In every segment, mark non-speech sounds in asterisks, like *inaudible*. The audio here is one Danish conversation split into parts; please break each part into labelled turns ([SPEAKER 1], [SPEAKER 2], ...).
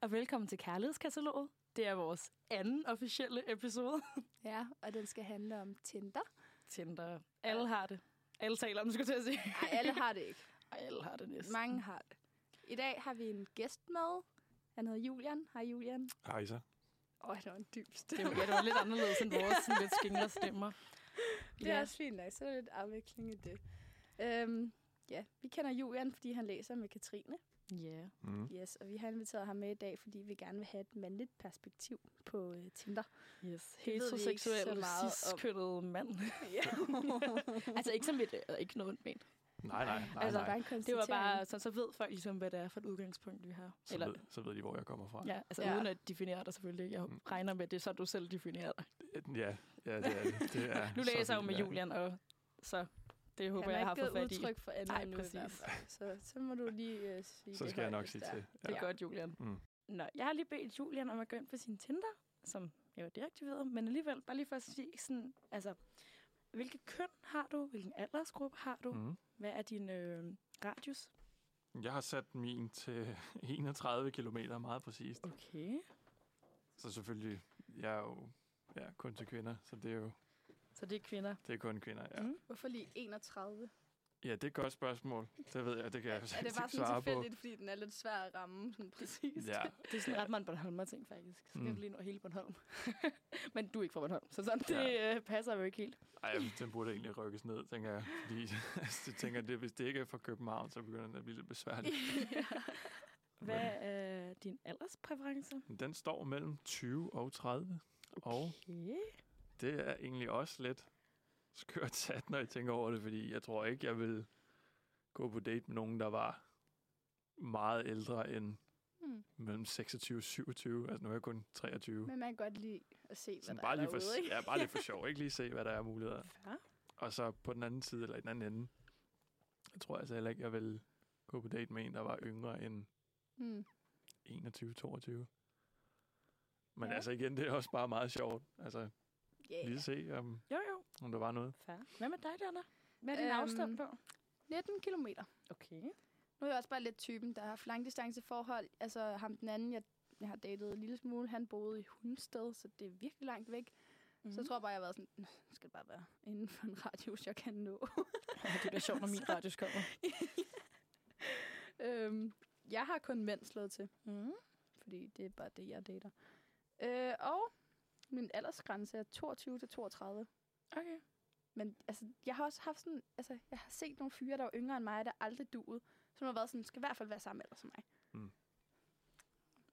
[SPEAKER 1] og velkommen til Kærlighedskataloget. Det er vores anden officielle episode.
[SPEAKER 2] Ja, og den skal handle om Tinder.
[SPEAKER 1] Tinder. Alle har det. Alle taler om det, skulle jeg til at sige.
[SPEAKER 2] Nej, alle har det ikke.
[SPEAKER 1] Ej, alle har det næsten.
[SPEAKER 2] *laughs* Mange har det. I dag har vi en gæst med. Han hedder Julian. Hej Julian.
[SPEAKER 3] Hej så.
[SPEAKER 2] Åh, oh, det var en dyb
[SPEAKER 1] Det
[SPEAKER 2] stemme.
[SPEAKER 1] var, ja, det var lidt anderledes end vores sådan lidt skingre stemmer.
[SPEAKER 2] *laughs* Det er også fint nok, så er der lidt afvikling i det. Øhm, ja, vi kender Julian, fordi han læser med Katrine.
[SPEAKER 1] Ja.
[SPEAKER 3] Mm.
[SPEAKER 2] Yes, og vi har inviteret ham med i dag, fordi vi gerne vil have et mandligt perspektiv på øh, Tinder.
[SPEAKER 1] Yes.
[SPEAKER 2] Det ved vi ikke så
[SPEAKER 1] Heteroseksuel,
[SPEAKER 2] meget om.
[SPEAKER 1] cis-kønnet
[SPEAKER 2] *laughs*
[SPEAKER 1] mand.
[SPEAKER 2] *laughs* Ja.
[SPEAKER 1] altså ikke som et, øh, ikke noget ondt ment.
[SPEAKER 3] Nej, nej, nej,
[SPEAKER 2] altså,
[SPEAKER 3] nej.
[SPEAKER 2] bare en
[SPEAKER 1] Det var
[SPEAKER 2] konstatering.
[SPEAKER 1] bare, så, så ved folk ligesom, hvad det er for et udgangspunkt, vi har.
[SPEAKER 3] Så, ved, så ved de, hvor jeg kommer fra.
[SPEAKER 1] ja, altså
[SPEAKER 2] Ja.
[SPEAKER 1] ja. uden at definere dig selvfølgelig. Jeg
[SPEAKER 3] Mm.
[SPEAKER 1] regner med, at det er så, du selv definerer dig.
[SPEAKER 3] ja, ja det er det. det er
[SPEAKER 1] *laughs* Nu læser
[SPEAKER 3] så
[SPEAKER 1] jeg jo med
[SPEAKER 3] fint, ja.
[SPEAKER 1] Julian, og så det håber
[SPEAKER 2] Han
[SPEAKER 1] jeg, jeg har
[SPEAKER 2] har ikke
[SPEAKER 1] fået
[SPEAKER 2] givet
[SPEAKER 1] fat i.
[SPEAKER 2] udtryk for andet
[SPEAKER 1] Nej,
[SPEAKER 2] endnu i hvert
[SPEAKER 1] præcis.
[SPEAKER 2] fald. Så, så må du lige øh, sige
[SPEAKER 3] Så
[SPEAKER 2] det
[SPEAKER 3] skal jeg
[SPEAKER 2] højt,
[SPEAKER 3] nok
[SPEAKER 2] hvis
[SPEAKER 3] sige
[SPEAKER 2] det er.
[SPEAKER 3] til.
[SPEAKER 1] Det er godt, Julian.
[SPEAKER 3] Mm.
[SPEAKER 1] Nå, jeg har lige bedt Julian om at gå ind på sin Tinder, som jeg var deaktiveret, men alligevel bare lige for at sige sådan, altså, hvilket køn har du? Hvilken aldersgruppe har du? Mm.
[SPEAKER 3] Mm.
[SPEAKER 1] Hvad er din øh, radius?
[SPEAKER 3] Jeg har sat min til *laughs* 31 kilometer meget præcist.
[SPEAKER 1] Okay.
[SPEAKER 3] Så selvfølgelig, jeg er jo ja, kun til kvinder, så det er jo
[SPEAKER 1] Så det er kvinder.
[SPEAKER 3] det er kun kvinder. Ja,
[SPEAKER 1] Mm.
[SPEAKER 3] mm.
[SPEAKER 2] Hvorfor lige 31?
[SPEAKER 3] ja det er et godt spørgsmål. Det ved jeg, det kan jeg
[SPEAKER 2] Er det
[SPEAKER 3] faktisk
[SPEAKER 2] bare
[SPEAKER 3] ikke
[SPEAKER 2] sådan
[SPEAKER 3] svare på.
[SPEAKER 2] tilfældigt, fordi den er lidt svær at ramme sådan præcis?
[SPEAKER 3] Ja,
[SPEAKER 1] Det er sådan ret meget Bornholmer-ting, faktisk. Så mm.
[SPEAKER 3] Mm.
[SPEAKER 1] lige nå hele Bornholm. *laughs* men du er ikke fra Bornholm, så sådan, det øh, passer jo ikke helt.
[SPEAKER 3] Ej, den burde egentlig rykkes ned, tænker jeg. Fordi *laughs* altså, jeg tænker, det, hvis det ikke er fra København, så begynder den at blive lidt besværlig.
[SPEAKER 1] *laughs* Hvad er øh, din alderspræference?
[SPEAKER 3] Men Den står mellem 20 og 30. Og
[SPEAKER 1] Okay.
[SPEAKER 3] Det er egentlig også lidt skørt sat, når jeg tænker over det, fordi jeg tror ikke, jeg vil gå på date med nogen, der var meget ældre end
[SPEAKER 2] Mm.
[SPEAKER 3] mellem 26 og 27. Altså nu er jeg kun 23.
[SPEAKER 2] Men man kan godt lide at se, hvad
[SPEAKER 3] Sådan
[SPEAKER 2] der
[SPEAKER 3] bare,
[SPEAKER 2] er
[SPEAKER 3] lige for,
[SPEAKER 2] derude, ikke?
[SPEAKER 3] ja,
[SPEAKER 2] *laughs*
[SPEAKER 3] bare lige for sjov, ikke lige se, hvad der er af muligheder.
[SPEAKER 1] Ja.
[SPEAKER 3] Og så på den anden side, eller i den anden ende, jeg tror altså heller ikke, jeg vil gå på date med en, der var yngre end
[SPEAKER 2] Mm.
[SPEAKER 3] 21-22. Men
[SPEAKER 1] Ja.
[SPEAKER 3] ja. altså igen, det er også bare meget sjovt. Altså
[SPEAKER 2] Yeah.
[SPEAKER 3] lige se, om,
[SPEAKER 1] Jo, jo.
[SPEAKER 3] om der var noget.
[SPEAKER 1] Fair. Hvad med dig, Diana? Hvad er din
[SPEAKER 2] Øhm,
[SPEAKER 1] øhm, afstand på?
[SPEAKER 2] 19 kilometer.
[SPEAKER 1] Okay.
[SPEAKER 2] Nu er jeg også bare lidt typen, der har haft langdistanceforhold. Altså ham den anden, jeg, jeg har datet en lille smule, han boede i Hundsted, så det er virkelig langt væk.
[SPEAKER 1] Mhm.
[SPEAKER 2] Mm.
[SPEAKER 3] Mhm.
[SPEAKER 2] Så jeg tror bare, jeg har været sådan, "Nå, nu skal det bare være inden for en radius, jeg kan nå. *laughs*
[SPEAKER 1] Ja, det bliver sjovt, *laughs* når min radius kommer.
[SPEAKER 2] øhm, jeg har kun mænd slået til,
[SPEAKER 1] Mm.
[SPEAKER 2] fordi det er bare det, jeg dater. Øh, og min aldersgrænse er 22 til 32.
[SPEAKER 1] Okay.
[SPEAKER 2] Men altså, jeg har også haft sådan, altså, jeg har set nogle fyre, der var yngre end mig, der aldrig duede, som har været sådan, skal i hvert fald være samme alder som mig.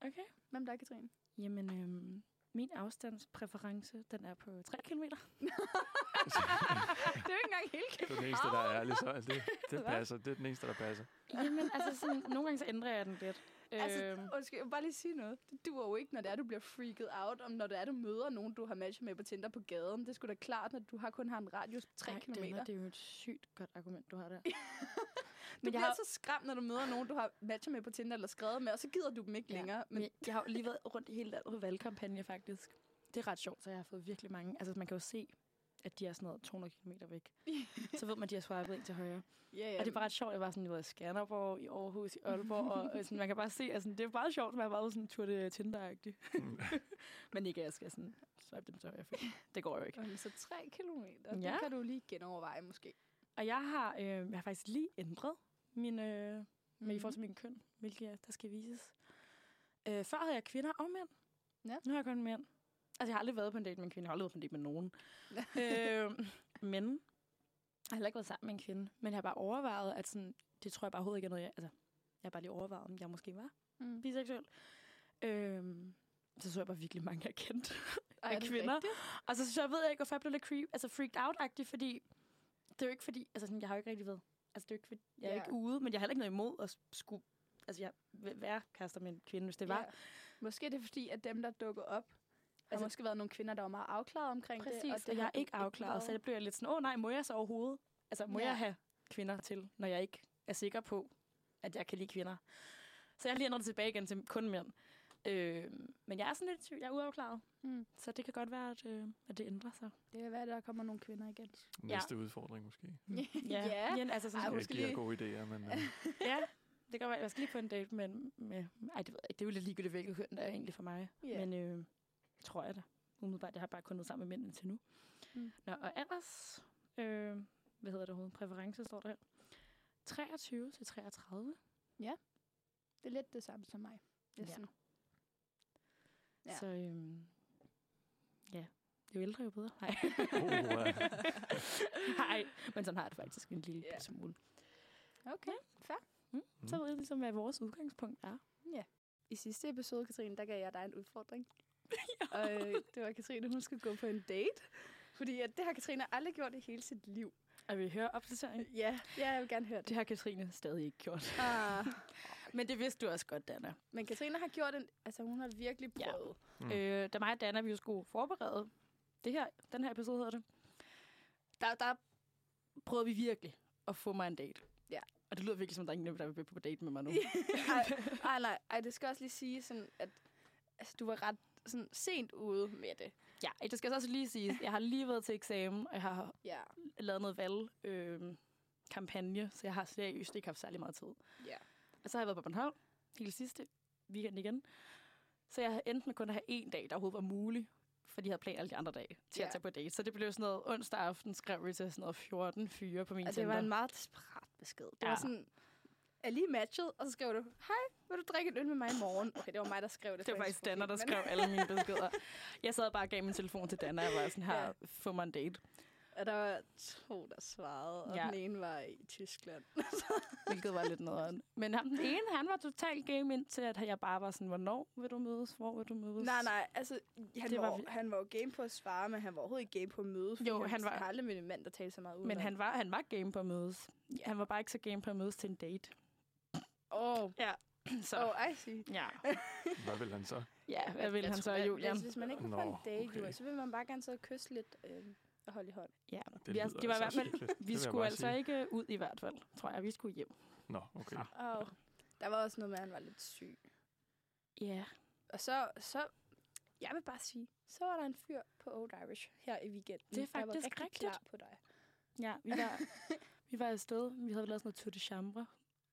[SPEAKER 1] Okay.
[SPEAKER 2] Hvem der er Katrine?
[SPEAKER 1] *laughs* Jamen, øhm, min afstandspræference, den er på 3 km. *laughs*
[SPEAKER 2] det er jo ikke engang helt
[SPEAKER 3] Det er den eneste, der er ærlig, så altså,
[SPEAKER 1] *laughs*
[SPEAKER 3] det, det passer. Det er den eneste, der passer.
[SPEAKER 1] Jamen, altså sådan, nogle gange så ændrer jeg den lidt. Øhm,
[SPEAKER 2] Altså, undskyld, jeg vil bare lige sige noget. Det duer jo ikke, når det er, du bliver freaket out, om når det er, du møder nogen, du har matchet med på Tinder på gaden. Det skulle da klart, når du har kun har en radius på 3
[SPEAKER 1] Ej,
[SPEAKER 2] km. Du
[SPEAKER 1] Dana,
[SPEAKER 2] bliver
[SPEAKER 1] det er jo et sygt godt argument, du har der.
[SPEAKER 2] jeg
[SPEAKER 1] har-
[SPEAKER 2] så skræmt, når du møder nogen, du har matchet med på Tinder eller skrevet med, og så gider du dem ikke ja. længere. Men
[SPEAKER 1] Men jeg, jeg har jo lige været rundt i hele landet på valgkampagne, faktisk. Det er ret sjovt, så jeg har fået virkelig mange. Altså, man kan jo se, at de er sådan noget 200 km væk. så ved man, at de har swipet en til højre.
[SPEAKER 2] ja, ja,
[SPEAKER 1] Og det er bare ret sjovt, jeg var sådan, jeg var i Skanderborg, i Aarhus, i Aalborg, og øh, sådan, man kan bare se, altså, det er bare sjovt, at man er meget sådan tur det tinder Mm. *laughs* Men ikke, at jeg skal sådan, swipe dem til højre, for det går jo ikke.
[SPEAKER 2] Okay, så 3 km, ja.
[SPEAKER 1] Ja.
[SPEAKER 2] det kan du lige genoverveje måske.
[SPEAKER 1] Og jeg har, øh, jeg har faktisk lige ændret min, øh, mm. med i
[SPEAKER 2] Mhm.
[SPEAKER 1] forhold til min køn, hvilket jeg, der skal vises. Øh, før havde jeg kvinder og mænd.
[SPEAKER 2] Ja.
[SPEAKER 1] Nu har jeg kun mænd. Altså, jeg har aldrig været på en date med en kvinde. Jeg har aldrig været på en date med nogen. øh, men jeg har heller ikke været sammen med en kvinde. Men jeg har bare overvejet, at sådan, det tror jeg bare overhovedet ikke er noget, jeg... Altså, jeg har bare lige overvejet, om jeg måske var
[SPEAKER 2] Mm.
[SPEAKER 1] biseksuel. Øh, så så jeg bare virkelig mange, jeg kendte
[SPEAKER 2] Ej, er det
[SPEAKER 1] kvinder.
[SPEAKER 2] rigtigt?
[SPEAKER 1] og Altså, så, så ved jeg ikke, hvorfor jeg blev lidt creep, altså freaked out-agtig, fordi det er jo ikke fordi, altså sådan, jeg har jo ikke rigtig været, altså det er jo ikke, fordi, jeg er
[SPEAKER 2] Ja.
[SPEAKER 1] ikke ude, men jeg har heller ikke noget imod at skulle, altså jeg vil være kærester med en kvinde, hvis det var.
[SPEAKER 2] Ja. Måske er det fordi, at dem, der dukker op, har
[SPEAKER 1] Altså-
[SPEAKER 2] altså, måske været nogle kvinder, der var meget afklaret omkring
[SPEAKER 1] Præcis,
[SPEAKER 2] det.
[SPEAKER 1] og, det og jeg
[SPEAKER 2] har
[SPEAKER 1] er
[SPEAKER 2] du
[SPEAKER 1] ikke afklaret,
[SPEAKER 2] været.
[SPEAKER 1] så det bliver jeg lidt sådan, åh oh, nej, må jeg så overhovedet? Altså, må
[SPEAKER 2] Ja.
[SPEAKER 1] ja. jeg have kvinder til, når jeg ikke er sikker på, at jeg kan lide kvinder? Så jeg har lige ændret det tilbage igen til kun mænd. Øh, men jeg er sådan lidt i tvivl, jeg er uafklaret.
[SPEAKER 2] Mm.
[SPEAKER 1] Så det kan godt være, at, øh, at det ændrer sig.
[SPEAKER 2] Det kan være, at der kommer nogle kvinder igen.
[SPEAKER 3] Næste ja. udfordring måske.
[SPEAKER 1] Mm.
[SPEAKER 2] *laughs* Ja.
[SPEAKER 1] Men, altså, sådan,
[SPEAKER 2] Ej,
[SPEAKER 3] Jeg
[SPEAKER 2] husk
[SPEAKER 3] giver
[SPEAKER 2] lige-
[SPEAKER 3] gode idéer, men øh,
[SPEAKER 1] Ja, det kan være, jeg skal lige på en date, men med, ej, det ved jeg ikke. Det er jo lidt ligegyldigt, hvilket køn der er egentlig for mig.
[SPEAKER 2] Ja.
[SPEAKER 1] Men øh, tror jeg da. Umiddelbart, jeg har bare kun været sammen med mænd indtil nu.
[SPEAKER 2] Mm.
[SPEAKER 1] Mm. Nå, og ellers, øh, hvad hedder det overhovedet? Præference står der her. 23 til 33.
[SPEAKER 2] Det er lidt det samme som mig. Næsten. Ja.
[SPEAKER 1] Ja. Så øh, ja, jo ældre, jo bedre. Nej.
[SPEAKER 3] Oha.
[SPEAKER 1] *laughs* Nej, men sådan har jeg det faktisk en lille
[SPEAKER 2] Ja.
[SPEAKER 1] yeah. smule.
[SPEAKER 2] Ja. Okay, fair.
[SPEAKER 1] Mm. Så ved jeg ligesom, hvad vores udgangspunkt er.
[SPEAKER 2] I sidste episode, Katrine, der gav jeg dig en
[SPEAKER 1] *laughs*
[SPEAKER 2] udfordring. og øh, det var Katrine, hun skulle gå på en date. Fordi at det har Katrine aldrig gjort i hele sit liv.
[SPEAKER 1] Og vi hører opdatering.
[SPEAKER 2] Ja, ja jeg vil gerne høre det.
[SPEAKER 1] Det har Katrine stadig ikke gjort.
[SPEAKER 2] Ah,
[SPEAKER 1] Men det vidste du også godt, Dana.
[SPEAKER 2] men Katrine har gjort en... Altså, hun har virkelig
[SPEAKER 1] Ja.
[SPEAKER 2] prøvet.
[SPEAKER 3] Mm.
[SPEAKER 1] Mm. Øh, da mig og Dana, vi jo skulle forberede det her, den her episode hedder det, der, der prøvede vi virkelig at få mig en date.
[SPEAKER 2] Ja.
[SPEAKER 1] Og det lyder virkelig som, der er ingen, der vil være på date
[SPEAKER 2] *laughs*
[SPEAKER 1] med mig nu.
[SPEAKER 2] ej,
[SPEAKER 1] *laughs*
[SPEAKER 2] ej, nej. Ej, det skal også lige sige, sådan, at altså, du var ret sådan, sent ude med det.
[SPEAKER 1] ja, det skal så også lige sige, jeg har lige været til eksamen, og jeg har
[SPEAKER 2] Ja,
[SPEAKER 1] lavet noget valg, øh, kampagne, så jeg har seriøst ikke haft særlig meget tid.
[SPEAKER 2] ja.
[SPEAKER 1] Og så har jeg været på Bornholm hele sidste weekend igen. Så jeg endte med kun at have en dag, der overhovedet var mulig, fordi jeg havde planer alle de andre dage til yeah.
[SPEAKER 2] Ja.
[SPEAKER 1] at tage på date. Så det blev sådan noget, onsdag aften skrev vi til sådan noget 14 fyre på min
[SPEAKER 2] Og det
[SPEAKER 1] Tinder.
[SPEAKER 2] var en meget desperat besked. Det ja. var
[SPEAKER 1] Ja.
[SPEAKER 2] sådan, er lige matchet, og så skrev du, hej, vil du drikke et øl med mig i morgen? Okay, det var mig, der skrev det.
[SPEAKER 1] Det var
[SPEAKER 2] på
[SPEAKER 1] faktisk
[SPEAKER 2] hendes
[SPEAKER 1] Danner, der
[SPEAKER 2] profil,
[SPEAKER 1] skrev alle
[SPEAKER 2] *laughs*
[SPEAKER 1] mine beskeder. Jeg sad bare og gav min telefon til Danner, og jeg var sådan her,
[SPEAKER 2] Ja.
[SPEAKER 1] ja. få mig en date.
[SPEAKER 2] men- Og der var to, der svarede, og ja.
[SPEAKER 1] Ja.
[SPEAKER 2] den ene var i Tyskland. *laughs*
[SPEAKER 1] Hvilket var lidt noget Men ham, den ene, han var totalt game ind til, at jeg bare var sådan, hvornår vil du mødes? Hvor vil du mødes?
[SPEAKER 2] nej, nej, altså, han
[SPEAKER 1] Det
[SPEAKER 2] var,
[SPEAKER 1] var
[SPEAKER 2] var,
[SPEAKER 1] vildt.
[SPEAKER 2] han var jo game på at svare, men han var overhovedet ikke game på at møde, fordi
[SPEAKER 1] Jo, han var-
[SPEAKER 2] har aldrig mødt en mand, der talte så meget ud.
[SPEAKER 1] Men han var, han var game på at mødes. Han var bare ikke så game på at mødes til en date. *laughs*
[SPEAKER 2] Åh, oh,
[SPEAKER 1] Så
[SPEAKER 2] oh, I see.
[SPEAKER 1] ja.
[SPEAKER 3] Hvad vil han så?
[SPEAKER 1] ja, hvad vil
[SPEAKER 2] Jeg
[SPEAKER 1] han
[SPEAKER 2] tror,
[SPEAKER 1] så,
[SPEAKER 2] at-
[SPEAKER 1] Julian?
[SPEAKER 2] Hvis, hvis man ikke kan få en
[SPEAKER 3] Nå,
[SPEAKER 2] date,
[SPEAKER 3] okay.
[SPEAKER 2] Julian, så vil man bare gerne sidde og kysse lidt øh, og holde i hånd.
[SPEAKER 1] Ja.
[SPEAKER 3] Det
[SPEAKER 1] Det, vi, altså,
[SPEAKER 3] lyder
[SPEAKER 1] det var i hvert
[SPEAKER 3] altså
[SPEAKER 1] fald,
[SPEAKER 3] hyggeligt. Det vil
[SPEAKER 1] vi
[SPEAKER 3] jeg
[SPEAKER 1] skulle
[SPEAKER 3] bare
[SPEAKER 1] altså
[SPEAKER 3] sige.
[SPEAKER 1] ikke ud i hvert fald, tror jeg. Vi skulle hjem.
[SPEAKER 3] Nå, okay.
[SPEAKER 1] Ah.
[SPEAKER 2] Oh. Der var også noget med, at han var lidt syg.
[SPEAKER 1] Ja.
[SPEAKER 2] Og så, så, jeg vil bare sige, så var der en fyr på Old Irish her i weekenden.
[SPEAKER 1] Det er
[SPEAKER 2] der var
[SPEAKER 1] faktisk
[SPEAKER 2] rigtig
[SPEAKER 1] rigtigt.
[SPEAKER 2] klar på dig.
[SPEAKER 1] Ja, vi var,
[SPEAKER 2] *laughs*
[SPEAKER 1] vi var afsted. Vi havde lavet sådan noget tour de chambre.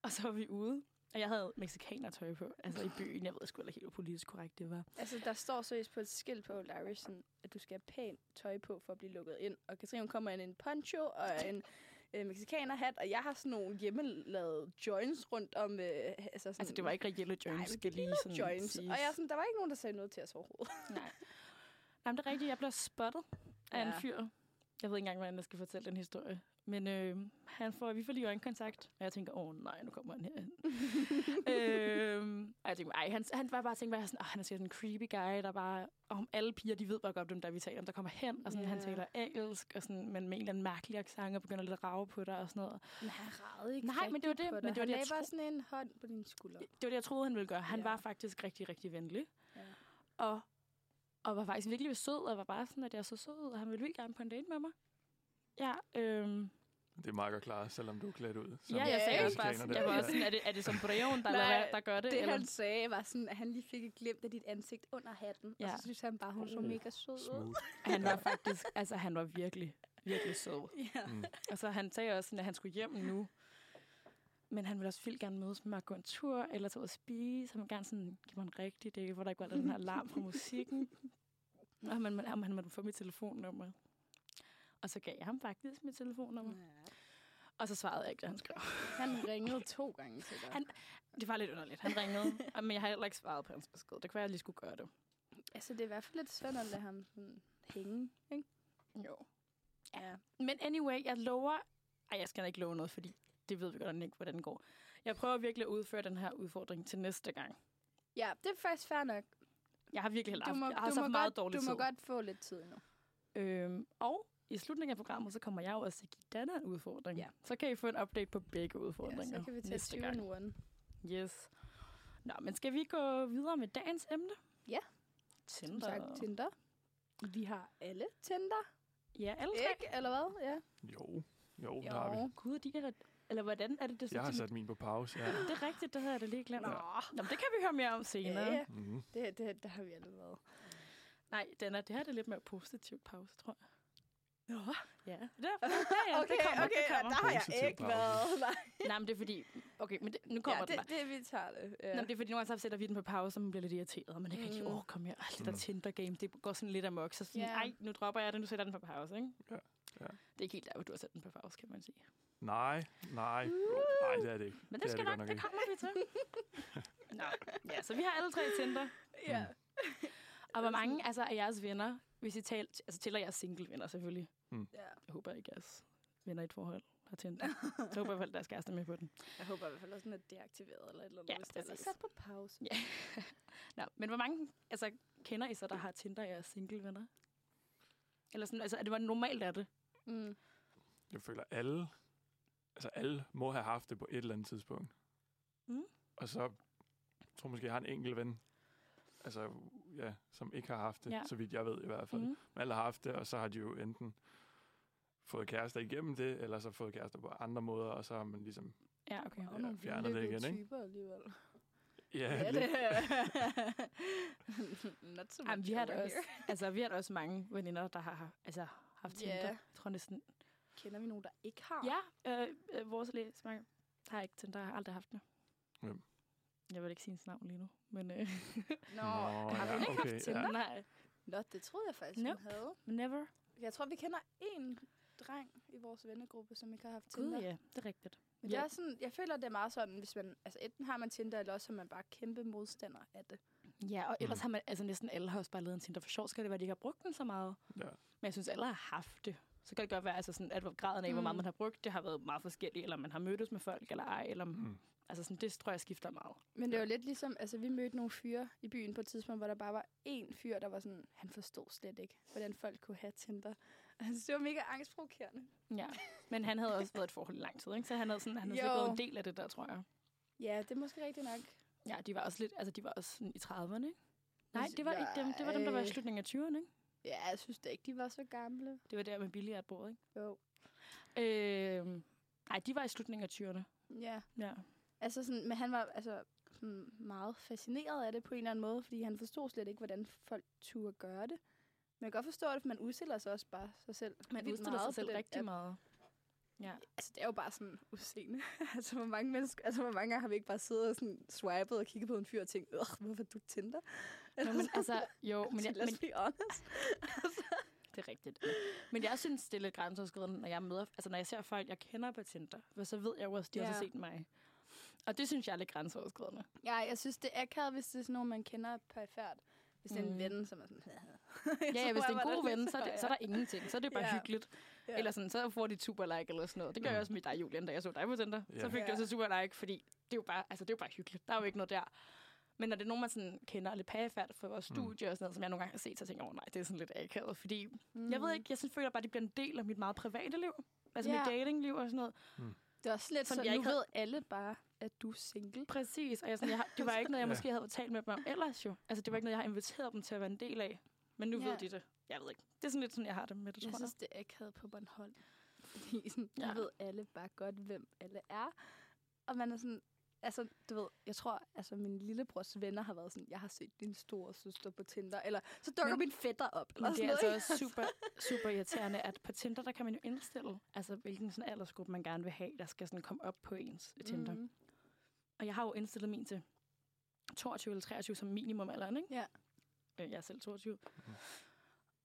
[SPEAKER 1] Og så var vi ude. Og jeg havde mexikanertøj på, altså i byen. Jeg ved sgu heller ikke helt, hvor politisk korrekt det var.
[SPEAKER 2] Altså, der står seriøst på et skilt på Old Irish, sådan, at du skal have pænt tøj på for at blive lukket ind. Og Katrine hun kommer ind i en poncho og en øh, mexikanerhat, og jeg har sådan nogle hjemmelavede joints rundt om... Øh, altså, sådan,
[SPEAKER 1] Altså, det var ikke reelle
[SPEAKER 2] Nej,
[SPEAKER 1] joints,
[SPEAKER 2] men
[SPEAKER 1] skal lige sådan
[SPEAKER 2] joints.
[SPEAKER 1] siges.
[SPEAKER 2] Og jeg, er sådan, der var ikke nogen, der sagde noget til os overhovedet.
[SPEAKER 1] Nej. Jamen, det er rigtigt. Jeg blev spottet af en
[SPEAKER 2] Ja.
[SPEAKER 1] fyr. Jeg ved ikke engang, hvordan jeg skal fortælle den historie. Men øh, han får, vi får lige øjenkontakt, og jeg tænker, åh nej, nu kommer han *laughs* herhen. øh, og jeg tænker, ej, han, han var bare tænkt, at sådan, "Åh, han er sikkert en creepy guy, der bare, og alle piger, de ved bare godt, hvem der er, vi taler om, der kommer hen, og sådan, yeah. han
[SPEAKER 2] Ja.
[SPEAKER 1] taler engelsk, og sådan, men med en eller anden mærkelig accent, og begynder lidt at rave på dig, og sådan noget.
[SPEAKER 2] *laughs* Men han ragede ikke
[SPEAKER 1] Nej, men det var det- men det var
[SPEAKER 2] han
[SPEAKER 1] det, jeg
[SPEAKER 2] lagde bare
[SPEAKER 1] tro-
[SPEAKER 2] sådan en hånd på din skulder.
[SPEAKER 1] Det var det, jeg troede, han ville gøre. Han
[SPEAKER 2] Ja.
[SPEAKER 1] yeah. var faktisk rigtig, rigtig venlig.
[SPEAKER 2] Ja.
[SPEAKER 1] Og, og var faktisk virkelig sød, og var bare sådan, at jeg så sød ud, og han ville vildt gerne på en date med mig. Ja, øhm,
[SPEAKER 3] Det er meget godt klart, selvom du er klædt ud. som
[SPEAKER 1] ja jeg sagde
[SPEAKER 2] Ja,
[SPEAKER 1] også bare
[SPEAKER 3] mexikaner
[SPEAKER 1] sådan,
[SPEAKER 3] der.
[SPEAKER 1] jeg var også sådan, er det, er det som breven, der,
[SPEAKER 2] Nej,
[SPEAKER 1] laver, der gør det?
[SPEAKER 2] Det,
[SPEAKER 1] eller?
[SPEAKER 2] han sagde, var sådan, at han lige fik et glimt af dit ansigt under hatten. Ja.
[SPEAKER 1] Ja.
[SPEAKER 2] Og så synes han bare, hun så
[SPEAKER 3] Uh,
[SPEAKER 2] mega sød ud.
[SPEAKER 3] Smooth.
[SPEAKER 1] han var faktisk, altså han var virkelig, virkelig sød.
[SPEAKER 2] *laughs* Ja.
[SPEAKER 3] Mm.
[SPEAKER 1] Altså han sagde også sådan, at han skulle hjem nu. Men han ville også vildt gerne mødes med mig og gå en tur, eller tage ud og spise. Han ville gerne sådan, give mig en rigtig date, hvor der ikke var den her alarm fra musikken. Og man, man, om han måtte få mit telefonnummer. Og så gav jeg ham faktisk mit telefonnummer.
[SPEAKER 2] Mm.
[SPEAKER 1] Og så svarede jeg ikke, da han skrev.
[SPEAKER 2] Han ringede to gange til dig. Han,
[SPEAKER 1] Han- Det var lidt underligt. Han ringede, og- men jeg har heller ikke svaret på hans besked. Det kunne være, jeg lige skulle gøre det.
[SPEAKER 2] altså, det er i hvert fald lidt svært at lade ham sådan hænge, ikke?
[SPEAKER 1] Jo.
[SPEAKER 2] Ja.
[SPEAKER 1] Men anyway, jeg lover... Ej, jeg skal da ikke love noget, fordi det ved vi godt ikke, hvordan det går. Jeg prøver virkelig at udføre den her udfordring til næste gang.
[SPEAKER 2] Ja, det er faktisk fair nok.
[SPEAKER 1] Jeg har virkelig heller
[SPEAKER 2] Du
[SPEAKER 1] haft,
[SPEAKER 2] må,
[SPEAKER 1] jeg har
[SPEAKER 2] du
[SPEAKER 1] så
[SPEAKER 2] må,
[SPEAKER 1] meget
[SPEAKER 2] godt,
[SPEAKER 1] dårlig
[SPEAKER 2] du
[SPEAKER 1] tid.
[SPEAKER 2] må godt få lidt tid endnu.
[SPEAKER 1] Øhm, og i slutningen af programmet, så kommer jeg jo også til at give Dana en udfordring.
[SPEAKER 2] Ja.
[SPEAKER 1] Så kan I få en update på begge
[SPEAKER 2] Ja,
[SPEAKER 1] udfordringer
[SPEAKER 2] så kan vi tage
[SPEAKER 1] næste
[SPEAKER 2] 20
[SPEAKER 1] gang.
[SPEAKER 2] nu.
[SPEAKER 1] Yes. Nå, men skal vi gå videre med dagens emne?
[SPEAKER 2] Ja. Som
[SPEAKER 1] Tinder.
[SPEAKER 2] sagt, Tinder. Vi har alle Tinder,
[SPEAKER 1] Ja, alle tre.
[SPEAKER 2] ikke? Eller hvad? Ja.
[SPEAKER 3] Jo, jo, jo. Oh, har vi.
[SPEAKER 1] Gud, de er... Eller hvordan er det, det
[SPEAKER 3] Jeg har
[SPEAKER 1] de-
[SPEAKER 3] sat min på
[SPEAKER 1] *laughs*
[SPEAKER 3] pause. Ja.
[SPEAKER 1] Det er rigtigt, det havde jeg da lige glemt.
[SPEAKER 2] Nå.
[SPEAKER 1] Nå, men det kan vi høre mere om senere.
[SPEAKER 2] Ja, ja.
[SPEAKER 3] Mm.
[SPEAKER 2] Det, det, det har vi allerede.
[SPEAKER 1] Nej, Dana, det her er det lidt mere positivt pause, tror jeg.
[SPEAKER 2] Nå,
[SPEAKER 1] Ja, derfor. Ja, ja,
[SPEAKER 2] *laughs* okay,
[SPEAKER 1] det kommer,
[SPEAKER 2] okay,
[SPEAKER 1] det kommer.
[SPEAKER 2] ja, der har jeg
[SPEAKER 3] Positiv
[SPEAKER 2] ikke
[SPEAKER 3] pause.
[SPEAKER 2] været. Nej.
[SPEAKER 1] Nej, men det er fordi... Okay, men det, nu kommer
[SPEAKER 2] Ja,
[SPEAKER 1] ja, den bare.
[SPEAKER 2] det, det, vi tager det. Ja.
[SPEAKER 1] Ja. Nå, men det er fordi, nogle gange så sætter vi den på pause, og man bliver lidt irriteret, men det kan ikke,
[SPEAKER 2] Mm.
[SPEAKER 1] åh, kom her, alt det der
[SPEAKER 3] Mm.
[SPEAKER 1] Tinder-game, det går sådan lidt amok, så sådan,
[SPEAKER 2] Ja.
[SPEAKER 1] ej, nu dropper jeg det, nu sætter jeg den på pause, ikke?
[SPEAKER 3] Ja, ja.
[SPEAKER 1] Det er ikke helt der, hvor du har sat den på pause, kan man sige.
[SPEAKER 3] Nej, nej. Jo, Nej, det er det ikke.
[SPEAKER 1] Uh. Men
[SPEAKER 3] Det
[SPEAKER 1] det, det
[SPEAKER 3] er
[SPEAKER 1] skal nok,
[SPEAKER 3] det godt nok
[SPEAKER 1] det
[SPEAKER 3] ikke.
[SPEAKER 1] kommer vi til.
[SPEAKER 3] *laughs*
[SPEAKER 1] Nå, ja, så vi har alle tre Tinder.
[SPEAKER 2] ja.
[SPEAKER 1] Og hvor mange altså, af jeres venner, hvis I taler, altså tæller jeres single-venner selvfølgelig,
[SPEAKER 2] ja.
[SPEAKER 1] jeg håber ikke, jeres venner i et forhold har *laughs* Tinder. Så håber jeg i hvert fald, at deres kæreste er med på den.
[SPEAKER 2] Jeg håber i hvert fald også, den er deaktiveret eller et eller andet.
[SPEAKER 1] Ja,
[SPEAKER 2] hvis den er
[SPEAKER 1] præcis.
[SPEAKER 2] sat på pause.
[SPEAKER 1] Ja. *laughs* Nå, men hvor mange altså, kender I så, der har Tinder af jeres single-venner? Eller sådan, altså, er det, hvor normalt er det?
[SPEAKER 2] Mm.
[SPEAKER 3] Jeg føler, alle, altså alle må have haft det på et eller andet tidspunkt.
[SPEAKER 1] Mm.
[SPEAKER 3] Og så tror jeg måske, jeg har en enkelt ven, altså, ja, som ikke har haft det,
[SPEAKER 1] Ja.
[SPEAKER 3] ja. så vidt jeg ved i hvert fald. Mm.
[SPEAKER 1] Mm.
[SPEAKER 3] Men alle har haft det, og så har de jo enten fået kærester igennem det, eller så fået kærester på andre måder, og så har man ligesom,
[SPEAKER 1] Ja, okay.
[SPEAKER 2] Og nogle
[SPEAKER 3] fjerner det
[SPEAKER 2] vellykkede
[SPEAKER 3] igen, ikke?
[SPEAKER 2] typer alligevel.
[SPEAKER 3] ja,
[SPEAKER 2] Ja,
[SPEAKER 3] lidt-
[SPEAKER 2] det *laughs* er. Not so
[SPEAKER 1] Jamen,
[SPEAKER 2] much
[SPEAKER 1] vi har
[SPEAKER 2] over
[SPEAKER 1] da også,
[SPEAKER 2] here.
[SPEAKER 1] altså, vi har da også mange veninder, der har altså, haft Tinder.
[SPEAKER 2] Ja.
[SPEAKER 1] Yeah. Jeg tror næsten...
[SPEAKER 2] Kender vi nogen, der ikke har?
[SPEAKER 1] Ja, øh, øh, vores læsmarker har ikke Tinder, har aldrig haft det.
[SPEAKER 3] Hvem?
[SPEAKER 1] Jeg vil ikke sige hendes navn lige nu, men øh,
[SPEAKER 2] Nå,
[SPEAKER 1] *laughs*
[SPEAKER 3] Nå,
[SPEAKER 1] har
[SPEAKER 3] ja,
[SPEAKER 1] hun ikke
[SPEAKER 3] okay,
[SPEAKER 1] haft Tinder?
[SPEAKER 3] ja.
[SPEAKER 1] Nej,
[SPEAKER 2] Nå, det troede jeg faktisk,
[SPEAKER 1] Nope.
[SPEAKER 2] hun havde.
[SPEAKER 1] never.
[SPEAKER 2] Jeg tror, vi kender én dreng i vores vennegruppe, som ikke har haft
[SPEAKER 1] Gud,
[SPEAKER 2] Tinder.
[SPEAKER 1] ja, det er rigtigt.
[SPEAKER 2] Men det
[SPEAKER 1] Ja.
[SPEAKER 2] er sådan, jeg føler, det er meget sådan, hvis man, altså enten har man Tinder, eller også er man bare kæmpe modstander af det.
[SPEAKER 1] Ja, og ellers
[SPEAKER 3] Mm.
[SPEAKER 1] har man, altså næsten alle har også bare lavet en Tinder for sjov. Skal det være, at de ikke har brugt den så meget?
[SPEAKER 3] ja.
[SPEAKER 1] Men jeg synes, alle har haft det. Så kan det godt være, altså sådan, at graden af, mm. hvor meget
[SPEAKER 2] Mm.
[SPEAKER 1] man har brugt, det har været meget forskelligt, eller man har mødtes med folk, eller ej, eller... Mm.
[SPEAKER 3] Mm.
[SPEAKER 1] Altså sådan, det tror jeg skifter meget.
[SPEAKER 2] Men det var lidt ligesom, altså vi mødte nogle fyre i byen på et tidspunkt, hvor der bare var én fyr, der var sådan, han forstod slet ikke, hvordan folk kunne have Tinder. *laughs* Altså, det var mega angstprovokerende.
[SPEAKER 1] Ja, men han havde også været i et forhold i lang tid, ikke? Så han havde sådan, han havde
[SPEAKER 2] Jo.
[SPEAKER 1] slet været en del af det der, tror jeg.
[SPEAKER 2] Ja, det er måske rigtigt nok.
[SPEAKER 1] Ja, de var også lidt, altså de var også sådan i 30'erne, ikke? Nej,
[SPEAKER 2] Hvis-
[SPEAKER 1] det var ikke dem. Det var dem, der var i
[SPEAKER 2] nej.
[SPEAKER 1] slutningen af 20'erne, ikke?
[SPEAKER 2] Ja, jeg synes da ikke, de var så gamle.
[SPEAKER 1] Det var der med billiardbordet,
[SPEAKER 2] Jo.
[SPEAKER 1] ikke? Øh, nej, de var i slutningen af 20'erne.
[SPEAKER 2] Ja,
[SPEAKER 1] Ja.
[SPEAKER 2] altså sådan, men han var altså sådan meget fascineret af det på en eller anden måde, fordi han forstod slet ikke, hvordan folk turde gøre det. Men jeg kan godt forstå det, for man udstiller sig også bare sig selv.
[SPEAKER 1] Man
[SPEAKER 2] vildt
[SPEAKER 1] udstiller
[SPEAKER 2] meget
[SPEAKER 1] sig
[SPEAKER 2] på
[SPEAKER 1] selv
[SPEAKER 2] den
[SPEAKER 1] rigtig
[SPEAKER 2] app.
[SPEAKER 1] meget. Ja.
[SPEAKER 2] Altså, det er jo bare sådan udseende. *laughs* altså, hvor mange mennesker, altså, hvor mange gange har vi ikke bare siddet og sådan swipet og kigget på en fyr og tænkt, "Ugh, hvorfor du Tinder?
[SPEAKER 1] Nå, men altså, jo, men, jeg, men
[SPEAKER 2] let's be honest.
[SPEAKER 1] det er rigtigt. Men jeg synes, det er lidt grænseoverskridende, når jeg møder, altså når jeg ser folk, jeg kender på Tinder, for så ved jeg jo også, de har
[SPEAKER 2] Ja.
[SPEAKER 1] så set mig. Og det synes jeg er lidt
[SPEAKER 2] *laughs*
[SPEAKER 1] grænseoverskridende.
[SPEAKER 2] ja, jeg synes, det er akavet, hvis det er sådan nogen, man kender perfekt. Hvis det er
[SPEAKER 1] Mm.
[SPEAKER 2] en ven, som er sådan... *laughs*
[SPEAKER 1] Ja, ja hvis det er en god
[SPEAKER 2] Hvordan-
[SPEAKER 1] ven, så er, det, så er der ingenting. Så er det bare
[SPEAKER 2] Ja.
[SPEAKER 1] hyggeligt.
[SPEAKER 2] Ja.
[SPEAKER 1] Eller sådan, så får de et super like eller sådan noget. Det gør
[SPEAKER 3] Mm.
[SPEAKER 1] jeg også med dig, Julian, da jeg så dig på Tinder.
[SPEAKER 3] Ja.
[SPEAKER 1] Så fik
[SPEAKER 2] Ja.
[SPEAKER 1] du også et super like, fordi det er, jo bare, altså, det er jo bare hyggeligt. Der er jo ikke noget der. Men når det er nogen, man sådan kender lidt pagefærd fra vores
[SPEAKER 3] Mm.
[SPEAKER 1] studie og sådan noget, som jeg nogle gange har set, så tænker jeg, åh oh, nej, det er sådan lidt akavet. Fordi mm. jeg ved ikke, jeg synes, føler bare, det bliver en del af mit meget private liv. Altså
[SPEAKER 2] Ja.
[SPEAKER 1] mit datingliv og sådan noget.
[SPEAKER 2] Det er også lidt
[SPEAKER 1] Som
[SPEAKER 2] sådan,
[SPEAKER 1] jeg
[SPEAKER 2] nu
[SPEAKER 1] ikke har-
[SPEAKER 2] ved alle bare, at du er
[SPEAKER 1] Mm.
[SPEAKER 2] single.
[SPEAKER 1] Præcis, og jeg, sådan, jeg har, det var ikke noget, jeg
[SPEAKER 3] Ja.
[SPEAKER 1] måske havde talt med dem om ellers jo. Altså det var ikke noget, jeg har inviteret dem til at være en del af. Men nu
[SPEAKER 2] Ja.
[SPEAKER 1] ved de det. Jeg ved ikke. Det er sådan lidt sådan, jeg har det med det, tror
[SPEAKER 2] Jeg
[SPEAKER 1] jeg.
[SPEAKER 2] synes, det er akavet på Bornholm. *laughs* Fordi sådan, ja.
[SPEAKER 1] Ja.
[SPEAKER 2] nu ved alle bare godt, hvem alle er. Og man er sådan, altså du ved, jeg tror, altså min lillebrors venner har været sådan, jeg har set din store søster på Tinder, eller så dukker
[SPEAKER 1] Men-
[SPEAKER 2] min fætter op, eller
[SPEAKER 1] Men det
[SPEAKER 2] sådan
[SPEAKER 1] er
[SPEAKER 2] noget.
[SPEAKER 1] altså også
[SPEAKER 2] *laughs*
[SPEAKER 1] super, super irriterende, at på Tinder, der kan man jo indstille, altså hvilken sådan aldersgruppe man gerne vil have, der skal sådan komme op på ens
[SPEAKER 2] ikke?
[SPEAKER 1] Tinder. Mm.
[SPEAKER 2] Mhm.
[SPEAKER 1] Og jeg har jo indstillet min til 22 eller 23 som minimum alderen, ikke?
[SPEAKER 2] Ja.
[SPEAKER 1] Øh, Jeg er selv 22.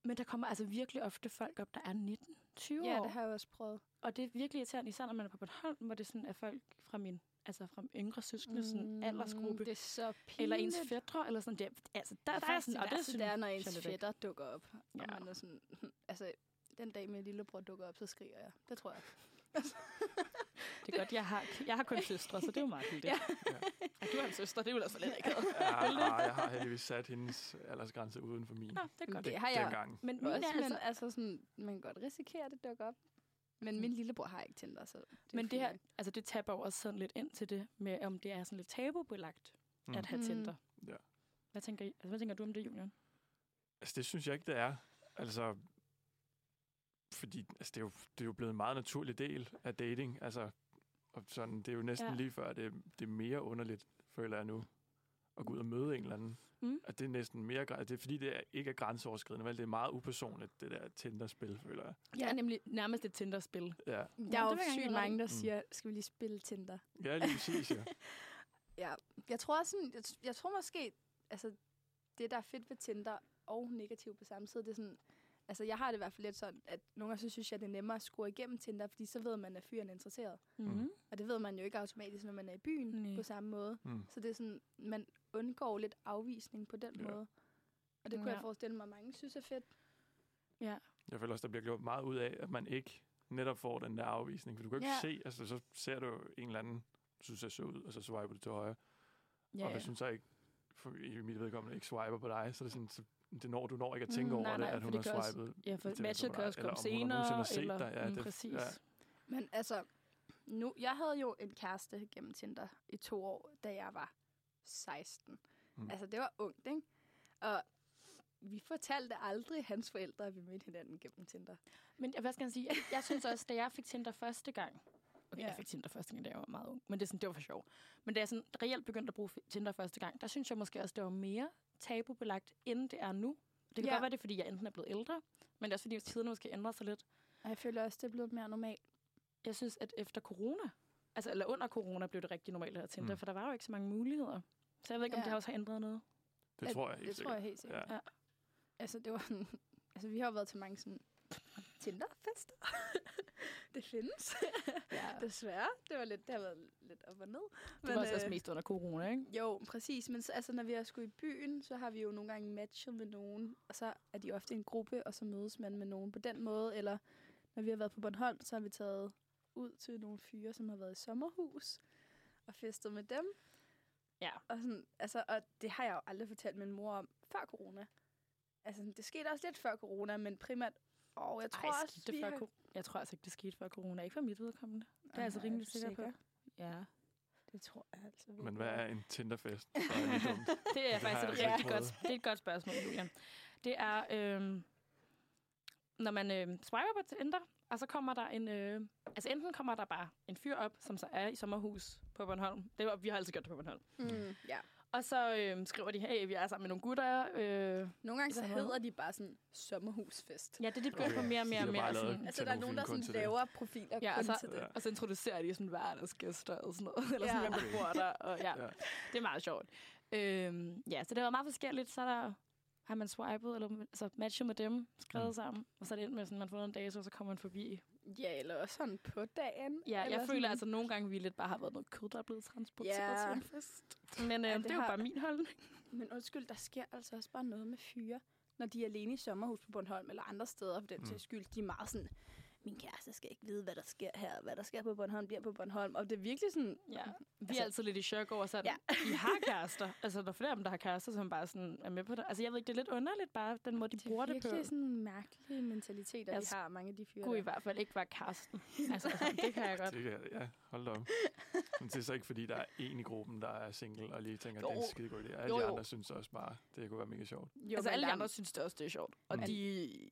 [SPEAKER 1] Men der kommer altså virkelig ofte folk op, der er 19, 20
[SPEAKER 2] Ja,
[SPEAKER 1] år.
[SPEAKER 2] det har jeg også prøvet.
[SPEAKER 1] Og det er virkelig irriterende, især når man er på Bornholm, hvor det sådan er folk fra min, altså fra yngre søskende, sådan aldersgruppe.
[SPEAKER 2] Mm, Det er så pinligt.
[SPEAKER 1] Eller ens fædre, eller sådan der. Altså, der,
[SPEAKER 2] Der,
[SPEAKER 1] der,
[SPEAKER 2] der
[SPEAKER 1] er
[SPEAKER 2] sådan,
[SPEAKER 1] sådan,
[SPEAKER 2] det,
[SPEAKER 1] og
[SPEAKER 2] værste,
[SPEAKER 1] synes
[SPEAKER 2] det er, når
[SPEAKER 1] jeg
[SPEAKER 2] ens
[SPEAKER 1] lidt ikke.
[SPEAKER 2] fætter dukker op. Ja. Og
[SPEAKER 1] Ja.
[SPEAKER 2] man er sådan, altså den dag min lillebror dukker op, så skriger jeg. Det tror jeg.
[SPEAKER 1] Det er
[SPEAKER 2] *laughs*
[SPEAKER 1] godt, jeg har, jeg har kun søstre, så det er jo meget hyggeligt.
[SPEAKER 2] Ja.
[SPEAKER 1] *laughs* Ja. ja. Du har en søster, det er jo altså lidt ikke.
[SPEAKER 3] Ja, ah, jeg har heldigvis sat hendes aldersgrænse uden for min.
[SPEAKER 1] *laughs* Nå, det er godt.
[SPEAKER 2] Det har jeg
[SPEAKER 3] Dengang.
[SPEAKER 1] Men min
[SPEAKER 2] Også,
[SPEAKER 1] er
[SPEAKER 2] men altså,
[SPEAKER 1] altså,
[SPEAKER 2] altså sådan, man kan godt risikere, at det dukker op. Men min lillebror har ikke Tinder, så Mm. det er
[SPEAKER 1] men det
[SPEAKER 2] fint
[SPEAKER 1] her,
[SPEAKER 2] nok.
[SPEAKER 1] altså det tapper jo også sådan lidt ind til det, med om det er sådan lidt tabubelagt mm.
[SPEAKER 3] Mm.
[SPEAKER 1] at have
[SPEAKER 2] Mm.
[SPEAKER 1] Tinder.
[SPEAKER 3] Ja.
[SPEAKER 1] Hvad tænker, I, altså, hvad tænker du om det, Julian?
[SPEAKER 3] Altså, det synes jeg ikke, det er. Altså, fordi altså, det, er jo, det er jo blevet en meget naturlig del af dating. Altså, og sådan, det er jo næsten
[SPEAKER 1] Ja.
[SPEAKER 3] ja. lige før, det, det er mere underligt, føler jeg nu, at gå ud og møde en eller anden.
[SPEAKER 1] Mm.
[SPEAKER 3] At det er næsten mere... græ- Det er fordi, det er, ikke er grænseoverskridende, vel? Det er meget upersonligt, det der Tinder-spil, føler jeg.
[SPEAKER 1] Det er nemlig nærmest et Tinder-spil.
[SPEAKER 3] Ja,
[SPEAKER 2] Der er
[SPEAKER 1] det
[SPEAKER 2] jo
[SPEAKER 1] vil jeg
[SPEAKER 2] sygt
[SPEAKER 1] gerne
[SPEAKER 2] mange, der
[SPEAKER 3] Mm.
[SPEAKER 2] siger, skal vi lige spille Tinder?
[SPEAKER 3] ja lige præcis, ja.
[SPEAKER 2] Jeg tror også sådan, jeg, t- jeg tror måske, altså det, der er fedt ved Tinder og negativt på samme tid, det er sådan, altså jeg har det i hvert fald lidt sådan, at nogle gange så synes jeg, det er nemmere at score igennem Tinder, fordi så ved man, at fyren er interesseret.
[SPEAKER 1] Mm.
[SPEAKER 2] Og det ved man jo ikke automatisk, når man er i byen
[SPEAKER 1] Nej.
[SPEAKER 2] på samme måde.
[SPEAKER 3] Mm.
[SPEAKER 2] Så det er sådan, man undgår lidt afvisning på den
[SPEAKER 3] Ja.
[SPEAKER 2] måde. Og det kunne
[SPEAKER 1] Ja.
[SPEAKER 2] jeg forestille mig, at mange synes er fedt.
[SPEAKER 3] Jeg føler også, der bliver gjort meget ud af, at man ikke netop får den der afvisning. For du kan jo
[SPEAKER 2] Ja.
[SPEAKER 3] ikke se, altså så ser du jo en eller anden, du synes jeg så ud, og så swiper du til højre. Yeah. Og hvis hun så ikke, for, i mit vedkommende, ikke swiper på dig, så er det sådan, så det når, du når ikke at tænke
[SPEAKER 1] Mm,
[SPEAKER 3] over
[SPEAKER 1] nej,
[SPEAKER 3] det,
[SPEAKER 1] nej,
[SPEAKER 3] at
[SPEAKER 1] for
[SPEAKER 3] hun
[SPEAKER 1] det kan
[SPEAKER 3] har
[SPEAKER 1] også-
[SPEAKER 3] swipet.
[SPEAKER 1] Ja, for
[SPEAKER 3] Det er
[SPEAKER 1] matchet
[SPEAKER 3] sådan,
[SPEAKER 1] kan også
[SPEAKER 3] eller
[SPEAKER 1] komme
[SPEAKER 3] om hun nogensinde
[SPEAKER 1] senere.
[SPEAKER 3] har set
[SPEAKER 1] Eller,
[SPEAKER 3] dig. Ja,
[SPEAKER 1] mm,
[SPEAKER 3] det-
[SPEAKER 1] præcis.
[SPEAKER 3] ja.
[SPEAKER 2] Men altså, nu, jeg havde jo en kæreste gennem Tinder i to år, da jeg var 16.
[SPEAKER 3] Mm.
[SPEAKER 2] Mm. Altså, det var ungt, ikke? Og vi fortalte aldrig hans forældre, at vi mødte hinanden gennem Tinder.
[SPEAKER 1] Men jeg, hvad skal jeg sige? Jeg, jeg synes også, da jeg fik Tinder første gang... Okay,
[SPEAKER 2] Ja.
[SPEAKER 1] jeg fik Tinder første gang, da jeg var meget ung. Men det, er sådan, det var for sjov. Men da jeg sådan reelt begyndte at bruge f- Tinder første gang, der synes jeg måske også, det var mere tabubelagt, end det er nu. Det kan
[SPEAKER 2] Ja.
[SPEAKER 1] godt være, det er, fordi jeg enten er blevet ældre, men det er også, fordi tiderne måske ændrer sig lidt.
[SPEAKER 2] Og jeg føler også, det er blevet mere normalt.
[SPEAKER 1] Jeg synes, at efter corona, altså eller under corona, blev det rigtig normalt at Tinder,
[SPEAKER 3] Mm.
[SPEAKER 1] mm. for der var jo ikke så mange muligheder. Så jeg ved ikke, ja. om
[SPEAKER 2] Ja.
[SPEAKER 1] det også har ændret noget.
[SPEAKER 3] Det
[SPEAKER 2] At-
[SPEAKER 3] tror jeg helt
[SPEAKER 2] Det tror jeg helt sikkert.
[SPEAKER 3] sikkert. Ja.
[SPEAKER 2] Altså, det var sådan, altså, vi har jo været til mange sådan Tinder-fester. *laughs* det findes.
[SPEAKER 1] Ja. Det,
[SPEAKER 2] Desværre. Det, var lidt, det har været lidt op og ned. øh,
[SPEAKER 1] det var også, også mest under corona, ikke?
[SPEAKER 2] Jo, præcis. Men så, altså, når vi er skulle i byen, så har vi jo nogle gange matchet med nogen, og så er de ofte en gruppe, og så mødes man med nogen på den måde. Eller når vi har været på Bornholm, så har vi taget ud til nogle fyre, som har været i sommerhus, og festet med dem.
[SPEAKER 1] Ja.
[SPEAKER 2] Og, sådan, altså, og det har jeg jo aldrig fortalt min mor om før corona. Altså, sådan, det skete også lidt før corona, men primært... Åh, jeg tror
[SPEAKER 1] Ej,
[SPEAKER 2] også,
[SPEAKER 1] skete det
[SPEAKER 2] vi
[SPEAKER 1] før
[SPEAKER 2] har-
[SPEAKER 1] co- Jeg tror altså ikke, det skete før corona. Ikke for mit vedkommende. Det er jeg altså
[SPEAKER 2] Ej,
[SPEAKER 1] rimelig
[SPEAKER 2] du
[SPEAKER 1] sikker, på. Ja.
[SPEAKER 2] Det tror jeg altså
[SPEAKER 3] Men
[SPEAKER 2] virkelig
[SPEAKER 3] hvad er
[SPEAKER 2] ikke.
[SPEAKER 3] en Tinderfest? Så er
[SPEAKER 1] *laughs*
[SPEAKER 3] det dumt.
[SPEAKER 1] Det er
[SPEAKER 3] Det har
[SPEAKER 1] faktisk
[SPEAKER 3] jeg
[SPEAKER 1] et
[SPEAKER 3] altså
[SPEAKER 1] rigtig
[SPEAKER 3] ikke
[SPEAKER 1] godt,
[SPEAKER 3] prøvet.
[SPEAKER 1] det er et godt spørgsmål, Julian. Det er, øhm, når man øhm, swiper på Tinder, og så kommer der en... Øh, altså enten kommer der bare en fyr op, som så er i sommerhus på Bornholm. Det var, vi har altid gjort det på Bornholm.
[SPEAKER 2] *laughs* Mm, ja.
[SPEAKER 1] Og så øhm, skriver de, hey, vi er sammen med nogle gutter. Øh,
[SPEAKER 2] Nogle gange så
[SPEAKER 1] Sommerhus.
[SPEAKER 2] hedder de bare sådan sommerhusfest.
[SPEAKER 1] ja, det, det begynder okay. på mere og
[SPEAKER 3] De
[SPEAKER 1] mere
[SPEAKER 3] har
[SPEAKER 1] og mere.
[SPEAKER 3] bare
[SPEAKER 1] og
[SPEAKER 3] lavet
[SPEAKER 1] sådan-
[SPEAKER 2] Altså, der er nogen, der sådan
[SPEAKER 3] Tænder profilen kun
[SPEAKER 2] laver profiler
[SPEAKER 1] Ja,
[SPEAKER 2] ja, kun
[SPEAKER 1] altså-
[SPEAKER 2] altså, til det.
[SPEAKER 3] Ja.
[SPEAKER 1] Og så introducerer de sådan hverdagsgæster og sådan noget. *laughs* Eller sådan,
[SPEAKER 2] Ja.
[SPEAKER 1] hvem der bor der. Og, ja,
[SPEAKER 3] Ja.
[SPEAKER 1] ja. Det er meget sjovt. Øhm, ja, så det var meget forskelligt. Så er der, har man swipet, eller altså matchet med dem, skrevet
[SPEAKER 3] Mm.
[SPEAKER 1] mm. sammen. Og så er det endt med, sådan, man får en dato, og så kommer man forbi.
[SPEAKER 2] Ja, eller også sådan på dagen.
[SPEAKER 1] Ja, jeg
[SPEAKER 2] eller
[SPEAKER 1] føler
[SPEAKER 2] sådan.
[SPEAKER 1] altså nogle gange, vi lidt bare har været noget kød, der er blevet transporteret
[SPEAKER 2] Ja.
[SPEAKER 1] til en fest. Men øh,
[SPEAKER 2] Ja,
[SPEAKER 1] det,
[SPEAKER 2] det
[SPEAKER 1] det er jo
[SPEAKER 2] har-
[SPEAKER 1] bare min holdning.
[SPEAKER 2] Men undskyld, der sker altså også bare noget med fyre, når de er alene i sommerhus på Bornholm, eller andre steder for den
[SPEAKER 3] Mm.
[SPEAKER 2] mm. skyld. De er meget sådan, min kæreste skal ikke vide, hvad der sker her, og hvad der sker på Bornholm, bliver på Bornholm. Og det er virkelig sådan,
[SPEAKER 1] Ja. Vi
[SPEAKER 2] Altså-
[SPEAKER 1] er altid lidt i chok over sådan, ja. I har kærester. *laughs* Altså, der er flere af dem, der har kærester, som bare sådan er med på det. Altså, jeg ved ikke, det er lidt underligt bare, den måde, de
[SPEAKER 2] det
[SPEAKER 1] bruger
[SPEAKER 2] er
[SPEAKER 1] det på.
[SPEAKER 2] virkelig sådan en mærkelig mentalitet, at
[SPEAKER 1] Jeg
[SPEAKER 2] de har mange af de fyre.
[SPEAKER 1] kunne i
[SPEAKER 2] der.
[SPEAKER 1] hvert fald ikke være *laughs* Karsten. Altså, altså, det kan jeg godt.
[SPEAKER 3] Det kan, ja, hold da op. Men det er så ikke, fordi der er en i gruppen, der er single, og lige tænker,
[SPEAKER 1] Jo.
[SPEAKER 3] det er en skide god idé. Alle
[SPEAKER 1] Jo,
[SPEAKER 3] de
[SPEAKER 1] jo.
[SPEAKER 3] andre synes også bare, det kunne være mega sjovt.
[SPEAKER 2] Jo,
[SPEAKER 1] altså,
[SPEAKER 2] men
[SPEAKER 1] alle de
[SPEAKER 2] der-
[SPEAKER 1] andre synes det også, det er sjovt. Og
[SPEAKER 3] Mm.
[SPEAKER 1] de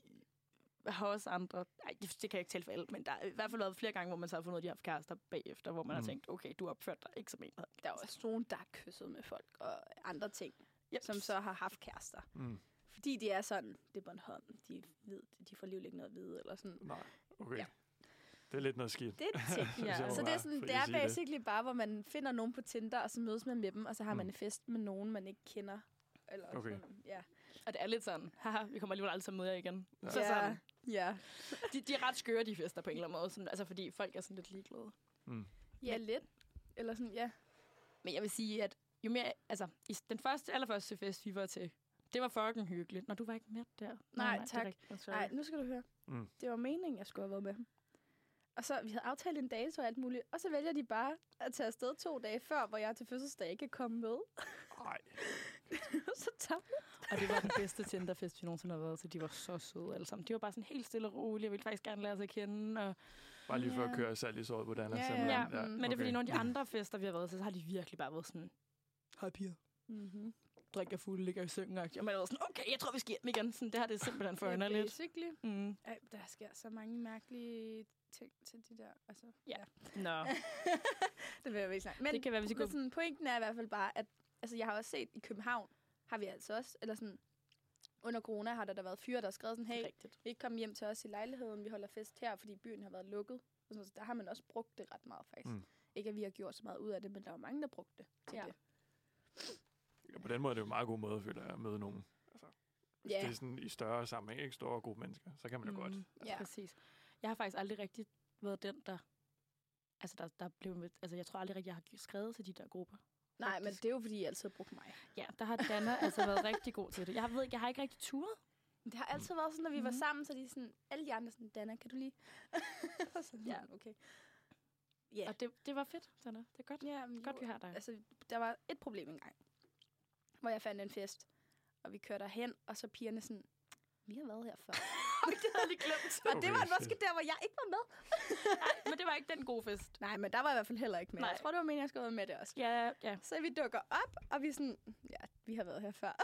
[SPEAKER 1] har også andre... Ej, det det kan jeg ikke tælle for alle, men der har i hvert fald været flere gange, hvor man så har fundet, ud af, at de har haft kærester bagefter, hvor man mm.
[SPEAKER 3] Mm.
[SPEAKER 1] har tænkt, okay, du opførte dig ikke som en, der havde
[SPEAKER 2] der er også nogen, der er kysset med folk og andre ting,
[SPEAKER 1] Ja,
[SPEAKER 2] som så har haft kærester.
[SPEAKER 3] Mm.
[SPEAKER 2] Fordi de er sådan, det er Bornholm, de, ved, de får alligevel ikke noget at vide, eller sådan.
[SPEAKER 3] Nej, okay. Ja.
[SPEAKER 2] Ja.
[SPEAKER 3] Det er lidt noget skidt. *laughs*
[SPEAKER 2] Det er ting.
[SPEAKER 1] Ja.
[SPEAKER 2] ja. Så det er, sådan,
[SPEAKER 3] Fri
[SPEAKER 2] det
[SPEAKER 3] at
[SPEAKER 2] er
[SPEAKER 3] sige det.
[SPEAKER 2] basically det. bare, hvor man finder nogen på Tinder, og så mødes man med dem, og så har
[SPEAKER 3] Mm.
[SPEAKER 2] man en fest med nogen, man ikke kender. Eller
[SPEAKER 3] Okay.
[SPEAKER 2] sådan, ja.
[SPEAKER 1] Og det er lidt sådan, haha, vi kommer alligevel aldrig til at møde jer igen.
[SPEAKER 3] Ja.
[SPEAKER 1] Ja. Så sådan,
[SPEAKER 2] ja.
[SPEAKER 1] de, de er ret skøre, de fester på en eller anden måde, sådan, altså fordi folk er sådan lidt ligeglade.
[SPEAKER 3] Mm.
[SPEAKER 2] Ja, lidt. Eller sådan, ja.
[SPEAKER 1] Men jeg vil sige, at jo mere, altså, i s- den første, allerførste fest, vi var til, det var fucking hyggeligt. Når du var ikke med der. Nej, det er
[SPEAKER 2] tak.
[SPEAKER 1] rigtigt. Sorry.
[SPEAKER 2] Nej, nu skal du høre.
[SPEAKER 3] Mm.
[SPEAKER 2] Det var meningen, jeg skulle have været med ham. Og så, vi havde aftalt en dato og alt muligt, og så vælger de bare at tage afsted to dage før, hvor jeg til fødselsdag ikke kan komme med. *laughs*
[SPEAKER 3] Nej,
[SPEAKER 2] så tager
[SPEAKER 1] Og det var den bedste Tinderfest, vi nogensinde har været til. De var så søde alle sammen. De var bare sådan helt stille og rolige, og ville faktisk gerne lære sig at kende. Og...
[SPEAKER 3] bare lige for at
[SPEAKER 2] Ja.
[SPEAKER 3] køre salg i såret på Dallas.
[SPEAKER 2] Ja,
[SPEAKER 1] Ja,
[SPEAKER 3] simpelthen.
[SPEAKER 1] ja, men det er fordi,
[SPEAKER 3] okay. Mm.
[SPEAKER 1] nogle af de andre fester, vi har været til, så har de virkelig bare været sådan, hej piger,
[SPEAKER 2] mm-hmm.
[SPEAKER 1] drikker fuld, ligger i sengen. Og man har været sådan, okay, jeg tror, vi skal hjem igen. Sådan, det her det er simpelthen for underligt.
[SPEAKER 2] Basically.
[SPEAKER 1] Mm.
[SPEAKER 2] Ej, der sker så mange mærkelige ting til de der. Altså,
[SPEAKER 1] Nå,
[SPEAKER 3] Ah.
[SPEAKER 2] *laughs* det vil jeg jo ikke snakke. Men,
[SPEAKER 1] det kan være, vi skal
[SPEAKER 2] men
[SPEAKER 1] gå...
[SPEAKER 2] sådan, pointen er i hvert fald bare, at altså, jeg har også set i København, har vi altså også, eller sådan, under corona har der da været fyre, der har skrevet sådan, hey,
[SPEAKER 1] Rigtigt.
[SPEAKER 2] vi ikke komme hjem til os i lejligheden, vi holder fest her, fordi byen har været lukket. Og sådan noget. Så der har man også brugt det ret meget, faktisk.
[SPEAKER 3] Mm.
[SPEAKER 2] Mm. Ikke at vi har gjort så meget ud af det, men der var mange, der brugte det til
[SPEAKER 1] Ja.
[SPEAKER 2] det.
[SPEAKER 3] Ja, på den måde er det jo en meget god måde, føler jeg, at møde nogen. Altså, hvis
[SPEAKER 2] Ja.
[SPEAKER 3] det er sådan i større sammenhæng, ikke større gruppe mennesker, så kan man jo mm. godt.
[SPEAKER 1] Ja.
[SPEAKER 2] Ja.
[SPEAKER 1] Præcis. Jeg har faktisk aldrig rigtig været den, der... Altså, der, der blev, med- altså, jeg tror aldrig rigtig, jeg har skrevet til de der grupper.
[SPEAKER 2] Nej, men
[SPEAKER 1] Faktisk.
[SPEAKER 2] det er jo, fordi I altid har brugt mig.
[SPEAKER 1] Ja, der har Danner altså været rigtig god til det. Jeg ved ikke, jeg har ikke rigtig turet.
[SPEAKER 2] Det har altid været sådan, når vi var
[SPEAKER 1] Mhm.
[SPEAKER 2] sammen, så de sådan, alle de andre sådan, Dana, kan du lige? *laughs* Og sådan,
[SPEAKER 1] Ja.
[SPEAKER 2] ja, okay.
[SPEAKER 1] Ja.
[SPEAKER 2] Ja.
[SPEAKER 1] Og det, det var fedt, Danner. Det er godt.
[SPEAKER 2] Ja, men
[SPEAKER 1] Godt, vi har dig.
[SPEAKER 2] altså, der var et problem engang, hvor jeg fandt en fest, og vi kørte derhen, og så pigerne sådan, vi har været her
[SPEAKER 1] *laughs*
[SPEAKER 2] før. det havde jeg lige glemt. og
[SPEAKER 3] Okay,
[SPEAKER 2] det var
[SPEAKER 3] shit.
[SPEAKER 2] måske der, hvor jeg ikke var
[SPEAKER 1] *laughs*
[SPEAKER 2] med.
[SPEAKER 1] Men det var ikke den gode fest.
[SPEAKER 2] Nej, men der var jeg i hvert fald heller ikke med.
[SPEAKER 1] Nej.
[SPEAKER 2] Jeg tror, det var meningen, jeg skulle have været med det også.
[SPEAKER 1] Ja, ja.
[SPEAKER 2] Så vi dukker op, og vi er sådan, ja, vi har været her før.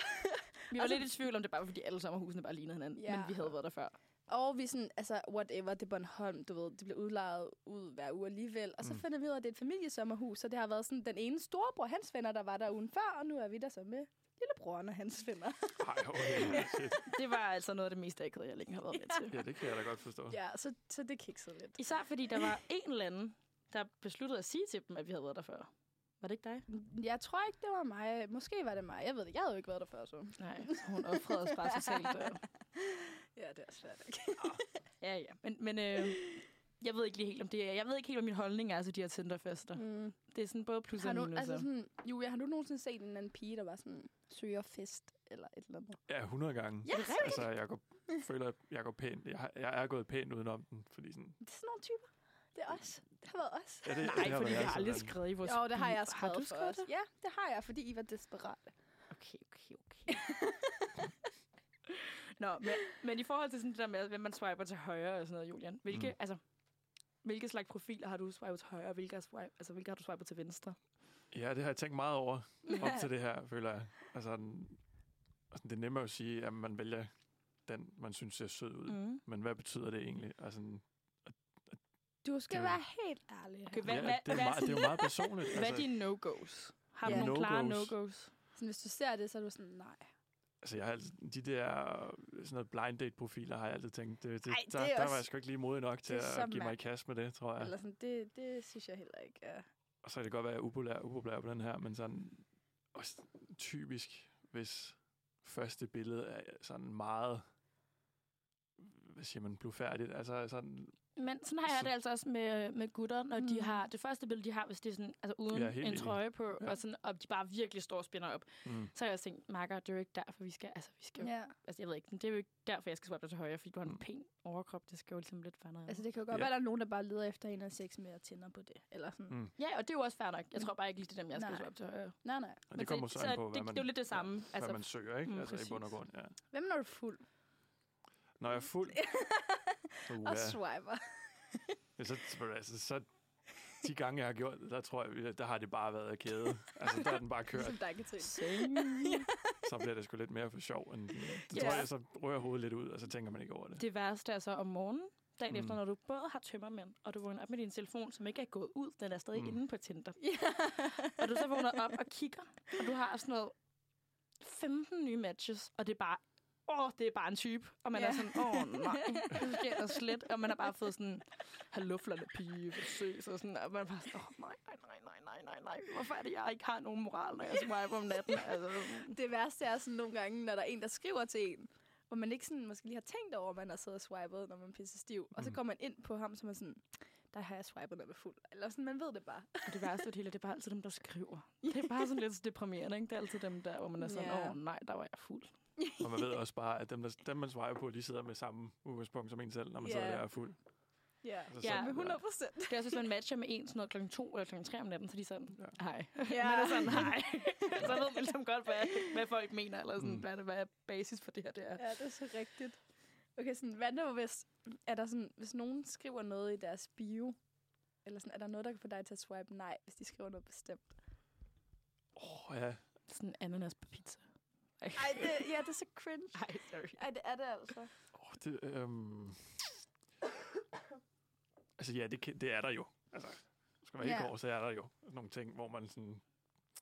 [SPEAKER 1] Vi var
[SPEAKER 2] Altså-
[SPEAKER 1] lidt i tvivl om det, bare var, fordi alle sommerhusene bare lignede hinanden.
[SPEAKER 2] Ja.
[SPEAKER 1] Men vi havde været der før.
[SPEAKER 2] Og vi er sådan, altså, whatever, det er Bornholm, du ved, det bliver udlejet ud hver uge alligevel. Og så
[SPEAKER 3] Mm.
[SPEAKER 2] finder vi ud af, at det er et familiesommerhus, så det har været sådan, den ene storebror, hans venner, der var der ugen før, og nu er vi der så med lillebroren og hans
[SPEAKER 1] *laughs*
[SPEAKER 2] venner.
[SPEAKER 3] Ej, okay, shit.
[SPEAKER 1] Det var altså noget af det mest akavede, jeg længe har været med *laughs* til.
[SPEAKER 3] Ja, det kan jeg da godt forstå.
[SPEAKER 2] ja, så, så det kiksede lidt.
[SPEAKER 1] Især fordi der var en eller anden, der besluttede at sige til dem, at vi havde været der før. Var det ikke dig?
[SPEAKER 2] Jeg tror ikke, det var mig. Måske var det mig. Jeg ved det. Jeg havde jo ikke været der før, så.
[SPEAKER 1] Nej, så hun offrede os bare totalt. Øh.
[SPEAKER 2] Ja, det er svært.
[SPEAKER 1] *laughs* Ja, ja. Men, men øh, jeg ved ikke lige helt, om det er. Jeg ved ikke helt, om min holdning er til de her Tinderfester. Mm. *laughs*
[SPEAKER 2] Mm.
[SPEAKER 1] Det er sådan både plus
[SPEAKER 2] Har
[SPEAKER 1] og
[SPEAKER 2] du,
[SPEAKER 1] minus.
[SPEAKER 2] altså sådan, Julia, har du nogensinde set en anden pige, der var sådan, søger fest eller et eller andet?
[SPEAKER 3] Ja, 100 gange.
[SPEAKER 2] Ja, rigtigt.
[SPEAKER 3] altså, jeg går, føler, at jeg går pænt. Jeg, har, jeg er gået pænt udenom den, fordi sådan...
[SPEAKER 2] Det er sådan nogle typer. Det er os. Det har været os.
[SPEAKER 3] Ja, det, altså
[SPEAKER 1] Nej, fordi
[SPEAKER 3] været
[SPEAKER 1] jeg har aldrig
[SPEAKER 3] sådan.
[SPEAKER 1] skrevet i vores
[SPEAKER 2] Jo, det har
[SPEAKER 1] bio.
[SPEAKER 2] jeg skrevet
[SPEAKER 1] Har du skrevet
[SPEAKER 2] for os.
[SPEAKER 1] det?
[SPEAKER 2] Ja, det har jeg, fordi I var desperate.
[SPEAKER 1] Okay, okay, okay. Nå, men, men i forhold til sådan det der med, hvem man swiper til højre og sådan noget, Julian. Hvilke,
[SPEAKER 3] Mm.
[SPEAKER 1] mm. altså, hvilke slags profiler har du swipet til højre, og hvilke, har swipe, altså, hvilke har du swipet til venstre?
[SPEAKER 3] Ja, det har jeg tænkt meget over op
[SPEAKER 2] Ja.
[SPEAKER 3] til det her, føler jeg. Altså, den, altså, det er nemmere at sige, at man vælger den, man synes ser sød ud. Mm. Men hvad betyder det egentlig? Altså,
[SPEAKER 2] Du skal
[SPEAKER 3] Det er
[SPEAKER 2] det
[SPEAKER 3] jo-
[SPEAKER 2] være helt ærlig.
[SPEAKER 1] Okay,
[SPEAKER 2] Okay.
[SPEAKER 1] hvad,
[SPEAKER 3] ja,
[SPEAKER 1] hvad,
[SPEAKER 3] det, er
[SPEAKER 1] hvad,
[SPEAKER 3] meget, det er jo meget personligt. Altså,
[SPEAKER 1] hvad er dine no-go's? Har du
[SPEAKER 2] Ja.
[SPEAKER 1] nogle klare
[SPEAKER 3] No-go's.
[SPEAKER 1] no-go's?
[SPEAKER 2] Sådan, hvis du ser det, så er du sådan, nej.
[SPEAKER 3] Altså, jeg har altid, de der øh, sådan noget blind date profiler har jeg altid tænkt, det, det,
[SPEAKER 2] Ej,
[SPEAKER 3] der,
[SPEAKER 2] det er
[SPEAKER 3] der var
[SPEAKER 2] også-
[SPEAKER 3] jeg sgu ikke lige modig nok til
[SPEAKER 2] det er så
[SPEAKER 3] at give mig i
[SPEAKER 2] mærkeligt.
[SPEAKER 3] kast med det, tror
[SPEAKER 2] Ja.
[SPEAKER 3] jeg.
[SPEAKER 2] Eller sådan, det, det synes jeg heller ikke. Ja.
[SPEAKER 3] Og så kan det godt være, at jeg er upopulær, upopulær på den her, men sådan også typisk, hvis første billede er sådan meget, hvad siger man, blufærdigt. Altså sådan,
[SPEAKER 1] Men sådan har jeg
[SPEAKER 3] Så-
[SPEAKER 1] det altså også med, med gutter, når mm. de
[SPEAKER 2] Mm.
[SPEAKER 1] har det første billede, de har, hvis det er sådan, altså uden
[SPEAKER 3] Ja,
[SPEAKER 1] ja,
[SPEAKER 3] helt
[SPEAKER 1] en
[SPEAKER 3] enig.
[SPEAKER 1] trøje på,
[SPEAKER 3] Ja.
[SPEAKER 1] ja. og, sådan, og de bare virkelig står og spænder op,
[SPEAKER 3] mm,
[SPEAKER 1] så har jeg også tænkt, Marker, det er jo ikke derfor, vi skal, altså, vi skal ja.
[SPEAKER 2] ja.
[SPEAKER 1] altså jeg ved ikke, men det er jo ikke derfor, jeg skal swipe dig til højre, fordi du har
[SPEAKER 3] Mm.
[SPEAKER 1] en pæn overkrop, det skal jo ligesom lidt være noget
[SPEAKER 2] Altså,
[SPEAKER 1] altså,
[SPEAKER 2] det kan jo godt
[SPEAKER 3] Ja.
[SPEAKER 2] ja. være, der er nogen, der bare leder efter en af seks mere tænder på det. Eller sådan.
[SPEAKER 3] Mm.
[SPEAKER 2] Mm.
[SPEAKER 1] Ja, og det er jo også fair nok. Jeg
[SPEAKER 2] Mm.
[SPEAKER 1] tror bare ikke lige det er dem, jeg skal
[SPEAKER 2] Nej.
[SPEAKER 1] swipe til højre.
[SPEAKER 2] Nej, nej.
[SPEAKER 3] og det kommer så an på,
[SPEAKER 1] det,
[SPEAKER 3] hvad
[SPEAKER 1] det er jo
[SPEAKER 3] man,
[SPEAKER 1] lidt det samme. Ja,
[SPEAKER 3] hvad
[SPEAKER 1] altså,
[SPEAKER 3] man søger, ikke?
[SPEAKER 1] mm,
[SPEAKER 3] altså i bund og
[SPEAKER 1] præcis.
[SPEAKER 3] grund, ja.
[SPEAKER 2] Hvem når du er fuld?
[SPEAKER 3] Når jeg er fuld, uh,
[SPEAKER 2] Og
[SPEAKER 3] ja.
[SPEAKER 2] swiper.
[SPEAKER 3] Ja, så, altså, så de gange, jeg har gjort det, der tror jeg, øh, der har det bare været kæde. Altså, der er den bare *laughs* kørt.
[SPEAKER 2] Ligesom dig, Katrine.
[SPEAKER 1] *laughs*
[SPEAKER 3] Så bliver det sgu lidt mere for sjov. End, det
[SPEAKER 2] Ja.
[SPEAKER 3] tror jeg, så rører hovedet lidt ud, og så tænker man ikke over det.
[SPEAKER 1] det værste er så om morgenen, dagen
[SPEAKER 3] Mm.
[SPEAKER 1] efter, når du både har tømmermænd, og du vågner op med din telefon, som ikke er gået ud, den er stadig
[SPEAKER 3] Mm.
[SPEAKER 1] mm. inde på Tinder.
[SPEAKER 2] *laughs* Ja.
[SPEAKER 1] Og du så vågner op og kigger, og du har sådan noget 15 nye matches, og det er bare, åh, det er bare en type. Og man
[SPEAKER 2] Ja.
[SPEAKER 1] er sådan, åh nej, det sker der slet. Og man har bare fået sådan, hallo flotte pige, vi ses, og sådan, og man er bare sådan, åh nej, nej, nej, nej, nej, nej, nej, hvorfor er det, jeg ikke har nogen moral, når jeg swiper om natten? Altså,
[SPEAKER 2] Det værste er sådan nogle gange, når der er en, der skriver til en, hvor man ikke sådan måske lige har tænkt over, at man har siddet og swipet, når man pisser stiv. Og så
[SPEAKER 3] Mm.
[SPEAKER 2] kommer man ind på ham, som er sådan, der har jeg swipet, når jeg er fuld. Eller sådan, man ved det bare.
[SPEAKER 1] og det værste af det hele, det er bare altid dem, der *laughs* skriver. Det er bare sådan lidt så deprimerende, ikke? Det er altid dem der, hvor man er sådan, åh
[SPEAKER 2] Ja.
[SPEAKER 1] yeah. nej, der var jeg *laughs* fuld.
[SPEAKER 3] Og man ved også bare, at dem, der, dem man svarer på, de sidder med samme udgangspunkt som en selv, når man
[SPEAKER 2] Ja.
[SPEAKER 3] sidder der og er fuld.
[SPEAKER 2] Ja,
[SPEAKER 3] Altså,
[SPEAKER 1] Ja.
[SPEAKER 2] ja.
[SPEAKER 3] sådan
[SPEAKER 2] med
[SPEAKER 3] der.
[SPEAKER 2] 100 procent.
[SPEAKER 1] Det er også, hvis man matcher med en sådan noget klokken to eller klokken tre om natten, så de er sådan,
[SPEAKER 3] Ja.
[SPEAKER 1] hej.
[SPEAKER 2] Ja.
[SPEAKER 1] *laughs* Man er sådan, hej. så ved man ligesom godt, hvad, hvad folk mener, eller sådan,
[SPEAKER 3] Mm.
[SPEAKER 1] mm. hvad, er det- hvad er basis for det her, det er.
[SPEAKER 2] Ja, det er så rigtigt. Okay, sådan, hvad nu hvis, er der sådan, hvis nogen skriver noget i deres bio, eller sådan, er der noget, der kan få dig til at swipe nej, hvis de skriver noget bestemt?
[SPEAKER 3] Åh, oh, ja.
[SPEAKER 1] Sådan ananas på pizza. Ej,
[SPEAKER 2] Ej, det, *laughs* ja, det er så cringe.
[SPEAKER 1] *laughs* Ej sorry.
[SPEAKER 2] Ej, det er det altså.
[SPEAKER 3] Oh, det, øhm... Altså ja, det, kan- det er der jo. Altså, skal man helt
[SPEAKER 2] Ja.
[SPEAKER 3] ja. over, så er der jo nogle ting, hvor man sådan...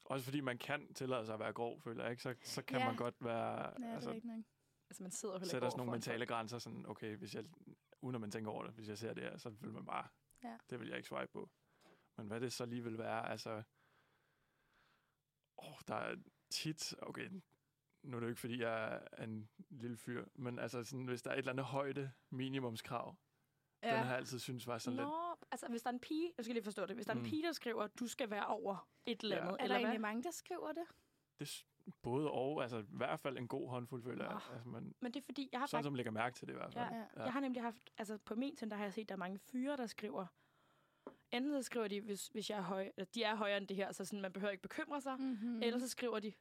[SPEAKER 3] Også fordi man kan tillade sig at være grov, føler jeg, ikke? Så, så kan
[SPEAKER 2] Ja.
[SPEAKER 3] man godt være...
[SPEAKER 2] Ja, altså, det er
[SPEAKER 3] altså,
[SPEAKER 2] ikke nok.
[SPEAKER 1] Altså, man sidder jo heller
[SPEAKER 3] sætter sådan nogle
[SPEAKER 1] overfor en
[SPEAKER 3] mentale grænser, sådan, okay, hvis jeg, uden at man tænker over det, hvis jeg ser det her, så vil man bare,
[SPEAKER 2] Ja.
[SPEAKER 3] det vil jeg ikke swipe på. Men hvad det så lige vil være, altså, åh, der er tit, okay, nu er det jo ikke, fordi jeg er en lille fyr, men altså, sådan, hvis der er et eller andet højde minimumskrav,
[SPEAKER 1] folk.
[SPEAKER 3] ja. den har jeg altid synes var sådan lidt,
[SPEAKER 1] Nå, altså hvis der er en pige, jeg skal lige forstå det, hvis der er en
[SPEAKER 3] Mm.
[SPEAKER 1] pige, der skriver, du skal være over et eller
[SPEAKER 3] Ja.
[SPEAKER 1] andet, ja.
[SPEAKER 3] Er
[SPEAKER 2] Er der
[SPEAKER 1] eller
[SPEAKER 2] egentlig
[SPEAKER 1] hvad?
[SPEAKER 2] mange, der skriver det?
[SPEAKER 3] det s- både og, altså i hvert fald en god håndfuld, føler jeg.
[SPEAKER 1] Nå.
[SPEAKER 3] Altså, man,
[SPEAKER 1] Men det er fordi, jeg har,
[SPEAKER 3] sådan
[SPEAKER 1] faktisk,
[SPEAKER 3] som lægger mærke til det i hvert fald.
[SPEAKER 2] Ja.
[SPEAKER 1] jeg har nemlig haft, altså på min Tinder har jeg set, at der er mange fyre, der skriver, enten så skriver de, hvis, hvis jeg er høj, eller de er højere end det her, så sådan, man behøver ikke bekymre sig,
[SPEAKER 2] Mm-hmm.
[SPEAKER 1] mm. eller så skriver de,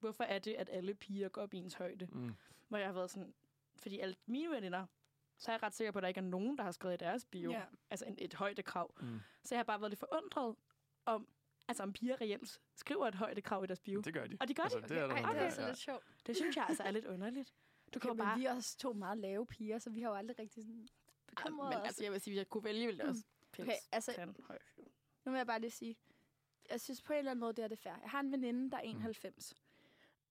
[SPEAKER 1] hvorfor er det, at alle piger går op i ens højde?
[SPEAKER 3] Mm.
[SPEAKER 1] Hvor jeg har været sådan, fordi alle mine veninder, så er jeg ret sikker på, at der ikke er nogen, der har skrevet i deres bio,
[SPEAKER 2] Ja.
[SPEAKER 1] altså en, et højdekrav.
[SPEAKER 3] Mm.
[SPEAKER 1] Så jeg har bare været lidt forundret om, altså om piger reelt skriver et højdekrav i deres bio.
[SPEAKER 3] Det gør de.
[SPEAKER 1] Og de gør
[SPEAKER 3] altså,
[SPEAKER 1] det.
[SPEAKER 3] Det er der
[SPEAKER 1] Ej,
[SPEAKER 3] nogen,
[SPEAKER 1] okay.
[SPEAKER 2] det er
[SPEAKER 3] der gør,
[SPEAKER 2] altså
[SPEAKER 3] ja.
[SPEAKER 2] lidt sjovt.
[SPEAKER 1] Det synes jeg altså er lidt underligt. Du kan jo
[SPEAKER 2] Okay,
[SPEAKER 1] bare...
[SPEAKER 2] men vi er også to meget lave piger, så vi har jo aldrig rigtig sådan bekymret
[SPEAKER 1] men
[SPEAKER 2] os.
[SPEAKER 1] altså, jeg vil sige, hvis jeg kunne vælge, ville jeg også
[SPEAKER 2] Okay, altså, nu vil jeg bare lige sige, jeg synes på en eller anden måde, det er det fair. Jeg har en veninde, der er 91.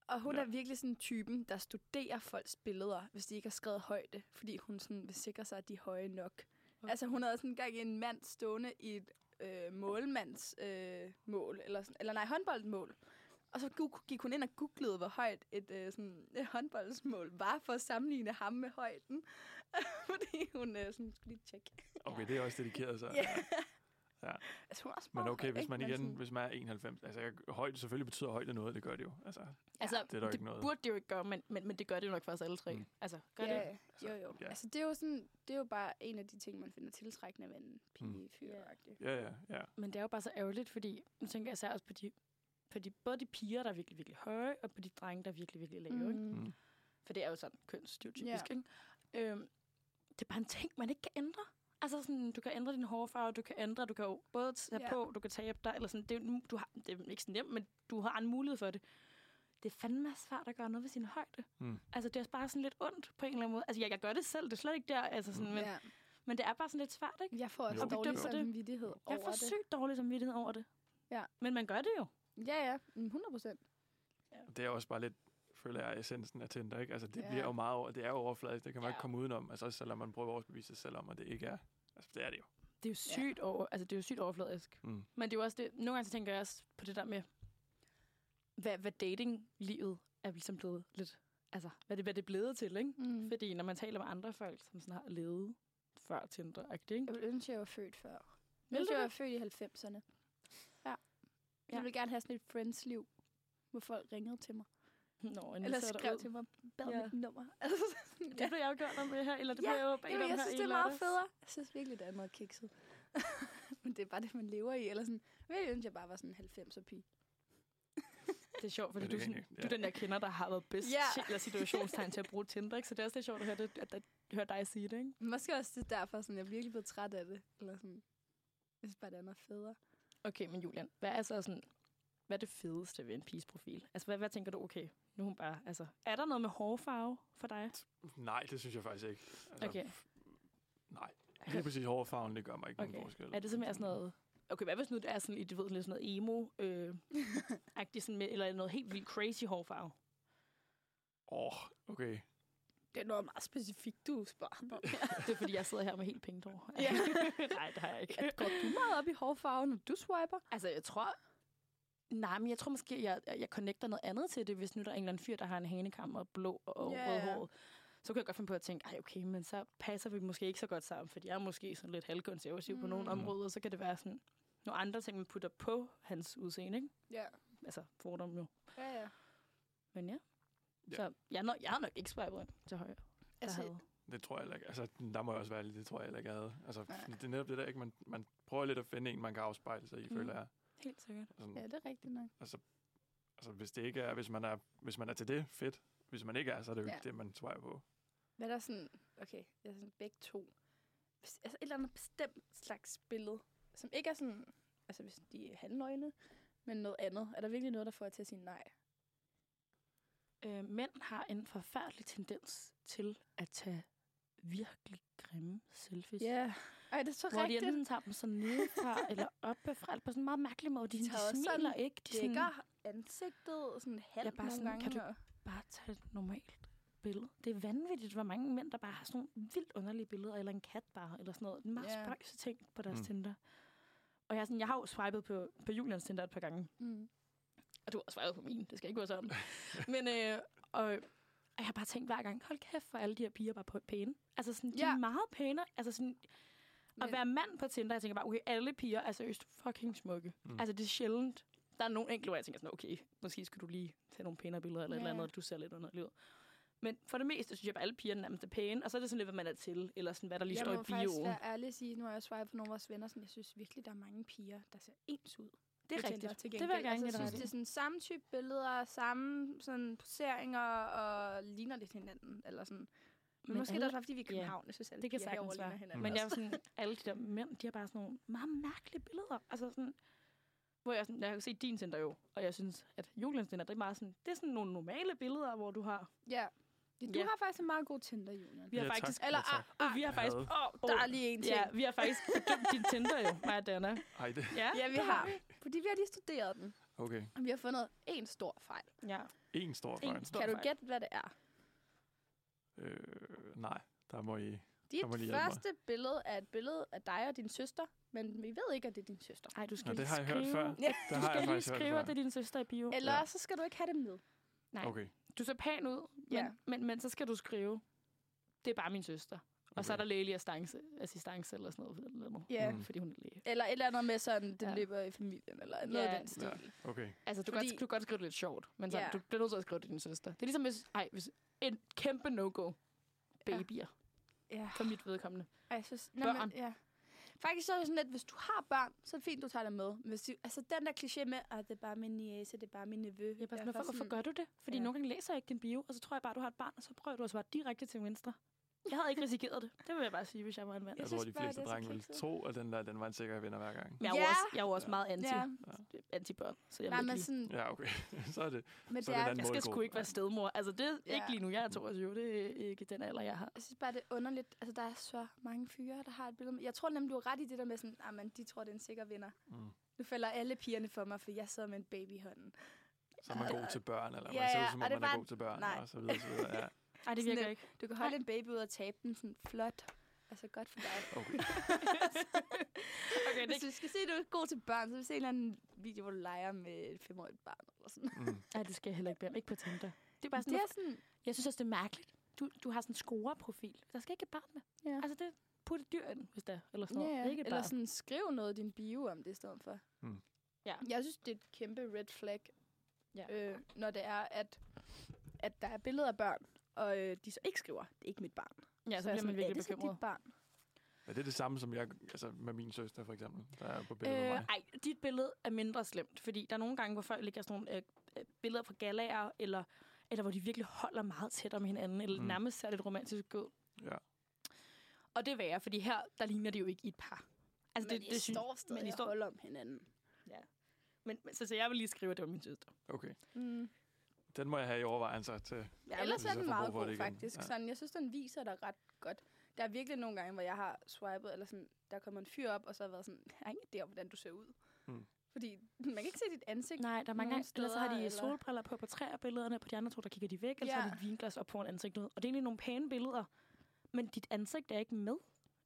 [SPEAKER 2] Og hun
[SPEAKER 3] Mm. Ja.
[SPEAKER 2] ja. er virkelig sådan typen, der studerer folks billeder, hvis de ikke har skrevet højde, fordi hun sådan vil sikre sig, at de er høje nok. Okay. Altså hun havde sådan engang en mand stående i et øh, målmands øh, mål, eller, sådan, eller nej, håndboldmål. Og så gu- gik hun ind og googlede, hvor højt et øh, sådan, øh, håndboldsmål var, for at sammenligne ham med højden. *laughs* fordi hun øh, sådan, skulle lige tjekke.
[SPEAKER 3] Okay, det er også dedikeret, så.
[SPEAKER 2] Ja.
[SPEAKER 3] Ja.
[SPEAKER 2] Altså, hun er også
[SPEAKER 3] Men
[SPEAKER 2] meget
[SPEAKER 3] okay,
[SPEAKER 2] høj,
[SPEAKER 3] hvis
[SPEAKER 2] ikke?
[SPEAKER 3] man
[SPEAKER 2] Men
[SPEAKER 3] igen,
[SPEAKER 2] sådan-
[SPEAKER 3] hvis man er 91, altså jeg, højde selvfølgelig betyder højde noget, det gør det jo. Altså,
[SPEAKER 1] altså,
[SPEAKER 3] det er der jo ikke noget.
[SPEAKER 1] burde det jo ikke gøre, men, men, men det gør det jo nok for os alle tre.
[SPEAKER 3] Mm.
[SPEAKER 1] Mm. Altså, gør
[SPEAKER 2] ja,
[SPEAKER 1] det?
[SPEAKER 2] Jo, jo.
[SPEAKER 3] ja.
[SPEAKER 2] Altså, det er jo, sådan, det er jo bare en af de ting, man finder tiltrækkende ved en
[SPEAKER 1] Mm.
[SPEAKER 2] pige fyr
[SPEAKER 1] Ja.
[SPEAKER 3] ja, ja, ja.
[SPEAKER 1] Men det er jo bare så ærgerligt, fordi nu tænker jeg især også på de, på de, både de piger, der er virkelig, virkelig høje, og på de drenge, der er virkelig, virkelig lave. Mm. Ikke?
[SPEAKER 2] Mm.
[SPEAKER 3] Mm.
[SPEAKER 1] For det er jo sådan kønsstereotypisk,
[SPEAKER 2] Ja.
[SPEAKER 1] yeah. ikke? Øhm, det er bare en ting, man ikke kan ændre. Altså sådan, du kan ændre din hårfarve, du kan ændre, du kan jo både tage
[SPEAKER 2] Ja.
[SPEAKER 1] yeah. på, du kan tabe dig, eller sådan, det, er jo- du har, det er ikke så nemt, men du har en mulighed for det. Det er fandme svært at gøre noget ved sin højde.
[SPEAKER 3] Mm.
[SPEAKER 1] Altså, det er også bare sådan lidt ondt på en eller anden måde. Altså, jeg, jeg gør det selv, det er slet ikke der, altså sådan,
[SPEAKER 3] Mm.
[SPEAKER 1] mm. men,
[SPEAKER 2] Ja.
[SPEAKER 1] men det er bare sådan lidt svært, ikke?
[SPEAKER 2] Jeg får også
[SPEAKER 3] Jo.
[SPEAKER 2] jo. dårlig
[SPEAKER 1] Bedømmer det.
[SPEAKER 2] samvittighed over
[SPEAKER 1] Jeg får
[SPEAKER 2] det.
[SPEAKER 1] sygt dårlig samvittighed over det.
[SPEAKER 2] Ja.
[SPEAKER 1] Men man gør det jo.
[SPEAKER 2] Ja, ja. Mm, 100 procent.
[SPEAKER 3] Og Det er også bare lidt, føler jeg, essensen af Tinder, ikke? Altså det
[SPEAKER 2] Ja.
[SPEAKER 3] bliver jo meget over, det er jo overfladisk, det kan man
[SPEAKER 1] Ja.
[SPEAKER 3] ikke komme udenom, altså også selvom man prøver at overbevise sig selv om, at det ikke er. Altså det er det jo.
[SPEAKER 1] Det er jo sygt, ja. over, altså, det er jo sygt overfladisk.
[SPEAKER 3] Mm.
[SPEAKER 1] Men det er jo også det, nogle gange så tænker jeg også på det der med, hvad, hvad datinglivet er ligesom blevet lidt, altså hvad det, hvad det er blevet til, ikke?
[SPEAKER 2] Mm.
[SPEAKER 1] Mm. Fordi når man taler med andre folk, som sådan har levet før Tinder, ikke?
[SPEAKER 2] Jeg ville ønske, jeg var født før. Jeg
[SPEAKER 1] Vil
[SPEAKER 2] ønske,
[SPEAKER 1] du
[SPEAKER 2] jeg
[SPEAKER 1] det?
[SPEAKER 2] var født i 90'erne. Ja. Jeg ville gerne have sådan et friends-liv, hvor folk ringede til mig.
[SPEAKER 1] Nå, en
[SPEAKER 2] Eller skrev til mig, bad
[SPEAKER 1] Ja.
[SPEAKER 2] ja. mit nummer. *laughs* Altså, sådan,
[SPEAKER 1] Det blev jeg jo gjort om det her, eller det ja, blev jeg jo bedt
[SPEAKER 2] Jamen,
[SPEAKER 1] om
[SPEAKER 2] jeg
[SPEAKER 1] her
[SPEAKER 2] synes,
[SPEAKER 1] i
[SPEAKER 2] det er meget
[SPEAKER 1] lørdags.
[SPEAKER 2] federe. Jeg synes virkelig, det er noget kikset. *laughs* Men det er bare det, man lever i. Eller sådan, jeg ville ønske, jeg bare var sådan en 90'er pige.
[SPEAKER 1] Det er sjovt, fordi
[SPEAKER 3] Men
[SPEAKER 1] du,
[SPEAKER 3] det
[SPEAKER 1] er
[SPEAKER 3] er
[SPEAKER 1] sådan,
[SPEAKER 3] egentlig-
[SPEAKER 1] du er
[SPEAKER 3] ja.
[SPEAKER 1] den, jeg kender, der har været bedst
[SPEAKER 2] Ja.
[SPEAKER 1] til, eller situationstegn til at bruge Tinder, ikke? Så det er også lidt sjovt at høre, det, at, at høre dig sige det, ikke?
[SPEAKER 2] Måske også det er derfor, sådan, jeg er virkelig blevet træt af det. Eller sådan, jeg synes bare, det er noget federe.
[SPEAKER 1] Okay, men Julian, hvad er så sådan, hvad er det fedeste ved en piges profil? Altså, hvad, hvad tænker du, okay, nu er hun bare, altså, er der noget med hårfarve for dig?
[SPEAKER 3] Nej, det synes jeg faktisk ikke. Altså,
[SPEAKER 1] Okay.
[SPEAKER 3] Nej, lige præcis hårfarven, det gør mig ikke okay.
[SPEAKER 1] Okay.
[SPEAKER 3] nogen forskel.
[SPEAKER 1] Er det simpelthen sådan noget, okay, hvad hvis nu det er sådan, i, du ved, lidt sådan noget emo *laughs* øh, agtigt sådan med, eller noget helt vildt crazy hårfarve?
[SPEAKER 3] Åh, oh, okay.
[SPEAKER 2] Det er noget meget specifikt, du spørger *laughs* mig.
[SPEAKER 1] Det er, fordi jeg sidder her med helt pænt hår.
[SPEAKER 2] Ja.
[SPEAKER 1] *laughs* Nej, det har jeg ikke.
[SPEAKER 2] Går du meget op i hårfarven, når du swiper?
[SPEAKER 1] Altså, jeg tror... Nej, men jeg tror måske, jeg, jeg connecter noget andet til det, hvis nu der er en eller anden fyr, der har en hanekam og blå og
[SPEAKER 2] Ja,
[SPEAKER 1] yeah.
[SPEAKER 2] ja.
[SPEAKER 1] rødhåret. Så kan jeg godt finde på at tænke, ej okay, men så passer vi måske ikke så godt sammen, fordi jeg er måske sådan lidt halvkonservativ mm. på nogle
[SPEAKER 2] Mm.
[SPEAKER 1] områder, så kan det være sådan nogle andre ting, man putter på hans udseende, ikke?
[SPEAKER 2] Ja.
[SPEAKER 1] Altså fordom jo.
[SPEAKER 2] Ja, ja.
[SPEAKER 1] Men ja.
[SPEAKER 3] Ja.
[SPEAKER 1] Yeah. Så jeg er, nok, jeg er nok ikke spejlet til højre.
[SPEAKER 2] Altså,
[SPEAKER 1] Altså,
[SPEAKER 3] Det tror jeg heller ikke. Altså, der må jeg også være lidt, det tror jeg heller ikke, jeg havde. Altså,
[SPEAKER 2] Nej.
[SPEAKER 3] det er netop det der, ikke? Man, man prøver lidt at finde en, man kan afspejle sig i,
[SPEAKER 1] Mm.
[SPEAKER 3] mm. føler jeg.
[SPEAKER 1] helt sikkert.
[SPEAKER 3] Sådan,
[SPEAKER 2] ja, det er rigtigt nok.
[SPEAKER 3] Altså, hvis det ikke er, hvis man er, hvis man er til det, fedt. Hvis man ikke er, så er det jo
[SPEAKER 2] Ja.
[SPEAKER 3] ikke det, man swiper på.
[SPEAKER 2] Hvad er der sådan, okay, jeg er sådan begge to. Hvis, altså et eller andet bestemt slags billede, som ikke er sådan, altså hvis de er halvnøgne, men noget andet. Er der virkelig noget, der får jer til at sige nej?
[SPEAKER 1] Øh, mænd har en forfærdelig tendens til at tage virkelig grimme selfies.
[SPEAKER 2] Ej, det er så
[SPEAKER 1] Hvor
[SPEAKER 2] rigtigt.
[SPEAKER 1] de
[SPEAKER 2] *laughs*
[SPEAKER 1] enten tager dem sådan nedefra eller oppe fra, eller på sådan en meget mærkelig måde. De,
[SPEAKER 2] De
[SPEAKER 1] de,
[SPEAKER 2] tager
[SPEAKER 1] de
[SPEAKER 2] også
[SPEAKER 1] smiler
[SPEAKER 2] sådan
[SPEAKER 1] ikke. De
[SPEAKER 2] dækker ansigtet, og sådan halvt
[SPEAKER 1] bare
[SPEAKER 2] nogle
[SPEAKER 1] sådan,
[SPEAKER 2] gange.
[SPEAKER 1] kan du-
[SPEAKER 2] og-
[SPEAKER 1] Bare tag et normalt billede. Det er vanvittigt, hvor mange mænd, der bare har sådan nogle vildt underlige billeder, eller en kat bare, eller sådan noget. En meget
[SPEAKER 2] Ja.
[SPEAKER 1] yeah. ting på deres
[SPEAKER 3] Mm.
[SPEAKER 1] mm. Tinder. Og jeg, er sådan, jeg har jo swipet på, på Julians Tinder et par gange.
[SPEAKER 2] Mm.
[SPEAKER 1] Og du har også svaret på min, det skal ikke gå sådan. Men, øh, og, og jeg har bare tænkt hver gang, hold kæft, for alle de her piger er bare på- pæne. Altså sådan, de
[SPEAKER 2] Ja.
[SPEAKER 1] er meget pæne. Altså sådan,
[SPEAKER 2] Men-
[SPEAKER 1] at være mand på Tinder, jeg tænker bare, okay, alle piger er seriøst fucking smukke.
[SPEAKER 3] Mm.
[SPEAKER 1] Mm. Altså det er sjældent. Der er nogle enkelte, hvor jeg tænker sådan, okay, måske skulle du lige tage nogle pænere billeder, eller ja. et
[SPEAKER 2] Ja.
[SPEAKER 1] eller andet, du ser lidt underlig ud. Men for det meste synes jeg bare, alle pigerne nærmest er pæne, og så er det sådan lidt, hvad man er til, eller sådan, hvad der lige
[SPEAKER 2] jeg
[SPEAKER 1] står i
[SPEAKER 2] må faktisk
[SPEAKER 1] bioen.
[SPEAKER 2] være ærlig og sige, nu har jeg svaret på nogle af vores venner, sådan, jeg synes virkelig, der er mange piger, der ser ens ud.
[SPEAKER 1] Det er
[SPEAKER 2] på Tinder
[SPEAKER 1] rigtigt.
[SPEAKER 2] til
[SPEAKER 1] Det vil jeg
[SPEAKER 2] gengæld.
[SPEAKER 1] gerne give
[SPEAKER 2] altså,
[SPEAKER 1] dig
[SPEAKER 2] jeg
[SPEAKER 1] ret
[SPEAKER 2] synes,
[SPEAKER 1] i.
[SPEAKER 2] det er sådan samme type billeder, samme sådan poseringer og ligner lidt hinanden. Eller sådan. Men, Men måske alle, er det også bare, fordi vi er i
[SPEAKER 1] ja.
[SPEAKER 2] København, jeg synes, alle
[SPEAKER 1] Det kan
[SPEAKER 2] piger herovre
[SPEAKER 1] sagtens være.
[SPEAKER 2] ligner hinanden. Altså,
[SPEAKER 1] Men altså- jeg er
[SPEAKER 2] også.
[SPEAKER 1] sådan, alle de der mænd, de har bare sådan nogle meget mærkelige billeder. Altså sådan, hvor jeg, sådan, jeg kan se din Tinder jo, og jeg synes, at Julians Tinder, det er meget sådan, det er sådan nogle normale billeder, hvor du har...
[SPEAKER 2] ja. Ja, Du
[SPEAKER 1] Ja.
[SPEAKER 2] har faktisk en meget god Tinder, Julian.
[SPEAKER 1] Vi har
[SPEAKER 3] Ja, tak.
[SPEAKER 1] faktisk...
[SPEAKER 2] Eller,
[SPEAKER 3] Ja,
[SPEAKER 2] ah,
[SPEAKER 3] tak.
[SPEAKER 1] Og vi har faktisk...
[SPEAKER 3] Had.
[SPEAKER 1] Åh,
[SPEAKER 2] der er lige en ting.
[SPEAKER 1] Ja, vi har faktisk bedømt din Tinder jo, mig og Dana.
[SPEAKER 3] Ej, det,
[SPEAKER 1] Ja,
[SPEAKER 2] Ja, vi
[SPEAKER 1] det
[SPEAKER 2] har. Fordi vi har lige studeret den,
[SPEAKER 3] okay.
[SPEAKER 2] og vi har fundet en stor fejl.
[SPEAKER 1] Ja.
[SPEAKER 3] En stor
[SPEAKER 1] En
[SPEAKER 3] fejl.
[SPEAKER 1] stor
[SPEAKER 2] kan du
[SPEAKER 1] fejl.
[SPEAKER 2] gætte, hvad det er?
[SPEAKER 3] Øh, nej, der må I...
[SPEAKER 2] Dit
[SPEAKER 3] må lige hjælpe mig.
[SPEAKER 2] første billede er et billede af dig og din søster, men vi ved ikke, at det er din søster.
[SPEAKER 1] Ej, du skal
[SPEAKER 3] Nå, det
[SPEAKER 1] lige
[SPEAKER 3] har jeg hørt
[SPEAKER 1] skrive...
[SPEAKER 3] før.
[SPEAKER 2] Ja.
[SPEAKER 3] Det
[SPEAKER 1] Du
[SPEAKER 3] har jeg
[SPEAKER 1] skal lige
[SPEAKER 3] faktisk hørt
[SPEAKER 1] skrive,
[SPEAKER 3] før.
[SPEAKER 1] at det er din søster i bio.
[SPEAKER 2] Eller
[SPEAKER 3] Ja.
[SPEAKER 2] ja. så skal du ikke have det med.
[SPEAKER 1] Nej,
[SPEAKER 3] Okay.
[SPEAKER 1] du ser pæn ud, men,
[SPEAKER 2] Ja.
[SPEAKER 1] men, men, så skal du skrive, det er bare min søster. Og så er
[SPEAKER 3] Okay.
[SPEAKER 1] der lægelig assistance, assistance eller sådan noget, for et eller andet,
[SPEAKER 2] Ja.
[SPEAKER 3] Mm.
[SPEAKER 1] fordi hun er læge.
[SPEAKER 2] Eller et eller andet med sådan, den ja.
[SPEAKER 1] Ja.
[SPEAKER 2] løber i familien, eller noget
[SPEAKER 1] Ja.
[SPEAKER 2] af den stil.
[SPEAKER 3] Ja, okay.
[SPEAKER 1] Altså, du,
[SPEAKER 2] Fordi-
[SPEAKER 1] Fordi... godt, du kan godt skrive det lidt sjovt, men sådan,
[SPEAKER 2] Ja.
[SPEAKER 1] yeah. du bliver nødt til at skrive det til din søster. Det er ligesom hvis, ej, hvis en kæmpe no-go.
[SPEAKER 2] Ja.
[SPEAKER 1] Babyer,
[SPEAKER 2] Ja.
[SPEAKER 1] for mit vedkommende.
[SPEAKER 2] Og jeg synes,
[SPEAKER 1] Børn.
[SPEAKER 2] Nå, men, ja. Faktisk så er det sådan, at hvis du har børn, så er det fint, du tager dem med. Men Hvis de, altså den der kliché med, at det er bare min niece, det er bare min nevø.
[SPEAKER 1] Jeg er bare sådan, hvorfor, hvorfor
[SPEAKER 2] sådan,
[SPEAKER 1] gør du det? Fordi
[SPEAKER 2] Ja.
[SPEAKER 1] ja. nogle gange læser jeg ikke din bio, og så tror jeg bare, du har et barn, og så prøver du at svare direkte til venstre. Jeg havde ikke risikeret det. Det vil jeg bare sige, hvis jeg var en mand.
[SPEAKER 2] Jeg
[SPEAKER 3] Jeg, tror,
[SPEAKER 2] synes
[SPEAKER 3] de
[SPEAKER 2] bare,
[SPEAKER 3] fleste
[SPEAKER 2] det er så
[SPEAKER 3] drenge ville
[SPEAKER 2] kikset.
[SPEAKER 3] tro, at den der, den var en sikker vinder hver gang.
[SPEAKER 1] Men jeg er jo
[SPEAKER 2] Ja.
[SPEAKER 1] også, jeg er jo også
[SPEAKER 3] Ja.
[SPEAKER 1] meget anti,
[SPEAKER 2] Ja,
[SPEAKER 1] anti-børn, så jeg,
[SPEAKER 2] nej,
[SPEAKER 1] vil
[SPEAKER 2] men
[SPEAKER 1] ikke lige-
[SPEAKER 2] sådan,
[SPEAKER 3] Ja, okay. *laughs* så er det.
[SPEAKER 2] men
[SPEAKER 3] så
[SPEAKER 2] det
[SPEAKER 3] er det
[SPEAKER 2] er,
[SPEAKER 3] den
[SPEAKER 1] jeg skal
[SPEAKER 3] målgruppe.
[SPEAKER 1] sgu ikke være stedmor. Altså, det er
[SPEAKER 2] Ja.
[SPEAKER 1] ikke lige nu. Jeg er 22, det er ikke den alder, jeg har.
[SPEAKER 2] jeg synes bare, det er underligt. Altså, der er så mange fyre, der har et billede. med- Jeg tror nemlig, du har ret i det der med sådan, ah, men de tror, det er en sikker vinder.
[SPEAKER 3] Mm.
[SPEAKER 2] Nu falder alle pigerne for mig, for jeg sidder med en baby i hånden.
[SPEAKER 3] Så er man god til børn, eller
[SPEAKER 2] Ja,
[SPEAKER 3] man ser ud
[SPEAKER 2] ja,
[SPEAKER 3] som
[SPEAKER 2] og
[SPEAKER 3] om,
[SPEAKER 2] det
[SPEAKER 3] man
[SPEAKER 2] var-
[SPEAKER 3] er god til børn,
[SPEAKER 2] nej.
[SPEAKER 3] og så videre, så videre. Ja,
[SPEAKER 1] Nej, det
[SPEAKER 2] Sådan
[SPEAKER 1] virker
[SPEAKER 2] en-
[SPEAKER 1] ikke.
[SPEAKER 2] Du kan holde en baby ud og tabe den sådan flot. Altså, godt for dig.
[SPEAKER 3] okay.
[SPEAKER 2] *laughs*
[SPEAKER 1] okay, det,
[SPEAKER 2] Hvis du skal se, at du er god til børn, så vil du se en eller anden video, hvor du leger med et femårigt barn. Eller sådan.
[SPEAKER 3] Mm.
[SPEAKER 1] nej, det skal jeg heller ikke bede om. Ikke på Tinder. Det er bare sådan,
[SPEAKER 2] Det er sådan,
[SPEAKER 1] Jeg synes også, det er mærkeligt. Du, du har sådan en scoreprofil. Der skal ikke et barn med.
[SPEAKER 2] Ja.
[SPEAKER 1] Altså, det putte dyr ind, hvis der eller sådan
[SPEAKER 2] Ja,
[SPEAKER 1] noget.
[SPEAKER 2] ja.
[SPEAKER 1] Ikke et
[SPEAKER 2] eller
[SPEAKER 1] barn.
[SPEAKER 2] sådan, skriv noget i din bio om det i stedet for.
[SPEAKER 3] Mm.
[SPEAKER 1] Ja.
[SPEAKER 2] Jeg synes, det er et kæmpe red flag,
[SPEAKER 1] Ja.
[SPEAKER 2] øh, når det er, at, at der er billeder af børn, og øh, de så ikke skriver, det er ikke mit barn.
[SPEAKER 1] ja, så,
[SPEAKER 2] er
[SPEAKER 1] bliver
[SPEAKER 2] jeg
[SPEAKER 1] man
[SPEAKER 2] sådan,
[SPEAKER 1] virkelig
[SPEAKER 2] "Er det så
[SPEAKER 1] bekymret.
[SPEAKER 2] dit barn?
[SPEAKER 3] Er det det samme som jeg, altså med min søster for eksempel, der er på billedet med
[SPEAKER 1] Øh,
[SPEAKER 3] mig?
[SPEAKER 1] ej, dit billede er mindre slemt, fordi der er nogle gange, hvor folk lægger sådan nogle øh, øh, billeder fra galager, eller, eller hvor de virkelig holder meget tæt om hinanden, eller
[SPEAKER 3] Mm.
[SPEAKER 1] mm. nærmest ser lidt romantisk ud.
[SPEAKER 3] Ja.
[SPEAKER 1] Og det er værre, fordi her, der ligner det jo ikke i et par.
[SPEAKER 2] Altså, men det, det
[SPEAKER 1] synes-
[SPEAKER 2] står stadig
[SPEAKER 1] men I
[SPEAKER 2] men
[SPEAKER 1] står-
[SPEAKER 2] står... om hinanden.
[SPEAKER 1] Men, men, så, så jeg vil lige skrive, at det var min søster.
[SPEAKER 3] Okay.
[SPEAKER 2] Mm.
[SPEAKER 3] Den må jeg have i overvejelser til.
[SPEAKER 2] Ja, ellers
[SPEAKER 3] hvis
[SPEAKER 2] er
[SPEAKER 3] jeg
[SPEAKER 2] den
[SPEAKER 3] får brug
[SPEAKER 2] meget
[SPEAKER 3] for det
[SPEAKER 2] god,
[SPEAKER 3] igen.
[SPEAKER 2] faktisk.
[SPEAKER 3] Ja.
[SPEAKER 2] Ja. Sådan, jeg synes, den viser dig ret godt. Der er virkelig nogle gange, hvor jeg har swipet, eller sådan, der kommer en fyr op, og så har jeg været sådan, jeg har ingen idé om, hvordan du ser ud.
[SPEAKER 3] Mm.
[SPEAKER 2] Fordi man kan ikke se dit ansigt.
[SPEAKER 1] Nej, der er mange
[SPEAKER 2] Nogle
[SPEAKER 1] gange, ellers så har de
[SPEAKER 2] steder,
[SPEAKER 1] eller...
[SPEAKER 2] eller-
[SPEAKER 1] solbriller på på tre af billederne, på de andre to, der kigger de væk, eller ja. så
[SPEAKER 2] Ja.
[SPEAKER 1] har de et vinglas op foran ansigtet. Og det er egentlig nogle pæne billeder, men dit ansigt er ikke med.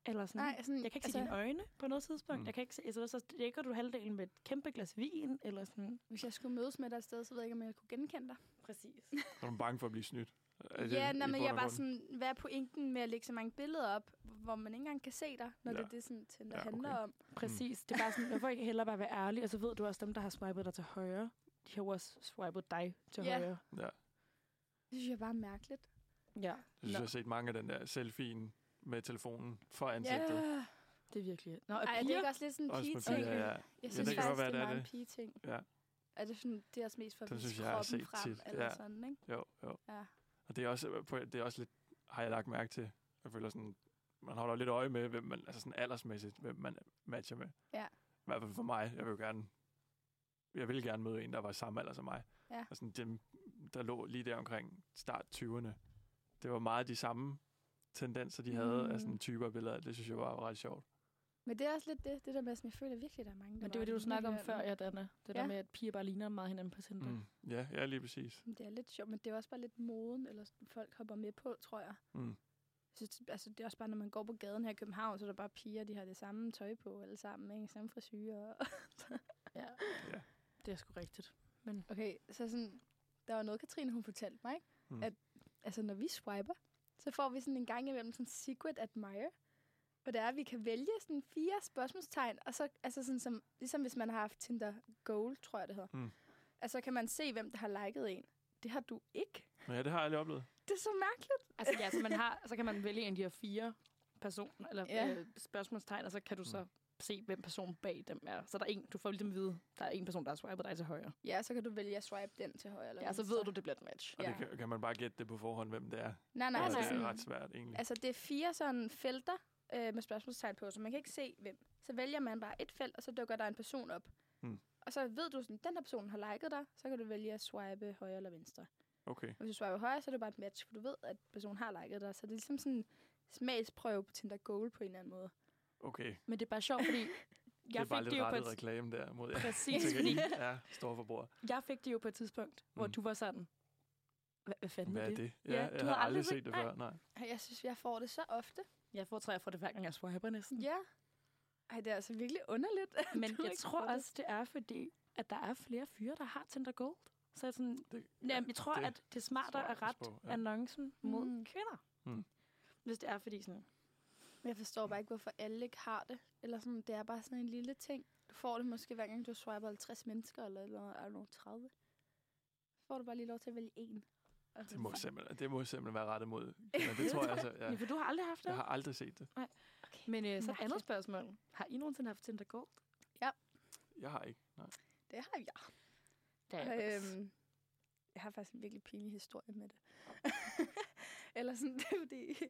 [SPEAKER 1] Eller sådan.
[SPEAKER 2] Nej, sådan,
[SPEAKER 1] Jeg kan ikke altså... se dine øjne på noget tidspunkt.
[SPEAKER 3] Mm.
[SPEAKER 1] Mm. Jeg kan ikke se, altså, så dækker du halvdelen med et kæmpe glas vin, eller sådan.
[SPEAKER 2] Hvis jeg skulle mødes med dig et sted, så ved jeg ikke, om jeg kunne genkende dig.
[SPEAKER 1] Præcis.
[SPEAKER 3] Så er man bange for at blive snydt. Er
[SPEAKER 2] ja,
[SPEAKER 3] i
[SPEAKER 2] nej, men
[SPEAKER 3] bund
[SPEAKER 2] jeg
[SPEAKER 3] og
[SPEAKER 2] var
[SPEAKER 3] grund?
[SPEAKER 2] sådan, hvad er pointen med at lægge så mange billeder op, hvor man ikke engang kan se dig, når
[SPEAKER 3] Ja.
[SPEAKER 2] ja. det er det, sådan, Tinder
[SPEAKER 3] Ja,
[SPEAKER 2] ja,
[SPEAKER 3] okay.
[SPEAKER 2] okay. handler om?
[SPEAKER 1] *laughs* Præcis. Det er bare sådan, hvorfor ikke hellere bare være ærlig, og så ved du også, dem, der har swipet dig til højre, de har jo også swipet dig til
[SPEAKER 2] Ja.
[SPEAKER 1] højre.
[SPEAKER 2] Det synes jeg bare er mærkeligt.
[SPEAKER 1] Ja,
[SPEAKER 3] Jeg synes, jeg har set mange af den der selfien med telefonen for ansigtet.
[SPEAKER 2] Ja.
[SPEAKER 1] det er virkelig. Nå, og
[SPEAKER 2] Ej, det er
[SPEAKER 1] piger,
[SPEAKER 2] ikke også lidt sådan en
[SPEAKER 3] Også med
[SPEAKER 2] pige-ting.
[SPEAKER 3] piger, ja.
[SPEAKER 2] Jeg
[SPEAKER 1] det
[SPEAKER 2] synes
[SPEAKER 1] kan
[SPEAKER 2] faktisk,
[SPEAKER 3] godt være,
[SPEAKER 2] det
[SPEAKER 3] det
[SPEAKER 2] er
[SPEAKER 3] er
[SPEAKER 2] meget en
[SPEAKER 3] det.
[SPEAKER 2] pige-ting.
[SPEAKER 3] Ja.
[SPEAKER 2] Er det, sådan, det er også mest for at
[SPEAKER 3] Den
[SPEAKER 2] vise
[SPEAKER 3] synes jeg, jeg har
[SPEAKER 2] kroppen
[SPEAKER 3] set
[SPEAKER 2] frem,
[SPEAKER 3] tit.
[SPEAKER 2] eller
[SPEAKER 3] Ja.
[SPEAKER 2] sådan, ikke?
[SPEAKER 3] Jo, jo.
[SPEAKER 2] Ja.
[SPEAKER 3] Og det er også, øh, på- det er også lidt, har jeg lagt mærke til. Jeg føler sådan, man holder lidt øje med, hvem man, altså sådan aldersmæssigt, hvem man matcher med.
[SPEAKER 2] Ja.
[SPEAKER 3] I hvert fald for mig, jeg vil jo gerne, jeg ville gerne møde en, der var samme alder som mig.
[SPEAKER 2] Ja.
[SPEAKER 3] Og sådan dem, der lå lige der omkring start 20'erne. Det var meget de samme tendenser, de havde af
[SPEAKER 2] Mm.
[SPEAKER 3] sådan typer af billeder. Det synes jeg bare var ret sjovt.
[SPEAKER 2] Men det er også lidt det, det der med, sådan, jeg føler virkelig, der er mange, der
[SPEAKER 1] Men det var
[SPEAKER 2] bare
[SPEAKER 1] det, du
[SPEAKER 2] ligner
[SPEAKER 1] snakkede om
[SPEAKER 2] hinanden.
[SPEAKER 1] før, ja, Danne. Det der
[SPEAKER 2] Ja.
[SPEAKER 1] med, at piger bare ligner meget hinanden på Tinder. Mm.
[SPEAKER 3] Mm. Ja, ja, lige præcis.
[SPEAKER 2] Men Det er lidt sjovt, men det er også bare lidt moden, eller sådan, folk hopper med på, tror jeg.
[SPEAKER 3] Mm.
[SPEAKER 2] Jeg synes, altså, det er også bare, når man går på gaden her i København, så er der bare piger, de har det samme tøj på alle sammen, ikke? Samme frisyrer.
[SPEAKER 1] Ja.
[SPEAKER 3] Ja.
[SPEAKER 1] Det er sgu rigtigt.
[SPEAKER 2] Okay, så sådan, der var noget, Katrine, hun fortalte mig, ikke?
[SPEAKER 3] Mm.
[SPEAKER 2] Mm. At altså, når vi swiper, så får vi sådan en gang imellem sådan secret admirer, hvor det er, at vi kan vælge sådan fire spørgsmålstegn, og så, altså sådan som, ligesom hvis man har haft Tinder Gold, tror jeg det hedder.
[SPEAKER 3] Mm.
[SPEAKER 2] Altså, kan man se, hvem der har liket en. Det har du ikke. *laughs*
[SPEAKER 3] Nå, ja, det har jeg aldrig oplevet.
[SPEAKER 2] Det er så mærkeligt.
[SPEAKER 1] Altså ja, så, *laughs* man har, så kan man vælge en af de her fire personer, eller ja. Mm.
[SPEAKER 2] Ja.
[SPEAKER 1] øh, spørgsmålstegn, og så kan du så se, hvem personen bag dem er. Så der er en, du får ligesom at vide, der er en person, der har swipet dig til højre.
[SPEAKER 2] Ja, så kan du vælge at swipe den til højre eller
[SPEAKER 1] Ja, så
[SPEAKER 2] venstre.
[SPEAKER 1] ved du, det bliver et match.
[SPEAKER 3] Og
[SPEAKER 2] Ja.
[SPEAKER 3] det kan, kan man bare gætte det på forhånd, hvem det er.
[SPEAKER 2] Nej, nej,
[SPEAKER 3] Ja,
[SPEAKER 2] altså,
[SPEAKER 1] nej.
[SPEAKER 3] det er
[SPEAKER 2] sådan,
[SPEAKER 3] ret svært, egentlig.
[SPEAKER 2] altså det er fire sådan felter øh, med spørgsmålstegn på, så man kan ikke se hvem. Så vælger man bare et felt, og så dukker der en person op.
[SPEAKER 3] Mm.
[SPEAKER 2] Og så ved du sådan, den her person har liket dig, så kan du vælge at swipe højre eller venstre.
[SPEAKER 3] Okay.
[SPEAKER 2] Og hvis du swiper højre, så er det bare et match, for du ved, at personen har liket dig. Så det er ligesom sådan en smagsprøve på Tinder Gold på en eller anden måde.
[SPEAKER 3] Okay.
[SPEAKER 1] Men det er bare sjovt, *laughs* fordi
[SPEAKER 3] Jeg det er
[SPEAKER 1] jeg
[SPEAKER 3] bare
[SPEAKER 1] fik
[SPEAKER 3] lidt
[SPEAKER 1] det jo på
[SPEAKER 3] rettet
[SPEAKER 1] et,
[SPEAKER 3] reklame der mod jer.
[SPEAKER 1] *laughs*
[SPEAKER 3] *laughs*
[SPEAKER 1] præcis,
[SPEAKER 3] Tænker,
[SPEAKER 1] fordi
[SPEAKER 3] I er store forbrugere.
[SPEAKER 1] jeg fik det jo på et tidspunkt, hvor
[SPEAKER 3] Mm.
[SPEAKER 1] du var sådan, "Hva- hvad fanden
[SPEAKER 3] Hvad er det? Ja,
[SPEAKER 1] Ja,
[SPEAKER 3] jeg
[SPEAKER 1] du
[SPEAKER 3] har
[SPEAKER 1] har
[SPEAKER 3] aldrig,
[SPEAKER 1] aldrig
[SPEAKER 3] set
[SPEAKER 1] set-
[SPEAKER 3] det
[SPEAKER 1] nej.
[SPEAKER 3] før. Nej.
[SPEAKER 2] Ej, Jeg synes, jeg får det så ofte.
[SPEAKER 1] Jeg får, tror, jeg får det hver gang, jeg swiper næsten.
[SPEAKER 2] Ja. Ej, det er altså virkelig underligt. at
[SPEAKER 1] Men
[SPEAKER 2] du
[SPEAKER 1] jeg
[SPEAKER 2] ikke
[SPEAKER 1] tror
[SPEAKER 2] får det.
[SPEAKER 1] også, det er fordi, at der er flere fyre, der har Tinder Gold. Så jeg, sådan,
[SPEAKER 3] Det-
[SPEAKER 1] det, jamen, jeg tror,
[SPEAKER 3] det
[SPEAKER 1] det, at det er smartere
[SPEAKER 3] tror jeg
[SPEAKER 1] at
[SPEAKER 3] også
[SPEAKER 1] rette
[SPEAKER 3] på, ja.
[SPEAKER 1] ja. annoncen mod
[SPEAKER 2] Mm.
[SPEAKER 1] mm. kvinder.
[SPEAKER 3] Mm.
[SPEAKER 1] Mm. Hvis det er fordi sådan,
[SPEAKER 2] Men Jeg forstår bare ikke, hvorfor alle ikke har det. Eller sådan, det er bare sådan en lille ting. Du får det måske hver gang, du swiper 50 mennesker, eller, eller, eller 30. Så får du bare lige lov til at vælge en. Altså, Og
[SPEAKER 3] Det må, simpelthen, det må simpelthen være rettet mod. Men det tror jeg altså.
[SPEAKER 1] ja.
[SPEAKER 3] Ja.
[SPEAKER 1] for du har aldrig haft det.
[SPEAKER 3] Jeg har aldrig set det.
[SPEAKER 2] Okay.
[SPEAKER 1] Men øh, så et andet
[SPEAKER 2] Mærkeligt.
[SPEAKER 1] spørgsmål. Har I nogensinde haft Tinder Gold?
[SPEAKER 3] Jeg har ikke. Nej.
[SPEAKER 2] Det har jeg.
[SPEAKER 1] Det
[SPEAKER 2] Øhm, jeg har faktisk en virkelig pinlig historie med det. *laughs* Eller sådan, *laughs* det er fordi,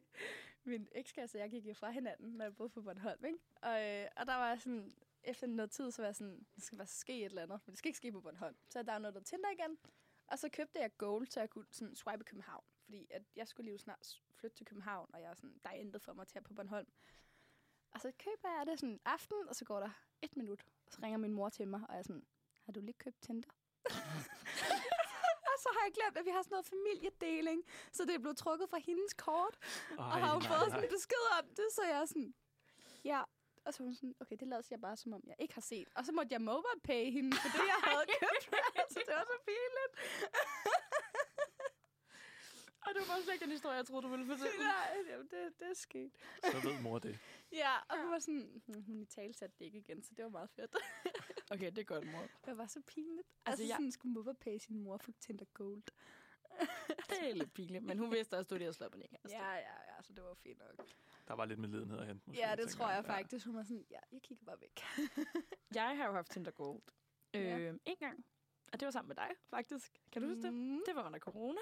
[SPEAKER 2] min ekskæreste og jeg gik jo fra hinanden, når jeg boede på Bornholm, ikke? Og, øh, og der var jeg sådan, efter noget tid, så var jeg sådan, der skal bare ske et eller andet, men det skal ikke ske på Bornholm. Så jeg downloadede Tinder igen, og så købte jeg Gold, så jeg kunne sådan swipe i København. Fordi at jeg skulle lige jo snart s- flytte til København, og jeg var sådan, der er intet for mig til her på Bornholm. Og så køber jeg det sådan en aften, og så går der et minut, og så ringer min mor til mig, og jeg er sådan, har du lige købt Tinder? og så har jeg glemt, at vi har sådan noget familiedeling, så det er blevet trukket fra hendes kort,
[SPEAKER 3] Ej,
[SPEAKER 2] og har jo
[SPEAKER 3] nej,
[SPEAKER 2] fået
[SPEAKER 3] nej.
[SPEAKER 2] sådan en besked om det, så jeg er sådan, ja. Og så var hun sådan, okay, det lader jeg bare, som om jeg ikke har set. Og så måtte jeg mobile pay hende for det, jeg havde købt. altså, det *laughs* var så pinligt. *laughs*
[SPEAKER 1] Og det var bare slet ikke den historie, jeg troede, du ville fortælle.
[SPEAKER 2] Nej, jamen, det, det er sket.
[SPEAKER 3] Så ved mor det.
[SPEAKER 2] Ja, og hun var sådan, "Hm, hun i tale satte det ikke igen, så det var meget
[SPEAKER 1] *laughs*
[SPEAKER 2] fedt. *laughs*
[SPEAKER 1] Okay, det er godt, mor.
[SPEAKER 2] det var så pinligt. Altså,
[SPEAKER 1] Altså,
[SPEAKER 2] altså
[SPEAKER 1] jeg-
[SPEAKER 2] sådan, skulle mobile pay sin mor for Tinder Gold.
[SPEAKER 1] Det er lidt pinligt, men hun vidste også, at du lige havde slået på den altså.
[SPEAKER 2] Ja, ja, ja, så det var fint nok.
[SPEAKER 3] Der var lidt med lidenhed at hente. Måske,
[SPEAKER 2] ja, det
[SPEAKER 3] tænker
[SPEAKER 2] tror jeg faktisk. Hun var sådan, ja, jeg kigger bare væk.
[SPEAKER 1] Jeg har jo haft Tinder Gold.
[SPEAKER 2] Ja.
[SPEAKER 1] Øh, en gang. Og det var sammen med dig, faktisk. Kan du huske det?
[SPEAKER 2] Mm.
[SPEAKER 1] Det var under corona.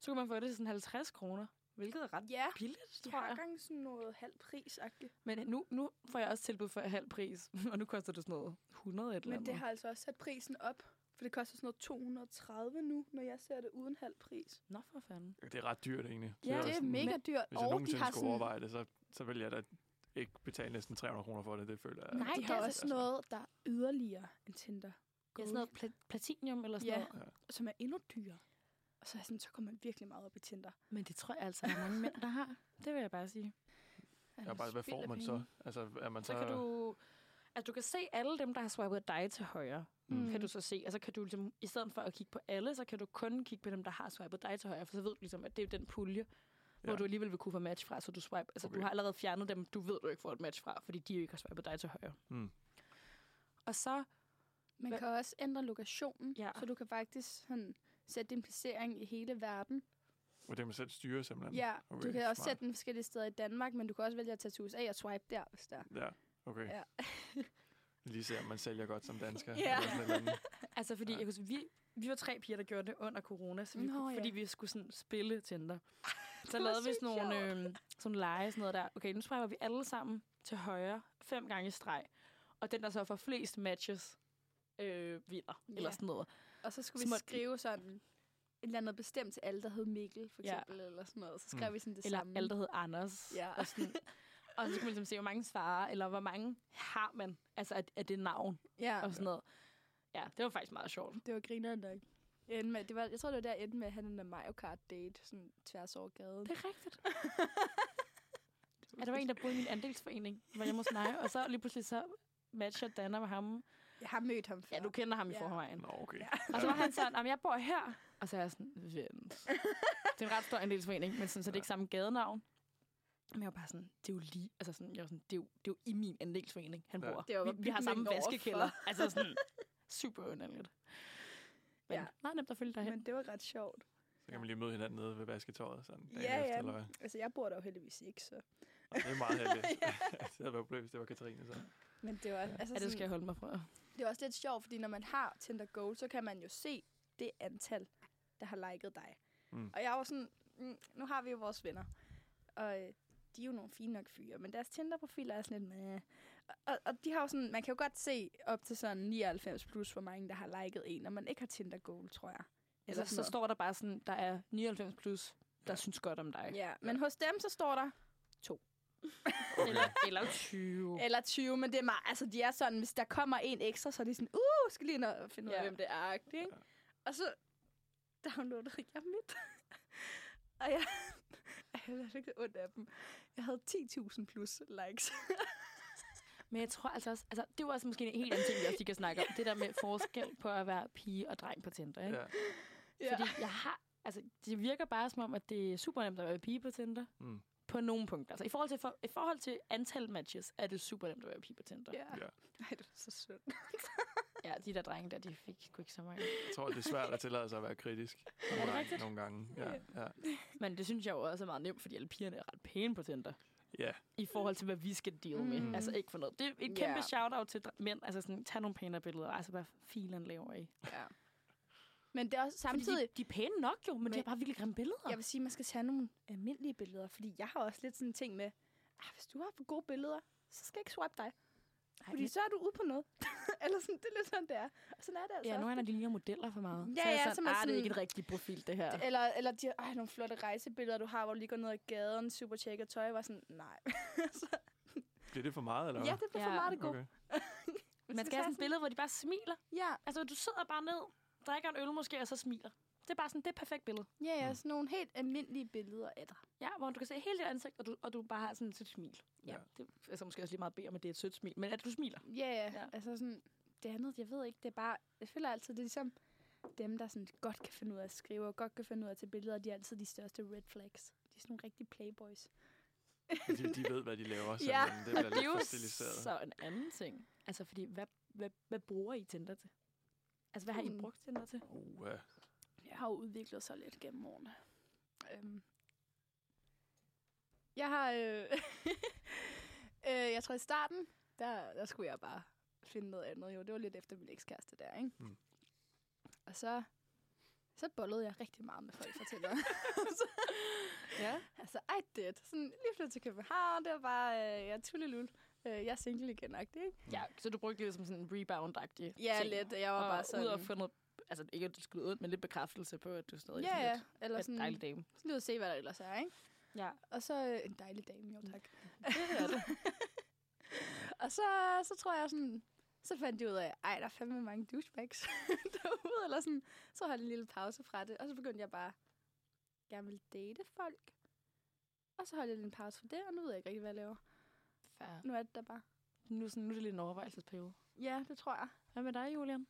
[SPEAKER 1] Så kunne man få det til sådan 50 kroner, hvilket er ret
[SPEAKER 2] Ja,
[SPEAKER 1] billigt,
[SPEAKER 2] de
[SPEAKER 1] tror
[SPEAKER 2] har
[SPEAKER 1] jeg.
[SPEAKER 2] gang sådan noget halv pris -agtigt.
[SPEAKER 1] Men nu, nu får jeg også tilbud for halv pris, *laughs* og nu koster det sådan noget 100 et eller
[SPEAKER 2] Men
[SPEAKER 1] andet.
[SPEAKER 2] det har altså også sat prisen op, for det koster sådan noget 230 nu, når jeg ser det uden halv pris.
[SPEAKER 1] Nå for fanden.
[SPEAKER 3] Det er ret dyrt, egentlig.
[SPEAKER 1] Ja,
[SPEAKER 3] også
[SPEAKER 2] det er
[SPEAKER 3] sådan-
[SPEAKER 2] mega dyrt,
[SPEAKER 3] Hvis jeg
[SPEAKER 2] og de
[SPEAKER 3] nogensinde
[SPEAKER 2] har
[SPEAKER 3] skulle
[SPEAKER 2] sådan...
[SPEAKER 3] overveje det, så, så vil jeg da ikke betale næsten 300 kroner for det. Det føler jeg.
[SPEAKER 1] Nej,
[SPEAKER 2] De
[SPEAKER 1] det
[SPEAKER 2] har
[SPEAKER 1] er
[SPEAKER 2] også noget, der er yderligere end Tinder.
[SPEAKER 1] Ja,
[SPEAKER 2] Gold,
[SPEAKER 1] sådan noget pla- platinium eller sådan
[SPEAKER 2] Ja.
[SPEAKER 1] noget.
[SPEAKER 2] Som er endnu dyrere. Og så, er jeg sådan, så kommer man virkelig meget op i Tinder.
[SPEAKER 1] Men det tror jeg altså, at der er mange mænd, der *laughs* har. Det vil jeg bare sige.
[SPEAKER 3] Jeg er bare, hvad får man så? Altså, er man så...
[SPEAKER 1] Så kan du... Altså, du kan se alle dem, der har swipet dig til højre.
[SPEAKER 3] Mm.
[SPEAKER 1] Mm. Kan du så se. Og så kan du ligesom, i stedet for at kigge på alle, så kan du kun kigge på dem, der har swipet dig til højre. For så ved du ligesom, at det er den pulje, ja.
[SPEAKER 3] Ja.
[SPEAKER 1] hvor du alligevel vil kunne få match fra. Så du, swipe, altså,
[SPEAKER 3] Okay.
[SPEAKER 1] du har allerede fjernet dem, du ved, du ikke får et match fra, fordi de jo ikke har swipet dig til højre.
[SPEAKER 3] Mm.
[SPEAKER 1] Og så
[SPEAKER 2] Mm. Man
[SPEAKER 1] Hvad-
[SPEAKER 2] kan også ændre lokationen,
[SPEAKER 1] Ja.
[SPEAKER 2] så du kan faktisk sådan, sætte din placering i hele verden.
[SPEAKER 3] Og det kan man selv styre, simpelthen.
[SPEAKER 2] Ja,
[SPEAKER 3] okay,
[SPEAKER 2] du kan også
[SPEAKER 3] smart.
[SPEAKER 2] sætte den forskellige steder i Danmark, men du kan også vælge at tage til USA og swipe der, hvis der.
[SPEAKER 3] Ja, okay.
[SPEAKER 2] Ja.
[SPEAKER 3] *laughs* Lige se, om man sælger godt som dansker.
[SPEAKER 2] Ja.
[SPEAKER 3] eller sådan et eller andet.
[SPEAKER 1] Altså, fordi
[SPEAKER 3] Ja.
[SPEAKER 1] ja. jeg kunne, s- vi, vi var tre piger, der gjorde det under corona, så vi,
[SPEAKER 2] Nå,
[SPEAKER 1] Nå,
[SPEAKER 2] ja.
[SPEAKER 1] fordi vi skulle sådan spille
[SPEAKER 2] *laughs*
[SPEAKER 1] Tinder. så
[SPEAKER 2] var
[SPEAKER 1] lavede vi
[SPEAKER 2] sygt
[SPEAKER 1] sådan nogle øh, sådan lege, sådan noget der. Okay, nu swiper vi alle sammen til højre fem gange i streg. Og den, der så får flest matches, øh, vinder. Ja.
[SPEAKER 2] Ja.
[SPEAKER 1] Eller sådan noget.
[SPEAKER 2] Og så skulle
[SPEAKER 1] Så
[SPEAKER 2] vi
[SPEAKER 1] måtte-
[SPEAKER 2] skrive sådan et eller andet bestemt til alle, der hed Mikkel, for
[SPEAKER 1] Ja.
[SPEAKER 2] eksempel, ja. eller sådan noget. Så skrev
[SPEAKER 3] Mm.
[SPEAKER 2] vi sådan det
[SPEAKER 1] Eller
[SPEAKER 2] samme.
[SPEAKER 1] alle, der hed Anders.
[SPEAKER 2] Ja.
[SPEAKER 1] Og, sådan. Og så kan man ligesom se, hvor mange svarer, eller hvor mange har man, altså af, af det navn
[SPEAKER 2] *laughs* Ja,
[SPEAKER 1] og sådan noget. Ja, det var faktisk meget sjovt.
[SPEAKER 2] det var grineren nok. Jeg, endte med, det var, jeg tror, det var der, jeg endte med at have den der Mario Kart date, sådan tværs over gaden.
[SPEAKER 1] Det
[SPEAKER 2] *laughs*
[SPEAKER 1] er rigtigt. Ja, der var en, der boede i min andelsforening, hvor jeg må snakke, og så lige pludselig så matcher Danner med ham.
[SPEAKER 2] Jeg har mødt ham før.
[SPEAKER 1] Ja, du kender ham i
[SPEAKER 2] Ja.
[SPEAKER 1] forvejen.
[SPEAKER 3] Nå, okay.
[SPEAKER 2] Ja.
[SPEAKER 1] Og så var han sådan, "Jamen, jeg bor her. Og så er jeg sådan, vent. Det er en ret stor andelsforening, men sådan, så det er ikke samme gadenavn. Men jeg var bare sådan, det er jo lige, altså sådan, jeg var sådan, det er jo, det er jo i min andelsforening, han
[SPEAKER 3] Ja.
[SPEAKER 1] bor.
[SPEAKER 2] Det var
[SPEAKER 1] vi, vi har samme
[SPEAKER 2] bygningen
[SPEAKER 1] vaskekælder. altså sådan, super underligt. Men
[SPEAKER 2] Ja.
[SPEAKER 1] ja. meget nemt at følge dig hen.
[SPEAKER 2] Men det var ret sjovt.
[SPEAKER 3] Så kan man lige møde hinanden nede ved vasketøjet. Sådan, dagen
[SPEAKER 2] Ja,
[SPEAKER 3] efter,
[SPEAKER 2] ja.
[SPEAKER 3] Eller hvad?
[SPEAKER 2] Altså, jeg bor der jo heldigvis ikke, så.
[SPEAKER 3] Og det er meget heldigt. *laughs* det havde været et problem, hvis det var Katrine. Så.
[SPEAKER 2] Men det var, altså,
[SPEAKER 1] Ja, det skal
[SPEAKER 2] sådan,
[SPEAKER 1] jeg holde mig fra.
[SPEAKER 2] det var også lidt sjovt, fordi når man har Tinder Gold, så kan man jo se det antal, der har liket dig.
[SPEAKER 3] Mm.
[SPEAKER 2] Og jeg var sådan, mm, nu har vi jo vores venner. Og øh, de er jo nogle fine nok fyre, men deres Tinder-profiler er sådan lidt med. Og, og de har jo sådan, man kan jo godt se op til sådan 99 plus, hvor mange der har liket en, når man ikke har Tinder Gold, tror jeg. Eller
[SPEAKER 1] Eller Altså, så,
[SPEAKER 2] sådan noget.
[SPEAKER 1] står der bare sådan, der er 99 plus, der
[SPEAKER 3] Ja.
[SPEAKER 1] ja. synes godt om dig.
[SPEAKER 2] Ja, men hos dem så står der,
[SPEAKER 3] Okay.
[SPEAKER 1] Eller, eller 20.
[SPEAKER 2] eller 20, men det er meget, altså de er sådan, hvis der kommer en ekstra, så er de sådan, uh, skal lige ind og finde ud af,
[SPEAKER 1] Ja.
[SPEAKER 2] hvem det er, agtig, ikke?
[SPEAKER 3] Ja.
[SPEAKER 2] Og så downloadede jeg mit. og jeg, *laughs* jeg havde ikke ondt af dem. Jeg havde 10.000 plus likes.
[SPEAKER 1] Men jeg tror altså også, altså, det er jo også måske en helt anden ting, vi også lige kan snakke om. Det der med forskel på at være pige og dreng på Tinder. Ikke?
[SPEAKER 3] Ja.
[SPEAKER 1] Ja. Fordi jeg har, altså, det virker bare som om, at det er super nemt at være pige på Tinder.
[SPEAKER 3] Mm.
[SPEAKER 1] På nogle punkter. Altså, i forhold til, for, i forhold til antal matches, er det super nemt at være pige på Tinder.
[SPEAKER 2] ja.
[SPEAKER 3] Ja.
[SPEAKER 2] *laughs* Ej, det var så sødt.
[SPEAKER 1] Ja, de der drenge der, de fik sgu ikke så mange.
[SPEAKER 3] Jeg tror, det er svært at tillade sig at være kritisk.
[SPEAKER 1] det
[SPEAKER 3] Nogle, gange,
[SPEAKER 1] rigtigt?
[SPEAKER 3] nogle gange. Ja, ja.
[SPEAKER 1] Men det synes jeg jo også er meget nemt, fordi alle pigerne er ret pæne på Tinder.
[SPEAKER 3] ja.
[SPEAKER 1] I forhold til, hvad vi skal deal med.
[SPEAKER 2] Mm.
[SPEAKER 1] Mm. Altså ikke for noget. Det er et
[SPEAKER 2] Ja.
[SPEAKER 1] kæmpe shout-out til dr- mænd. Altså sådan, tag nogle pænere billeder. Altså hvad filen laver I?
[SPEAKER 2] Ja. Men det er også
[SPEAKER 1] Fordi
[SPEAKER 2] samtidig,
[SPEAKER 1] de, de er pæne nok jo, men, men de
[SPEAKER 2] Men-
[SPEAKER 1] har bare virkelig grimme billeder.
[SPEAKER 2] jeg vil sige, at man skal tage nogle almindelige billeder, fordi jeg har også lidt sådan en ting med, ah, hvis du har for gode billeder, så skal jeg ikke swipe dig,
[SPEAKER 1] Ej,
[SPEAKER 2] fordi så er du ude på noget. *laughs* Eller sådan, det er lidt sådan, det er. Og sådan er det altså
[SPEAKER 1] Ja, nu
[SPEAKER 2] ofte.
[SPEAKER 1] er de ligner modeller for meget.
[SPEAKER 2] Ja,
[SPEAKER 1] så er jeg
[SPEAKER 2] ja, så
[SPEAKER 1] sådan,
[SPEAKER 2] man
[SPEAKER 1] "Ah, det er
[SPEAKER 2] sådan-
[SPEAKER 1] ikke et rigtigt profil, det her.
[SPEAKER 2] Det- Eller, eller de har nogle flotte rejsebilleder, du har, hvor du lige går ned ad gaden, super tjekket tøj, var sådan, nej. så,
[SPEAKER 3] Bliver det for meget, eller
[SPEAKER 2] ja,
[SPEAKER 3] hvad?
[SPEAKER 2] det blev for
[SPEAKER 1] Ja.
[SPEAKER 2] meget det gode.
[SPEAKER 3] Okay.
[SPEAKER 1] Man skal have sådan et billede, hvor de bare smiler.
[SPEAKER 2] Ja,
[SPEAKER 1] Altså, du sidder bare ned, drikker en øl måske, og så smiler. Det er bare sådan, det er et perfekt billede.
[SPEAKER 2] ja, ja,
[SPEAKER 3] Mm.
[SPEAKER 2] sådan nogle helt almindelige billeder af dig.
[SPEAKER 1] Ja, hvor du kan se hele dit ansigt, og du, og du bare har sådan et sødt smil.
[SPEAKER 3] Ja.
[SPEAKER 1] Ja. Det er altså, måske også lige meget bedre, men det er et sødt smil. Men at du smiler.
[SPEAKER 2] Ja, ja,
[SPEAKER 1] Ja.
[SPEAKER 2] altså sådan, det andet, jeg ved ikke, det er bare, jeg føler altid, det er ligesom dem, der sådan godt kan finde ud af at skrive, og godt kan finde ud af at tage billeder, de er altid de største red flags. De er sådan nogle rigtige playboys.
[SPEAKER 3] De, de ved, hvad de laver, så
[SPEAKER 2] Ja,
[SPEAKER 3] ja. det bliver
[SPEAKER 1] det er
[SPEAKER 3] lidt
[SPEAKER 1] jo
[SPEAKER 3] for stiliseret.
[SPEAKER 1] så en anden ting. Altså, fordi hvad, hvad, hvad bruger I Tinder til? Altså, hvad har
[SPEAKER 2] Hmm.
[SPEAKER 1] I brugt Tinder til?
[SPEAKER 3] Uh, ja.
[SPEAKER 2] Jeg har jo udviklet sig lidt gennem årene. Øhm. Jeg har... Øh, *laughs* øh, jeg tror i starten, der, der skulle jeg bare finde noget andet. Jo, det var lidt efter min ekskæreste der, ikke?
[SPEAKER 3] Mm.
[SPEAKER 2] Og så, så bollede jeg rigtig meget med folk fra Tinder.
[SPEAKER 1] Ja.
[SPEAKER 2] altså, I did. Sådan, lige flyttet til København, det var bare, øh, jeg er tullelul. Øh, jeg er single igen, ikke?
[SPEAKER 1] Ja, så du brugte det som sådan en rebound-agtig
[SPEAKER 2] Ja,
[SPEAKER 1] ting.
[SPEAKER 2] lidt. Jeg var
[SPEAKER 1] og
[SPEAKER 2] bare sådan...
[SPEAKER 1] ud og få noget, altså ikke at du skulle ud, men lidt bekræftelse på, at du stadig
[SPEAKER 2] ja,
[SPEAKER 1] er
[SPEAKER 2] ja.
[SPEAKER 1] sådan
[SPEAKER 2] Eller
[SPEAKER 1] lidt en
[SPEAKER 2] sådan,
[SPEAKER 1] dejlig dame.
[SPEAKER 2] sådan ud og se, hvad der ellers er, ikke?
[SPEAKER 1] Ja.
[SPEAKER 2] Og så øh, en dejlig dame, jo tak.
[SPEAKER 1] er
[SPEAKER 2] *laughs* og så, så tror jeg sådan, så fandt de ud af, ej, der er fandme mange douchebags *laughs* derude, eller sådan. Så holdt jeg en lille pause fra det, og så begyndte jeg bare, gerne vil date folk. Og så holdt jeg en pause fra det, og nu ved jeg ikke rigtig, hvad jeg laver.
[SPEAKER 1] Fair.
[SPEAKER 2] Nu er det der bare.
[SPEAKER 1] Nu, sådan, nu er det lidt en overvejelsesperiode.
[SPEAKER 2] Ja, det tror jeg.
[SPEAKER 1] Hvad med dig, Julian?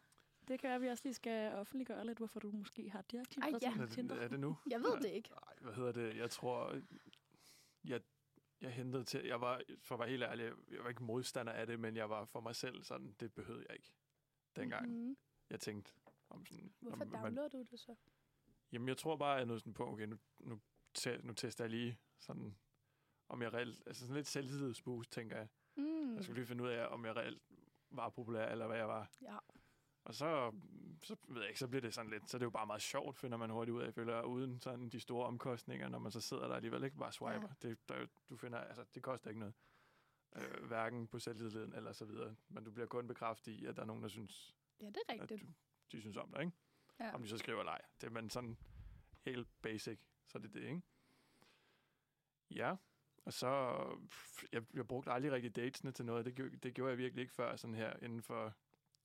[SPEAKER 1] Det kan være, at vi også lige skal offentliggøre lidt, hvorfor du måske har det aktivt.
[SPEAKER 2] Ej, ja.
[SPEAKER 3] Er det, er det nu?
[SPEAKER 2] Jeg ved det ikke.
[SPEAKER 3] Ej, hvad hedder det? Jeg tror, jeg, jeg hentede til... Jeg var, for at være helt ærlig, jeg var ikke modstander af det, men jeg var for mig selv sådan, det behøvede jeg ikke dengang. Mm-hmm.
[SPEAKER 2] Mm-hmm.
[SPEAKER 3] Jeg tænkte, om sådan,
[SPEAKER 2] Hvorfor
[SPEAKER 3] om, man,
[SPEAKER 2] downloadede du det så?
[SPEAKER 3] Jamen, jeg tror bare, at jeg nåede sådan på, okay, nu, nu, te, nu tester jeg lige sådan, om jeg reelt... Altså sådan lidt selvtillidsboost, tænker jeg.
[SPEAKER 2] Mm.
[SPEAKER 3] Jeg skulle lige finde ud af, om jeg reelt var populær, eller hvad jeg var.
[SPEAKER 2] Ja.
[SPEAKER 3] Og så, så ved jeg ikke, så bliver det sådan lidt, så er det jo bare meget sjovt, finder man hurtigt ud af, føler jeg, uden sådan de store omkostninger, når man så sidder der alligevel ikke bare swiper. Ja. Det, der, er jo- du finder, altså, det koster ikke noget. Øh, hverken på selvtilliden eller så videre. Men du bliver kun bekræftet i, at der er nogen, der synes,
[SPEAKER 2] Ja, det er
[SPEAKER 3] at
[SPEAKER 2] rigtigt.
[SPEAKER 3] du, de synes om dig, ikke?
[SPEAKER 2] Ja.
[SPEAKER 3] Om de så skriver eller ej. Det er man sådan helt basic, så er det det, ikke? Ja. Og så, pff, jeg, jeg brugte aldrig rigtig datesne til noget, det, gjorde- det gjorde jeg virkelig ikke før, sådan her inden for,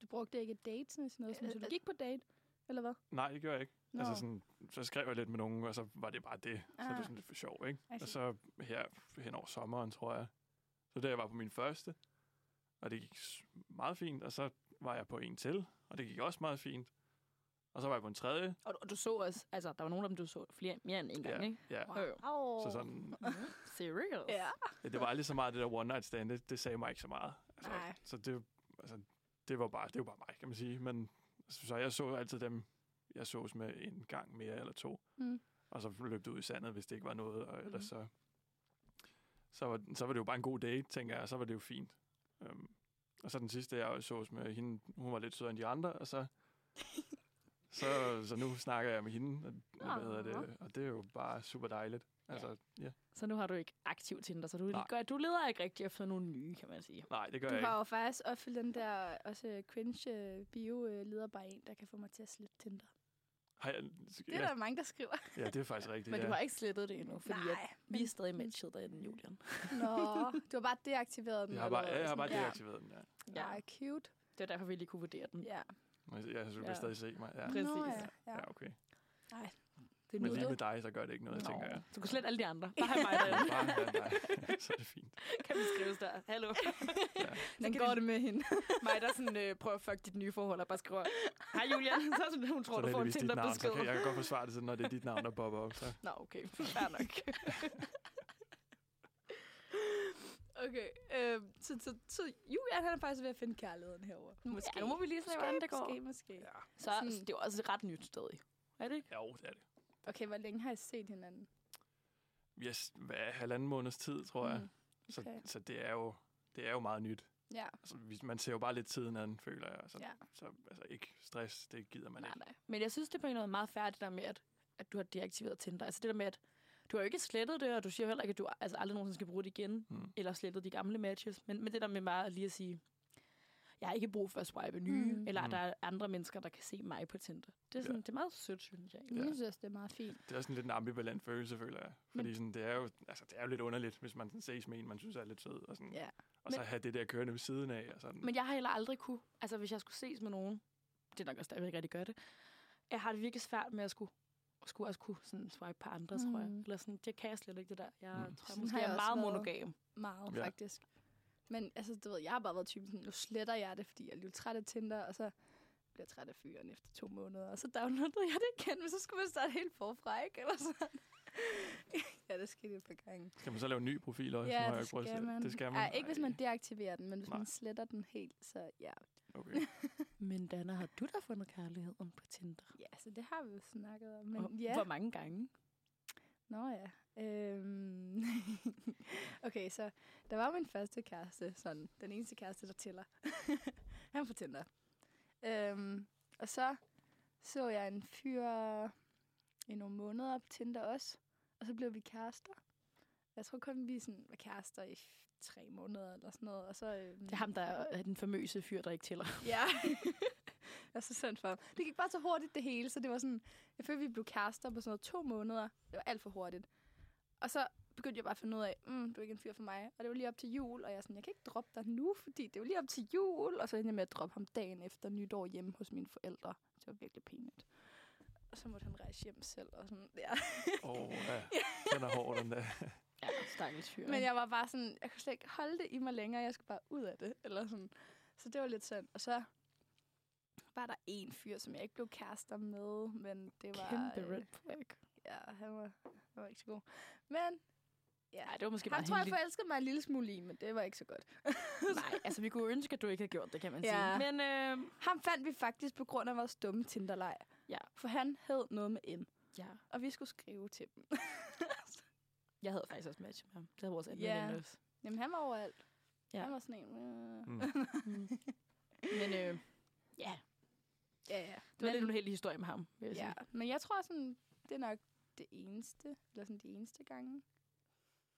[SPEAKER 2] Du brugte ikke dates sådan noget, som,
[SPEAKER 1] Øh,
[SPEAKER 2] så du
[SPEAKER 1] øh.
[SPEAKER 2] gik på date, eller hvad?
[SPEAKER 3] nej, det gjorde jeg ikke.
[SPEAKER 2] Nå.
[SPEAKER 3] Altså sådan, så skrev jeg lidt med nogen, og så var det bare det. Så det
[SPEAKER 2] Ah. Altså-
[SPEAKER 3] var sådan lidt for sjov, ikke?
[SPEAKER 2] I see.
[SPEAKER 3] Og så her hen over sommeren, tror jeg. Så der jeg var på min første, og det gik s- meget fint. Og så var jeg på en til, og det gik også meget fint. Og så var jeg på en tredje.
[SPEAKER 1] Og, du- og du så også, altså, der var nogle af dem, du så flere, mere end en gang, ikke?
[SPEAKER 3] Ja,
[SPEAKER 1] Jo, jo.
[SPEAKER 2] Wow.
[SPEAKER 3] så sådan,
[SPEAKER 1] Serious.
[SPEAKER 2] Mhm. Ja.
[SPEAKER 3] ja, det var aldrig så meget det der one night stand, det, det sagde mig ikke så meget. Altså,
[SPEAKER 2] Nej.
[SPEAKER 3] Så det, altså, det var bare, det var bare mig, kan man sige. Men altså, så så jeg så altid dem, jeg sås med en gang mere eller to.
[SPEAKER 2] Mm.
[SPEAKER 3] og så løb det ud i sandet, hvis det ikke var noget, og ellers
[SPEAKER 1] Mhm.
[SPEAKER 3] så, så, var, så var det jo bare en god date, tænker jeg, og så var det jo fint. Um, og så den sidste, jeg så med hende, hun var lidt sødere end de andre,
[SPEAKER 2] *laughs*
[SPEAKER 3] og så, så, så nu snakker jeg med hende, og, og, hvad hedder det, og det er jo bare super dejligt. Altså, ja.
[SPEAKER 1] Så nu har du ikke aktiv Tinder, så du,
[SPEAKER 3] Nej.
[SPEAKER 1] gør, du leder ikke rigtig efter nogle nye, kan man sige.
[SPEAKER 3] Nej, det gør
[SPEAKER 2] Du
[SPEAKER 3] jeg
[SPEAKER 2] har
[SPEAKER 3] ikke.
[SPEAKER 2] jo faktisk opfyldt den der også øh, cringe øh, bio øh, leder bare en, der kan få mig til at slippe Tinder.
[SPEAKER 3] Har jeg,
[SPEAKER 2] Det er
[SPEAKER 3] ja,
[SPEAKER 2] der mange, der skriver.
[SPEAKER 3] ja, det er faktisk rigtigt.
[SPEAKER 1] Men du
[SPEAKER 3] ja.
[SPEAKER 1] har ikke slettet det endnu, fordi at
[SPEAKER 2] Nej,
[SPEAKER 1] vi
[SPEAKER 2] men-
[SPEAKER 1] er stadig matchet derinde, Julian.
[SPEAKER 2] Nå, du har bare deaktiveret den.
[SPEAKER 3] jeg har bare,
[SPEAKER 2] eller hvad?
[SPEAKER 3] ja, jeg har bare
[SPEAKER 2] Sådan,
[SPEAKER 3] deaktiveret den, ja.
[SPEAKER 2] Ja,
[SPEAKER 1] Ja.
[SPEAKER 2] ja cute.
[SPEAKER 1] Det er derfor, vi lige kunne vurdere den.
[SPEAKER 2] Ja.
[SPEAKER 3] Men Jeg synes, du
[SPEAKER 1] Ja.
[SPEAKER 3] kan stadig se mig. Ja,
[SPEAKER 1] Præcis.
[SPEAKER 2] Nå, ja. ja.
[SPEAKER 3] ja okay.
[SPEAKER 1] Det er
[SPEAKER 3] Men
[SPEAKER 1] nu-
[SPEAKER 3] lige med dig, så gør det ikke noget, tænker jeg.
[SPEAKER 1] Du kan slet alle de andre.
[SPEAKER 2] *laughs*
[SPEAKER 1] Bare have mig derinde.
[SPEAKER 3] Bare, ja,
[SPEAKER 1] *laughs*
[SPEAKER 3] nej. så er det fint.
[SPEAKER 1] kan vi skrives der. Hallo. *laughs*
[SPEAKER 3] Ja.
[SPEAKER 2] Hvordan går det med hende?
[SPEAKER 1] Mig, der sådan, øh, prøver at fuck dit nye forhold, og bare skriver, hej *laughs* Julian, så er sådan, hun tror,
[SPEAKER 3] så er
[SPEAKER 1] du
[SPEAKER 3] det
[SPEAKER 1] får en
[SPEAKER 3] heldigvis dit navn, så
[SPEAKER 1] Tinder-besked.
[SPEAKER 3] kan, jeg kan godt forsvare det, sådan, når det er dit navn, der popper op. Så.
[SPEAKER 1] Nå, okay. Fair nok. *laughs*
[SPEAKER 2] Okay, øh, så, så, så Julian han er faktisk ved at finde kærligheden herover.
[SPEAKER 1] Måske må vi lige se, hvordan det går.
[SPEAKER 2] Måske, måske.
[SPEAKER 3] Ja.
[SPEAKER 1] Så
[SPEAKER 2] Sådan-
[SPEAKER 1] det er jo også ret nyt stadig. Er det ikke?
[SPEAKER 3] Jo, det er det.
[SPEAKER 2] Okay, hvor længe har I set hinanden?
[SPEAKER 3] Vi er s- hvad, halvanden måneds tid, tror jeg.
[SPEAKER 2] Mm, okay.
[SPEAKER 3] Så, så det, er jo, det er jo meget nyt.
[SPEAKER 2] Ja,
[SPEAKER 3] Altså, vi- man ser jo bare lidt tiden an, føler jeg. Så,
[SPEAKER 2] Ja.
[SPEAKER 3] så altså, ikke stress, det gider man
[SPEAKER 1] Nej,
[SPEAKER 3] ikke.
[SPEAKER 1] nej. Men jeg synes, det er på en eller anden måde meget færdigt, det der med, at, at du har deaktiveret Tinder. Altså det der med, at du har jo ikke slettet det, og du siger heller ikke, at du altså, aldrig nogensinde skal bruge det igen,
[SPEAKER 3] Mm.
[SPEAKER 1] eller slettet de gamle matches. Men, men det der med bare lige at sige, jeg har ikke brug for at swipe nye,
[SPEAKER 2] Mm.
[SPEAKER 1] mm. eller
[SPEAKER 3] Mm.
[SPEAKER 1] der er andre mennesker, der kan se mig på Tinder. Det er, sådan,
[SPEAKER 3] Ja.
[SPEAKER 1] det er meget sødt, synes jeg.
[SPEAKER 2] jeg synes, det er meget fint.
[SPEAKER 3] Det er også en lidt en ambivalent følelse, føler jeg.
[SPEAKER 1] Men-
[SPEAKER 3] Fordi sådan, det, er jo, altså, det er jo lidt underligt, hvis man sådan, ses med en, man synes er lidt sød. Og, sådan,
[SPEAKER 2] Ja.
[SPEAKER 3] og så
[SPEAKER 1] Men-
[SPEAKER 3] have det der kørende ved siden af. Og sådan.
[SPEAKER 1] Men jeg har heller aldrig kunne, altså hvis jeg skulle ses med nogen, det er nok også der, jeg ikke rigtig gør det, jeg har det virkelig svært med at skulle, skulle også kunne sådan swipe på andre, mm. tror jeg.
[SPEAKER 2] Mm.
[SPEAKER 1] Eller sådan, det kan jeg slet ikke det der. Jeg
[SPEAKER 3] Mm.
[SPEAKER 1] mm. tror, jeg
[SPEAKER 2] Sådan
[SPEAKER 1] måske
[SPEAKER 2] har jeg
[SPEAKER 1] er
[SPEAKER 2] også
[SPEAKER 1] meget
[SPEAKER 2] været.
[SPEAKER 1] monogam.
[SPEAKER 2] Meget,
[SPEAKER 3] Ja.
[SPEAKER 2] ja. faktisk. Men altså, du ved, jeg har bare været typen sådan, nu sletter jeg det, fordi jeg blev træt af Tinder, og så blev jeg træt af fyren efter to måneder, og så downloadede jeg det igen, men så skulle man starte helt forfra, ikke? Eller sådan. *laughs* ja, det skete et par gange.
[SPEAKER 3] Skal man så lave en ny profil også? Nu har jeg ikke prøvet at se- Det skal man.
[SPEAKER 2] Ej, ikke hvis man deaktiverer den, men hvis
[SPEAKER 3] Nej.
[SPEAKER 2] Nej. man sletter den helt, så ja.
[SPEAKER 3] Okay.
[SPEAKER 1] Men Dana, har du da fundet kærligheden på Tinder?
[SPEAKER 2] Ja, så det har vi jo snakket om. Men
[SPEAKER 1] Men,
[SPEAKER 2] ja.
[SPEAKER 1] Hvor mange gange?
[SPEAKER 2] Nå ja. Øhm. *laughs* okay, så der var min første kæreste, sådan den eneste kæreste, der tæller. *laughs* Han var på Tinder. Øhm, og så så jeg en fyr i nogle måneder på Tinder også, og så blev vi kærester. Jeg tror kun, vi sådan var kærester i f- tre måneder eller sådan noget. Og så, øhm,
[SPEAKER 1] Det er ham, der er den famøse fyr, der ikke tæller.
[SPEAKER 2] Ja. *laughs* jeg er så synd for ham. Det gik bare så hurtigt det hele, så det var sådan... Jeg følte, vi blev kærester på sådan noget to måneder. Det var alt for hurtigt. Og så begyndte jeg bare at finde ud af, mm, du er ikke en fyr for mig. Og det var lige op til jul, og jeg er sådan, jeg kan ikke droppe dig nu, fordi det var lige op til jul. Og så endte jeg med at droppe ham dagen efter nytår hjemme hos mine forældre. Det var virkelig pinligt. Og så måtte han rejse hjem selv, og sådan, ja.
[SPEAKER 3] Åh, oh, ja. Den er hård, den der.
[SPEAKER 1] Ja, stakkels fyr.
[SPEAKER 2] Men jeg var bare sådan, jeg kunne slet ikke holde det i mig længere, jeg skulle bare ud af det, eller sådan. Så det var lidt synd. Og så var der en fyr, som jeg ikke blev kærester med, men det var...
[SPEAKER 1] Kæmpe
[SPEAKER 2] øh,
[SPEAKER 1] red flag.
[SPEAKER 2] Ja, han var, han var ikke så god. Men ja,
[SPEAKER 1] Ej, det var måske
[SPEAKER 2] han
[SPEAKER 1] meget
[SPEAKER 2] tror, jeg
[SPEAKER 1] hemmeligt.
[SPEAKER 2] forelskede mig en lille smule i, men det var ikke så godt.
[SPEAKER 1] Nej, altså vi kunne ønske, at du ikke havde gjort det, kan man
[SPEAKER 2] Ja.
[SPEAKER 1] sige. Men øh,
[SPEAKER 2] Ham fandt vi faktisk på grund af vores dumme Tinderlej.
[SPEAKER 1] Ja.
[SPEAKER 2] For han hed noget med M,
[SPEAKER 1] ja,
[SPEAKER 2] og vi skulle skrive til dem. *laughs*
[SPEAKER 1] jeg havde faktisk også match med ham. Det havde vores anden
[SPEAKER 2] Ja.
[SPEAKER 1] veninde også.
[SPEAKER 2] Jamen, han var overalt.
[SPEAKER 1] Ja.
[SPEAKER 2] Ja. Han var sådan en... Øh.
[SPEAKER 3] Mm.
[SPEAKER 1] Men øh, ja,
[SPEAKER 2] Ja,
[SPEAKER 1] det
[SPEAKER 2] ja.
[SPEAKER 1] var
[SPEAKER 2] Men-
[SPEAKER 1] lidt en uheldig historie med ham, vil jeg
[SPEAKER 2] Ja,
[SPEAKER 1] sige.
[SPEAKER 2] men jeg tror sådan, det er nok det eneste, eller sådan de eneste gange.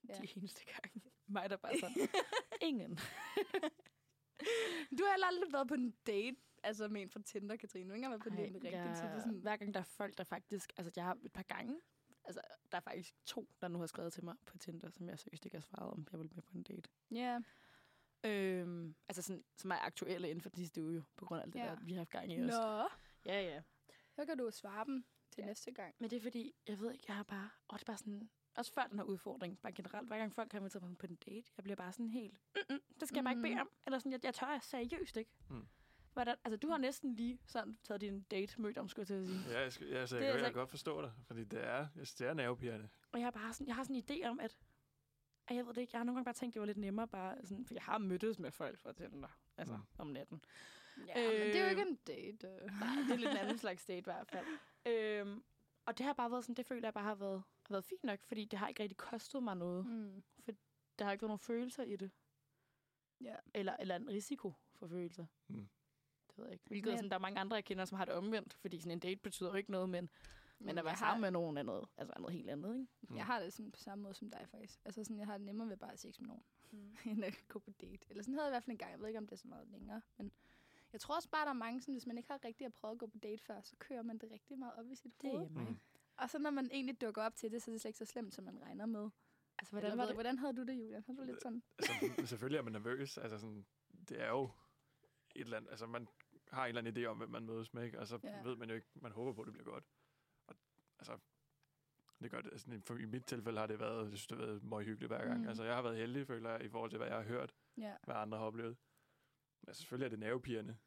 [SPEAKER 2] Ja.
[SPEAKER 1] De eneste gange. Mig, der bare *laughs* sådan, *laughs* ingen.
[SPEAKER 2] Du har heller aldrig været på en date, altså med en fra Tinder, Katrine. Du har ikke engang været på en date med rigtigt, så det er sådan,
[SPEAKER 1] hver gang der er folk, der faktisk... Altså, jeg har et par gange, Altså, der er faktisk to, der nu har skrevet til mig på Tinder, som jeg seriøst ikke har svaret om, jeg ville med på en date.
[SPEAKER 2] Ja.
[SPEAKER 1] Øhm, altså sådan, som er aktuelle inden for de sidste uge, jo, på grund af alt det
[SPEAKER 2] Ja.
[SPEAKER 1] ja. der, vi har haft gang i os.
[SPEAKER 2] Nå,
[SPEAKER 1] Ja, ja.
[SPEAKER 2] så kan du svare dem til
[SPEAKER 1] Ja.
[SPEAKER 2] næste gang.
[SPEAKER 1] Men det er fordi, jeg ved ikke, jeg har bare... Og det er bare sådan... Også før den her udfordring, bare generelt, hver gang folk kommer til mig på en date, jeg bliver bare sådan helt... Mm-mm, det skal jeg bare ikke bede
[SPEAKER 2] Mhm.
[SPEAKER 1] om. Eller sådan, jeg, jeg tør seriøst ikke.
[SPEAKER 3] Mm.
[SPEAKER 1] Hvordan, altså, du har næsten lige sådan taget din date mødt om, skulle jeg til at sige.
[SPEAKER 3] Ja, jeg, skal, ja, altså,
[SPEAKER 1] Det
[SPEAKER 3] jeg,
[SPEAKER 1] er
[SPEAKER 3] kan, jeg
[SPEAKER 1] altså
[SPEAKER 3] kan godt forstå dig, fordi det er, jeg synes, det er nervepirrende.
[SPEAKER 1] Og jeg har bare sådan, jeg har sådan en idé om, at, at jeg ved det ikke, jeg har nogle gange bare tænkt, det var lidt nemmere bare sådan, for jeg har mødtes med folk for Tinder, altså
[SPEAKER 3] Mm.
[SPEAKER 1] mm. om natten.
[SPEAKER 2] Ja, øh, men det er jo
[SPEAKER 1] Øh,
[SPEAKER 2] ikke en date. øh.
[SPEAKER 1] Nej, det er lidt en anden slags date i hvert fald. Øhm, og det har bare været sådan, det føler jeg bare har været, har været fint nok, fordi det har ikke rigtig kostet mig noget.
[SPEAKER 2] Mm.
[SPEAKER 1] Der har ikke været nogen følelser i det.
[SPEAKER 2] Ja.
[SPEAKER 1] Eller, eller en risiko for følelser.
[SPEAKER 3] Mm.
[SPEAKER 1] Det ved jeg ikke. Hvilket er
[SPEAKER 2] Men-
[SPEAKER 1] sådan, der er mange andre, jeg kender, som har det omvendt, fordi sådan en date betyder jo ikke noget, men, men at være
[SPEAKER 2] jeg
[SPEAKER 1] sammen
[SPEAKER 2] har,
[SPEAKER 1] med nogen er noget, altså er noget helt andet, ikke?
[SPEAKER 2] jeg har det sådan på samme måde som dig, faktisk. Altså sådan, jeg har det nemmere ved bare at ses med nogen, *laughs* end at gå på date. Eller sådan havde jeg i hvert fald en gang. Jeg ved ikke, om det er så meget længere, men... Jeg tror også bare, der er mange, som hvis man ikke har rigtig at prøve at gå på date før, så kører man det rigtig meget op i sit hoved.
[SPEAKER 1] mig.
[SPEAKER 3] Mm.
[SPEAKER 2] Og så når man egentlig dukker op til det, så er det slet ikke så slemt, som man regner med.
[SPEAKER 1] Altså,
[SPEAKER 2] Hvordan,
[SPEAKER 1] hvordan
[SPEAKER 2] Eller,
[SPEAKER 1] var
[SPEAKER 2] ved-
[SPEAKER 1] det?
[SPEAKER 2] hvordan havde du det, Julian? Havde du lidt sådan?
[SPEAKER 3] Altså, selvfølgelig er man nervøs. Altså, sådan, det er jo et eller andet, altså, man har en eller anden idé om, hvem man mødes med, ikke? og så
[SPEAKER 2] Ja.
[SPEAKER 3] ja. ved man jo ikke, man håber på, at det bliver godt. Og, altså, det gør det. Altså, for, I mit tilfælde har det været, jeg synes, det har været meget hyggeligt hver gang.
[SPEAKER 2] Mm.
[SPEAKER 3] Mm. Altså, jeg har været heldig, føler jeg, i forhold til, hvad jeg har hørt,
[SPEAKER 2] Ja.
[SPEAKER 3] hvad andre har oplevet. Men altså, selvfølgelig er det nervepirrende.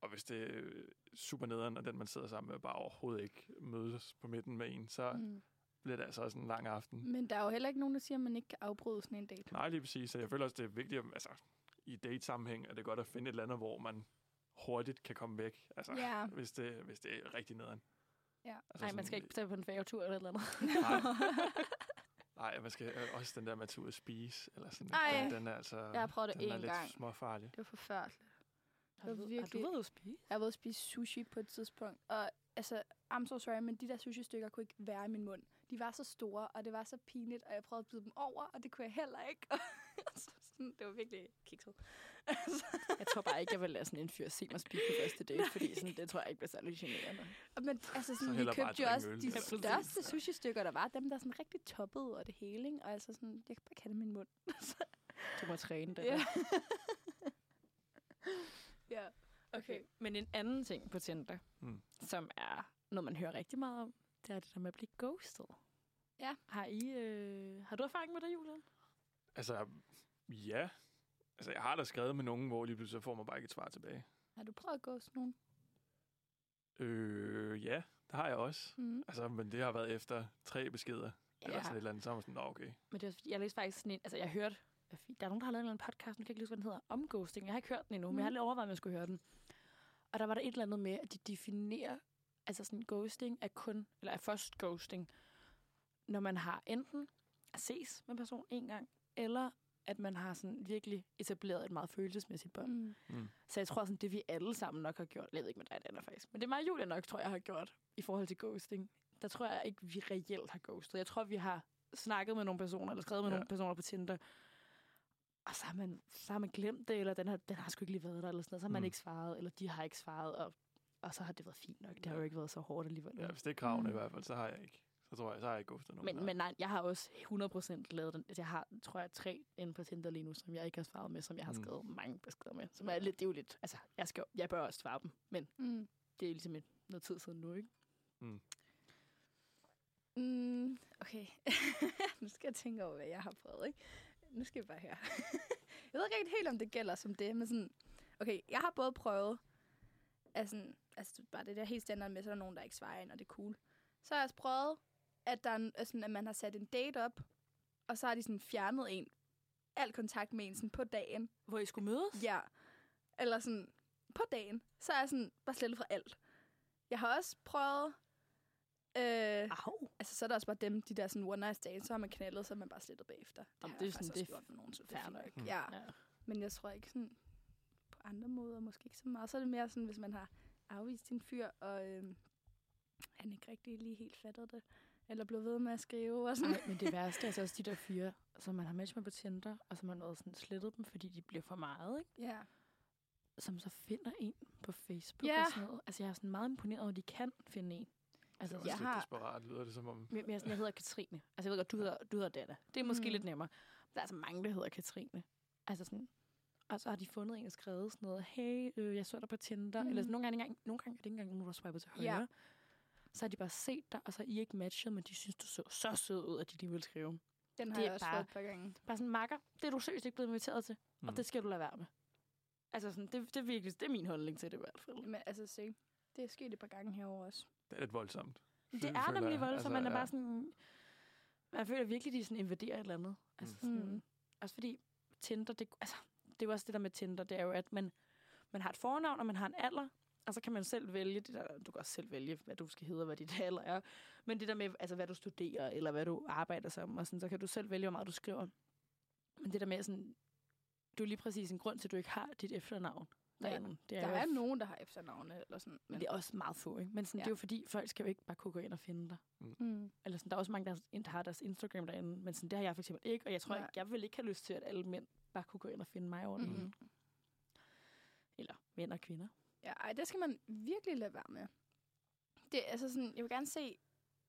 [SPEAKER 3] Og hvis det er øh, super nederen, og den, man sidder sammen med, bare overhovedet ikke mødes på midten med en, så mm.
[SPEAKER 2] Mm.
[SPEAKER 3] bliver det altså også en lang aften.
[SPEAKER 2] Men der er jo heller ikke nogen, der siger, at man ikke kan afbryde sådan en date.
[SPEAKER 3] Nej, lige præcis. Så jeg føler også, det er vigtigt, at- altså, i date-sammenhæng er det godt at finde et eller andet, hvor man hurtigt kan komme væk, altså,
[SPEAKER 2] Ja.
[SPEAKER 3] hvis, det, hvis det er rigtig nederen.
[SPEAKER 2] Ja.
[SPEAKER 3] Altså,
[SPEAKER 1] Nej, man skal
[SPEAKER 3] sådan-
[SPEAKER 1] ikke tage på en færgetur eller et eller andet. *laughs*
[SPEAKER 3] Nej, man skal øh, også den der med at tage ud at spise, eller sådan
[SPEAKER 2] Ej.
[SPEAKER 3] den, den er altså...
[SPEAKER 2] Jeg har prøvet det
[SPEAKER 3] den er
[SPEAKER 2] én
[SPEAKER 3] lidt
[SPEAKER 2] gang.
[SPEAKER 3] småfarlig.
[SPEAKER 2] Det var forfærdeligt.
[SPEAKER 1] Har du, har du
[SPEAKER 2] virkelig-
[SPEAKER 1] været ude at spise?
[SPEAKER 2] Jeg var ude at spise sushi på et tidspunkt, og altså, I'm so sorry, men de der sushi-stykker kunne ikke være i min mund. De var så store, og det var så pinligt, og jeg prøvede at byde dem over, og det kunne jeg heller ikke. *laughs* Så sådan, det var virkelig kikset.
[SPEAKER 1] *laughs* Jeg tror bare ikke, jeg vil lade sådan en fyr se mig spise på første date, fordi sådan, det tror jeg ikke bliver særlig generende.
[SPEAKER 2] Og Men altså, sådan, vi
[SPEAKER 3] hellere bare
[SPEAKER 2] købte jo
[SPEAKER 3] drikke
[SPEAKER 2] også
[SPEAKER 3] øl,
[SPEAKER 2] de
[SPEAKER 3] eller
[SPEAKER 1] sådan noget.
[SPEAKER 2] største sushi-stykker, der var. Dem, der sådan rigtig toppede og det hele, ikke? Og altså sådan, jeg kan bare kalde min mund.
[SPEAKER 1] Du må træne det.
[SPEAKER 2] Ja.
[SPEAKER 1] *laughs*
[SPEAKER 2] ja. Okay.
[SPEAKER 1] Men en anden ting på Tinder,
[SPEAKER 3] Mm.
[SPEAKER 1] mm. som er noget, man hører rigtig meget om, det er det der med at blive ghostet.
[SPEAKER 2] Ja.
[SPEAKER 1] Har, I, øh, har du erfaring med det, Julian?
[SPEAKER 3] Altså, ja. Altså, jeg har da skrevet med nogen, hvor lige pludselig så får man bare ikke et svar tilbage.
[SPEAKER 2] Har du prøvet at gå sådan nogen?
[SPEAKER 3] Øh, ja, det har jeg også.
[SPEAKER 2] Mm.
[SPEAKER 3] Altså, men det har været efter tre beskeder, ja. eller sådan et eller andet, så er man sådan, "Nå, okay.
[SPEAKER 1] Men det er, også fordi, jeg læste faktisk sådan en, altså jeg hørte, hvad fi- der er nogen, der har lavet en eller anden podcast, nu kan jeg ikke huske, hvad den hedder, om ghosting. Jeg har ikke hørt den endnu, mm. men jeg har
[SPEAKER 2] Mhm.
[SPEAKER 1] lidt overvejet, om jeg skulle høre den. Og der var der et eller andet med, at de definerer, altså sådan ghosting er kun, eller er først ghosting, når man har enten at ses med en person en gang, eller at man har sådan virkelig etableret et meget følelsesmæssigt bånd.
[SPEAKER 2] Mm.
[SPEAKER 1] Så jeg tror, sådan, det vi alle sammen nok har gjort, jeg ved ikke med dig, Anna, faktisk, men det er mig og Julia nok, tror jeg, har gjort i forhold til ghosting. Der tror jeg ikke, vi reelt har ghostet. Jeg tror, vi har snakket med nogle personer, eller skrevet med
[SPEAKER 3] Ja.
[SPEAKER 1] ja. nogle personer på Tinder, og så har man, så har man glemt det, eller den har, den har sgu ikke lige været der, eller sådan noget. Så har man
[SPEAKER 3] Mm.
[SPEAKER 1] ikke svaret, eller de har ikke svaret, og, og så har det været fint nok. Det har jo ikke været så hårdt alligevel.
[SPEAKER 3] Ja, hvis det er kravene
[SPEAKER 2] Mm.
[SPEAKER 3] mm. i hvert fald, så har jeg ikke. Så tror jeg, så har jeg ikke gået nogen.
[SPEAKER 1] Men,
[SPEAKER 3] nej.
[SPEAKER 1] men nej, jeg har også 100% lavet den. Altså, jeg har, tror jeg, tre inde på Tinder lige nu, som jeg ikke har svaret med, som jeg har
[SPEAKER 3] Mm.
[SPEAKER 1] skrevet mange beskeder med. Som er lidt, det er jo lidt, altså, jeg, skal, jeg bør også svare dem, men
[SPEAKER 2] Mm.
[SPEAKER 1] det er ligesom et, noget tid siden nu, ikke?
[SPEAKER 2] Mm. Okay. *laughs* nu skal jeg tænke over, hvad jeg har prøvet, ikke? Nu skal jeg bare høre. *laughs* jeg ved ikke rigtig helt, om det gælder som det, men sådan... Okay, jeg har både prøvet... Altså, altså bare det der helt standard med, så er der nogen, der ikke svarer ind, og det er cool. Så har jeg også prøvet, at, der er, en- altså, at man har sat en date op, og så har de sådan fjernet en. Al kontakt med en sådan på dagen.
[SPEAKER 1] Hvor I skulle mødes?
[SPEAKER 2] Ja. Eller sådan, på dagen, så er jeg sådan bare slettet for alt. Jeg har også prøvet... Øh,
[SPEAKER 1] Au.
[SPEAKER 2] altså, så er der også bare dem, de der sådan one night stands, så har man knaldet, så er man bare slettet bagefter. Det
[SPEAKER 1] Jamen,
[SPEAKER 2] har
[SPEAKER 1] det er
[SPEAKER 2] jeg
[SPEAKER 1] sådan-
[SPEAKER 2] faktisk også
[SPEAKER 1] det er
[SPEAKER 2] gjort med nogen, så det er
[SPEAKER 1] fair
[SPEAKER 2] fint
[SPEAKER 1] nok.
[SPEAKER 2] nok.
[SPEAKER 3] Mm.
[SPEAKER 2] Ja.
[SPEAKER 1] Ja.
[SPEAKER 2] Men jeg tror ikke sådan på andre måder, måske ikke så meget. Så er det mere sådan, hvis man har afvist en fyr, og øhm, han ikke rigtig lige helt fattede det, eller blev ved med at skrive og sådan.
[SPEAKER 1] Ej, men det værste er altså også de der fyre, som man har matchet med på Tinder, og som man har været sådan slettet dem, fordi de bliver for meget, ikke?
[SPEAKER 2] Ja.
[SPEAKER 1] Som så finder en på Facebook
[SPEAKER 2] Ja.
[SPEAKER 1] og sådan noget. Altså, jeg er sådan meget imponeret over, at de kan finde en. Altså,
[SPEAKER 3] det er
[SPEAKER 2] jeg
[SPEAKER 3] også lidt
[SPEAKER 2] har-
[SPEAKER 3] desperat, lyder det som om.
[SPEAKER 1] Men men jeg, jeg hedder Katrine. Altså, jeg ved godt, du hedder, du hedder Dana. Det er måske
[SPEAKER 2] Mm.
[SPEAKER 1] mm. lidt nemmere. Der er altså mange, der hedder Katrine. Altså sådan, og så har de fundet en og skrevet sådan noget, hey, øh, jeg så dig på Tinder. Mm. Eller sådan, nogle, gange, ikke engang- nogle gange er det ikke engang nogen, der har swipet til
[SPEAKER 2] Ja.
[SPEAKER 1] højre. Så har de bare set dig, og så er I ikke matchet, men de synes, du så så sød ud, at de lige ville skrive.
[SPEAKER 2] Den har
[SPEAKER 1] Det
[SPEAKER 2] jeg
[SPEAKER 1] er
[SPEAKER 2] også
[SPEAKER 1] bare-
[SPEAKER 2] fået et par gange.
[SPEAKER 1] Bare sådan, makker, det er du seriøst ikke blevet inviteret til, mm. og det skal du lade være med. Altså sådan, det, det er virkelig, det er min holdning til det i hvert fald.
[SPEAKER 2] Men altså, se. Det er sket et par gange herover også.
[SPEAKER 3] Det er lidt voldsomt.
[SPEAKER 1] Det
[SPEAKER 3] Føler
[SPEAKER 1] er
[SPEAKER 3] jeg.
[SPEAKER 1] nemlig voldsomt, altså, man er
[SPEAKER 3] ja.
[SPEAKER 1] bare sådan... Man føler virkelig, de sådan invaderer et eller andet. Altså,
[SPEAKER 2] Mm.
[SPEAKER 1] sådan,
[SPEAKER 2] Mm.
[SPEAKER 1] Også fordi Tinder, det, altså, det er jo også det der med Tinder, det er jo, at man, man har et fornavn, og man har en alder, og så kan man selv vælge, det der, du kan også selv vælge, hvad du skal hedde, og hvad dit *laughs* alder er, men det der med, altså, hvad du studerer, eller hvad du arbejder som, og sådan, så kan du selv vælge, hvor meget du skriver. Men det der med, sådan, du er lige præcis en grund til, at du ikke har dit efternavn.
[SPEAKER 2] Ja,
[SPEAKER 1] derinde. det
[SPEAKER 2] Der
[SPEAKER 1] jo-
[SPEAKER 2] er nogen, der har efternavne eller sådan.
[SPEAKER 1] men det er også meget få, ikke? Men sådan,
[SPEAKER 2] Ja.
[SPEAKER 1] ja. det er jo fordi, folk skal jo ikke bare kunne gå ind og finde dig.
[SPEAKER 2] Mm.
[SPEAKER 1] Eller sådan, der er også mange, der har- der har deres Instagram derinde, men sådan, det har jeg for eksempel ikke, og jeg tror
[SPEAKER 2] Nej.
[SPEAKER 1] ikke, jeg vil ikke have lyst til, at alle mænd bare kunne gå ind og finde mig over
[SPEAKER 2] Mhm.
[SPEAKER 1] mm-hmm. Eller mænd og kvinder.
[SPEAKER 2] Ja, ej, det skal man virkelig lade være med. Det, er altså sådan, jeg vil gerne se,